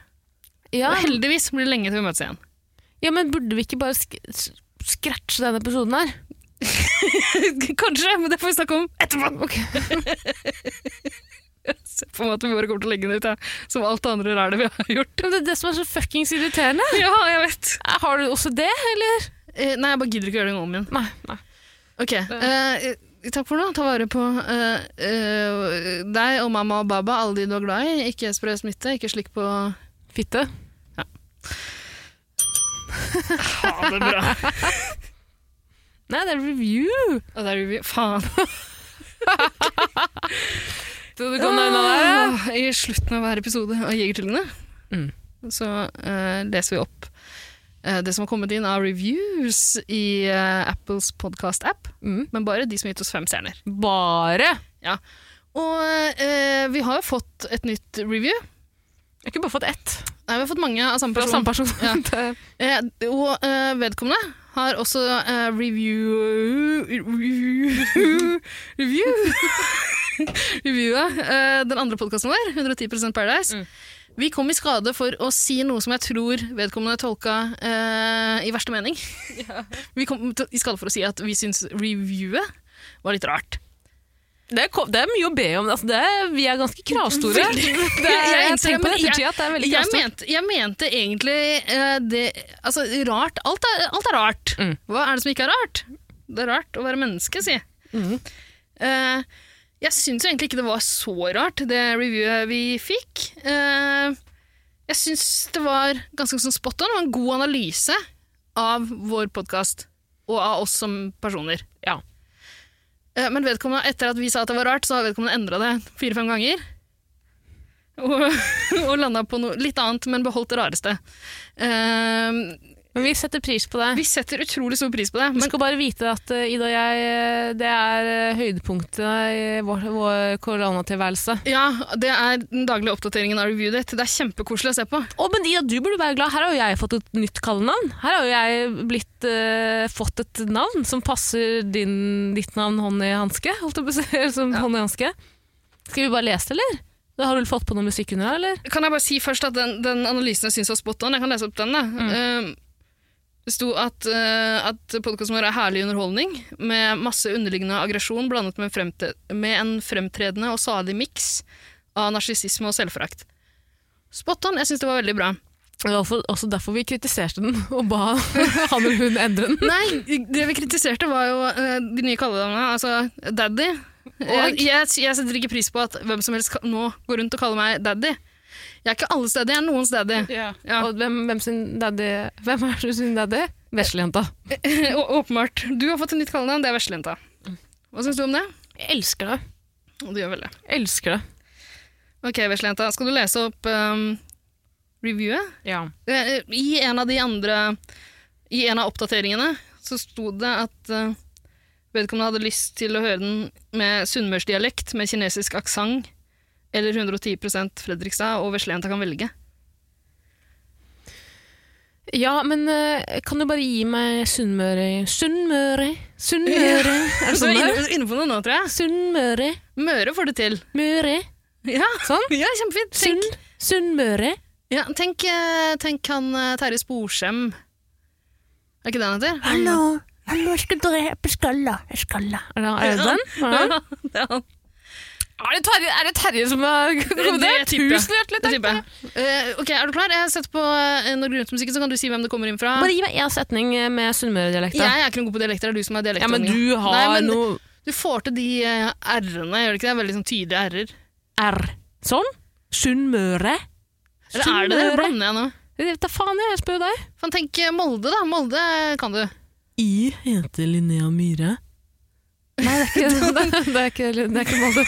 Speaker 1: Ja,
Speaker 2: Og heldigvis blir det lenge til vi møtes igjen.
Speaker 1: ja men burde vi ikke bare sk s- scratche denne episoden her?
Speaker 2: Kanskje, men det får vi snakke om etterpå.
Speaker 1: Ok.
Speaker 2: Se på meg at vi bare kommer til å legge den ut, ja. som alt det andre rælet vi har gjort.
Speaker 1: Men det er det som er så fuckings irriterende.
Speaker 2: Ja, jeg vet.
Speaker 1: Eh, Har du også det, eller?
Speaker 2: Eh, nei, jeg bare gidder ikke å gjøre det om igjen.
Speaker 1: Nei. nei.
Speaker 2: Ok, eh, Takk for nå. Ta vare på eh, eh, deg og mamma og baba, alle de du er glad i. Ikke spre smitte, ikke slikk på
Speaker 1: Fitte.
Speaker 2: Ha det bra.
Speaker 1: Nei, det er review.
Speaker 2: Og der gjorde vi Faen.
Speaker 1: Du
Speaker 2: Åh, Ah, I slutten av hver episode av Jegertvillingene
Speaker 1: Mm.
Speaker 2: så eh, leser vi opp eh, det som har kommet inn av reviews i eh, Apples podkast-app,
Speaker 1: Mm.
Speaker 2: men bare de som har gitt oss fem stjerner.
Speaker 1: Bare.
Speaker 2: Og eh, vi har jo fått et nytt review.
Speaker 1: Jeg har ikke bare fått ett
Speaker 2: Nei, vi har fått mange av samme
Speaker 1: fra samme
Speaker 2: person.
Speaker 1: person.
Speaker 2: Ja.
Speaker 1: Det er-
Speaker 2: Eh, og eh, vedkommende har også eh, review Review Review Reviewa eh, den andre podkasten vår, 110 Paradise.
Speaker 1: Mm.
Speaker 2: Vi kom i skade for å si noe som jeg tror vedkommende tolka eh, i verste mening. Vi kom til, i skade for å si at vi syns reviewet var litt rart.
Speaker 1: Det er, ko- det er mye å be om. Altså, det er, vi er ganske kravstore. Det er,
Speaker 2: Veldig.
Speaker 1: jeg
Speaker 2: Jeg innser
Speaker 1: tenker på det
Speaker 2: det, men
Speaker 1: ettertid at det er veldig
Speaker 2: Jeg
Speaker 1: kravstort.
Speaker 2: mente, jeg mente egentlig eh, det Altså, rart Alt er, alt er rart.
Speaker 1: Mm.
Speaker 2: Hva er det som ikke er rart? Det er rart å være menneske, si.
Speaker 1: Mhm.
Speaker 2: Eh, jeg syns jo egentlig ikke det var så rart, det reviewet vi fikk. Eh, jeg syns det var ganske sånn spot on, og en god analyse av vår podkast. Og av oss som personer.
Speaker 1: Ja.
Speaker 2: Eh, Men vedkommende, etter at vi sa at det var rart, så har vedkommende endra det fire-fem ganger. Og, og landa på noe litt annet, men beholdt det rareste. Eh,
Speaker 1: Men vi setter pris på det.
Speaker 2: vi setter utrolig stor pris på det.
Speaker 1: Du
Speaker 2: Men
Speaker 1: skal bare vite at eh, Ida og jeg, eh, det er eh, høydepunktet i vår, vår koronatilværelse.
Speaker 2: ja, det er den daglige oppdateringen av reviewet ditt. Det er kjempekoselig å se på.
Speaker 1: Å, men Ida, du burde være glad. Her har jo jeg fått et nytt kallenavn. Her har jo jeg blitt, eh, fått et navn som passer din, ditt navn hånd i hanske. Holdt jeg på å si, eller som hånd i hanske. Skal vi bare lese det, eller? Da har du vel fått på noe musikk under her, eller?
Speaker 2: Kan jeg bare si først at den, den analysen jeg syns var spot on? Jeg kan lese opp den, da. Eh, det sto at, uh, at podkasten vår er herlig underholdning, med masse underliggende aggresjon blandet med, fremte, med en fremtredende og salig miks av narsissisme og selvforakt. Spot on! Jeg syns det var veldig bra.
Speaker 1: Det var for- også derfor vi kritiserte den og ba han eller hun endre den.
Speaker 2: Nei, det vi kritiserte, var jo eh, de nye kallenavnene. Altså Daddy. Jeg, jeg, jeg setter ikke pris på at hvem som helst ka- nå går rundt og kaller meg Daddy. Jeg er ikke alles daddy, jeg er noens daddy. Ja.
Speaker 1: Og hvem, hvem sin daddy Hvem er du sin daddy? Veslejenta.
Speaker 2: Å- Åpenbart. Du har fått et nytt kallenavn, det er veslejenta. Hva syns du om det?
Speaker 1: Jeg elsker det.
Speaker 2: Du gjør vel det.
Speaker 1: Jeg elsker det.
Speaker 2: Ok, veslejenta, skal du lese opp ehm, reviewet?
Speaker 1: Ja.
Speaker 2: Eh, I en av de andre I en av oppdateringene så sto det at eh, Vedkommende hadde lyst til å høre den med sunnmørsdialekt, med kinesisk aksent, eller 110 Fredrikstad, og Veslejenta kan velge.
Speaker 1: Ja, men eh, kan du bare gi meg Sunnmøre Sunnmøre Sunnmøre Er det
Speaker 2: Så
Speaker 1: sånn
Speaker 2: inne,
Speaker 1: der?
Speaker 2: inne på noe nå, tror jeg.
Speaker 1: Sunnmøre
Speaker 2: Møre får det til.
Speaker 1: Møre
Speaker 2: Ja,
Speaker 1: Sånn.
Speaker 2: ja kjempefint.
Speaker 1: Sunn
Speaker 2: Tenk,
Speaker 1: Sunnmøre
Speaker 2: ja, tenk, eh, tenk han eh, Terje Sporsem. Er ikke det han heter?
Speaker 1: Hallo Hallo, jeg skal drepe skalla Jeg skalla Er det, er det den? Ja.
Speaker 2: Ja, det er
Speaker 1: Er, det
Speaker 2: han.
Speaker 1: Terje, er det Terje som har kommentert?
Speaker 2: tipper jeg.
Speaker 1: Tusen hjertelig
Speaker 2: Det
Speaker 1: takk
Speaker 2: tipper jeg. Eh, ok, Er du klar? Jeg setter på eh, Norge Rundt-musikken, så kan du si hvem det kommer inn fra.
Speaker 1: Bare gi meg en setning eh, med sunnmøredialekt. da.
Speaker 2: Jeg er ikke noen god på dialekter, det er du som er
Speaker 1: Ja, men
Speaker 2: dialektdronninga.
Speaker 1: du har
Speaker 2: Nei, men-
Speaker 1: noe
Speaker 2: Du får til de eh, r-ene, gjør du ikke det? Veldig sånn tydelige r-er.
Speaker 1: R. Sånn? Sunnmøre?
Speaker 2: Eller er det det? Eller Blander jeg nå?
Speaker 1: Jeg vet da faen, jeg. Jeg spør deg.
Speaker 2: Fan, tenk eh, Molde, da. Molde kan du.
Speaker 1: I heter Linnea Myhre. Nei, det er ikke det. er ikke, det er ikke Molde.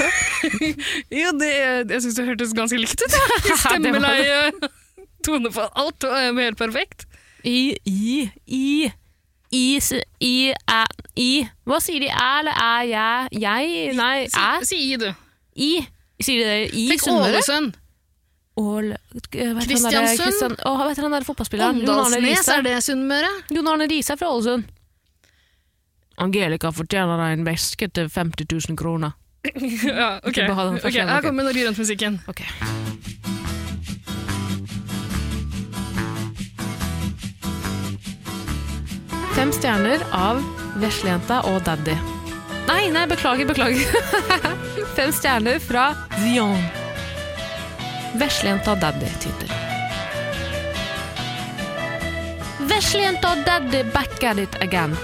Speaker 2: Jo, det, jeg syns det hørtes ganske likt ut.
Speaker 1: Stemmeleie,
Speaker 2: tonefall, alt var helt perfekt.
Speaker 1: I, i, i. I, s- i, æ, i. Hva sier de? Æ eller æ, jeg? Jeg? Nei, æ.
Speaker 2: Si i, du.
Speaker 1: I. Sier de det i
Speaker 2: Tenk
Speaker 1: Sunnmøre?
Speaker 2: Ålesund.
Speaker 1: Ål- øh, vet du han der-
Speaker 2: Kristiansund?
Speaker 1: Kristian- Åh, Hva heter han der fotballspilleren? Jon Arne
Speaker 2: Åndalsnes,
Speaker 1: Riise.
Speaker 2: er det Sunnmøre?
Speaker 1: Jon Arne Riise er fra Ålesund. Angelica fortjener deg en veske til 50 000 kroner.
Speaker 2: ja, ok.
Speaker 1: Ikke behold den
Speaker 2: Ok,
Speaker 1: første,
Speaker 2: Her
Speaker 1: ok.
Speaker 2: kommer Norge Rundt-musikken.
Speaker 1: Ok. Fem stjerner av Veslejenta og Daddy. Nei, nei, beklager, beklager. Fem stjerner fra Dion. Veslejenta og Daddy-tittel. Veslejenta og Daddy back at it again.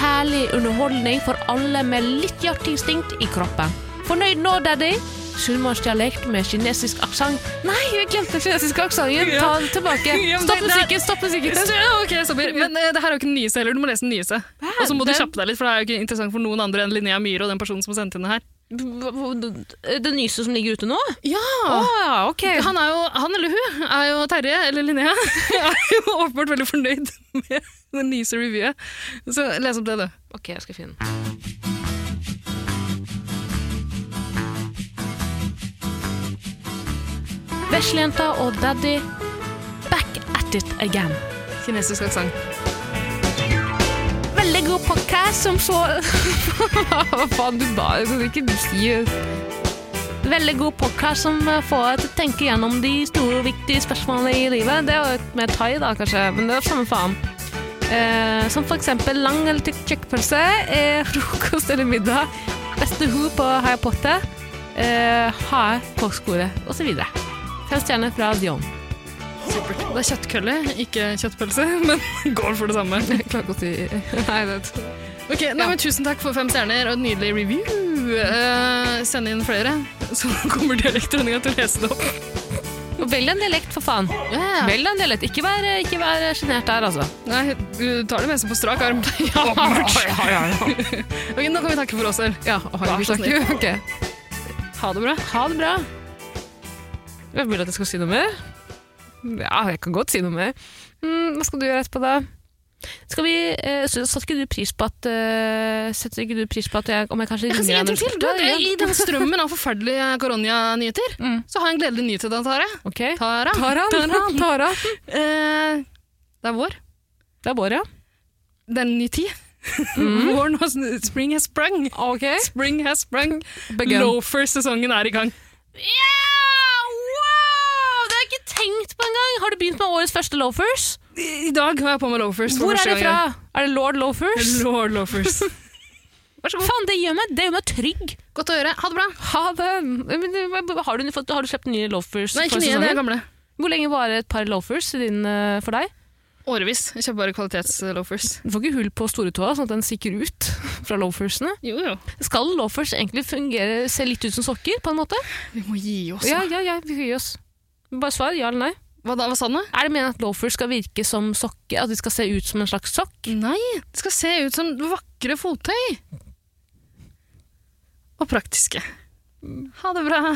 Speaker 1: Herlig underholdning for alle med litt jaktinstinkt i kroppen. Fornøyd nå, Daddy? Sunnmørsdialekt med kinesisk aksent. Nei, jeg glemte kinesisk aksent! Ta det tilbake.
Speaker 2: Ja,
Speaker 1: Stopp
Speaker 2: men det- det er-
Speaker 1: musikken, stopp musikken.
Speaker 2: Ja, Ok, stopper. Men eh, det her er jo ikke den nyeste heller, du må lese den nyeste. Og så må du
Speaker 1: Den-
Speaker 2: kjappe deg litt, for det er jo ikke interessant for noen andre enn Linnea Myhre og den personen som har sendt inn det her.
Speaker 1: Hva- hva- Det det nyeste som ligger ute nå?
Speaker 2: Ja!
Speaker 1: Å, ja, ok.
Speaker 2: Han, er jo, han eller hun er jo Terje, eller Linnea, er jo åpenbart veldig fornøyd med den nyeste revyet. Så les opp det, du.
Speaker 1: Ok, jeg skal finne den. Veslejenta og daddy, back at it again.
Speaker 2: Kinesisk aksent.
Speaker 1: Veldig god podcast som så Hva faen, du ba jeg kan ikke si Veldig god podcast som eh, får deg til å tenke gjennom de store, viktige spørsmålene i livet. Det er jo et mer thai, da, kanskje, men det er samme faen. Eh, som for eksempel lang eller tykk kjøkkpølse, eh, frokost eller middag, beste ho på Harry Potter, eh, harde påskeskole, osv. Fem stjerner fra Dion.
Speaker 2: Supert. Det er kjøttkølle, ikke kjøttpølse, men går for det samme.
Speaker 1: Jeg klarer ikke å si Nei, det
Speaker 2: Ok, nei, men Tusen takk for fem stjerner og en nydelig review. Eh, send inn flere, så kommer dialektdronninga til å lese det opp.
Speaker 1: Velg en dialekt, for faen.
Speaker 2: Vel.
Speaker 1: Velg en dialekt. Ikke vær, ikke vær sjenert der, altså.
Speaker 2: Nei, du tar det meste på strak arm. Åpenbart. Ok, Nå kan vi takke for oss selv.
Speaker 1: Ja, og har
Speaker 2: Vær så
Speaker 1: ikke Ok.
Speaker 2: Ha det bra.
Speaker 1: Ha det bra. Jeg vil at jeg skal si noe mer. Ja, jeg kan godt si noe mer. Mm, hva skal du gjøre etterpå, da? Skal vi, eh, så, satt ikke du pris på at eh, Setter ikke du pris på at jeg, om jeg kanskje
Speaker 2: Jeg kan si en ting til. Du,
Speaker 1: Ja,
Speaker 2: I den strømmen av forferdelige koronanyheter,
Speaker 1: Mm.
Speaker 2: så har jeg en gledelig nyhet til deg, Tare.
Speaker 1: Ok.
Speaker 2: Tara.
Speaker 1: Taran, Taran, Taran.
Speaker 2: Eh, det er vår.
Speaker 1: Det er vår, ja.
Speaker 2: Det er en ny tid.
Speaker 1: Mm.
Speaker 2: Våren og sn- spring has sprung.
Speaker 1: Ok.
Speaker 2: Spring has sprung.
Speaker 1: Begun.
Speaker 2: Loafer-sesongen er i gang.
Speaker 1: Yeah! Wow! Det har jeg ikke tenkt på engang! Har du begynt med årets første loafers?
Speaker 2: I i dag har jeg på meg loafers. for
Speaker 1: Hvor er
Speaker 2: første
Speaker 1: det fra?
Speaker 2: gang.
Speaker 1: Er det lord loafers?
Speaker 2: Lord loafers. Vær så god.
Speaker 1: Faen, det gjør meg, det gjør meg trygg.
Speaker 2: Godt å høre. Ha det bra.
Speaker 1: Ha det. Men, har, du fått, har du kjøpt nye loafers?
Speaker 2: Nei,
Speaker 1: for
Speaker 2: ikke nye, det
Speaker 1: sesongen?
Speaker 2: er gamle.
Speaker 1: Hvor lenge varer et par loafers i din, eh, for deg?
Speaker 2: Årevis. Jeg kjøper bare kvalitetsloafers.
Speaker 1: Du får ikke hull på storetåa, sånn at den stikker ut fra loafersene.
Speaker 2: Jo, jo.
Speaker 1: Skal loafers egentlig fungere, se litt ut som sokker, på en måte?
Speaker 2: Vi må gi oss.
Speaker 1: Ja, ja, ja, vi gir oss. Bare svar ja eller nei.
Speaker 2: Hva da? Hva sa den, da?
Speaker 1: Er det meningen at loafers skal virke som sokker? At de skal se ut som en slags sokk?
Speaker 2: Nei, det skal se ut som vakre fottøy. Og praktiske. Ha det bra.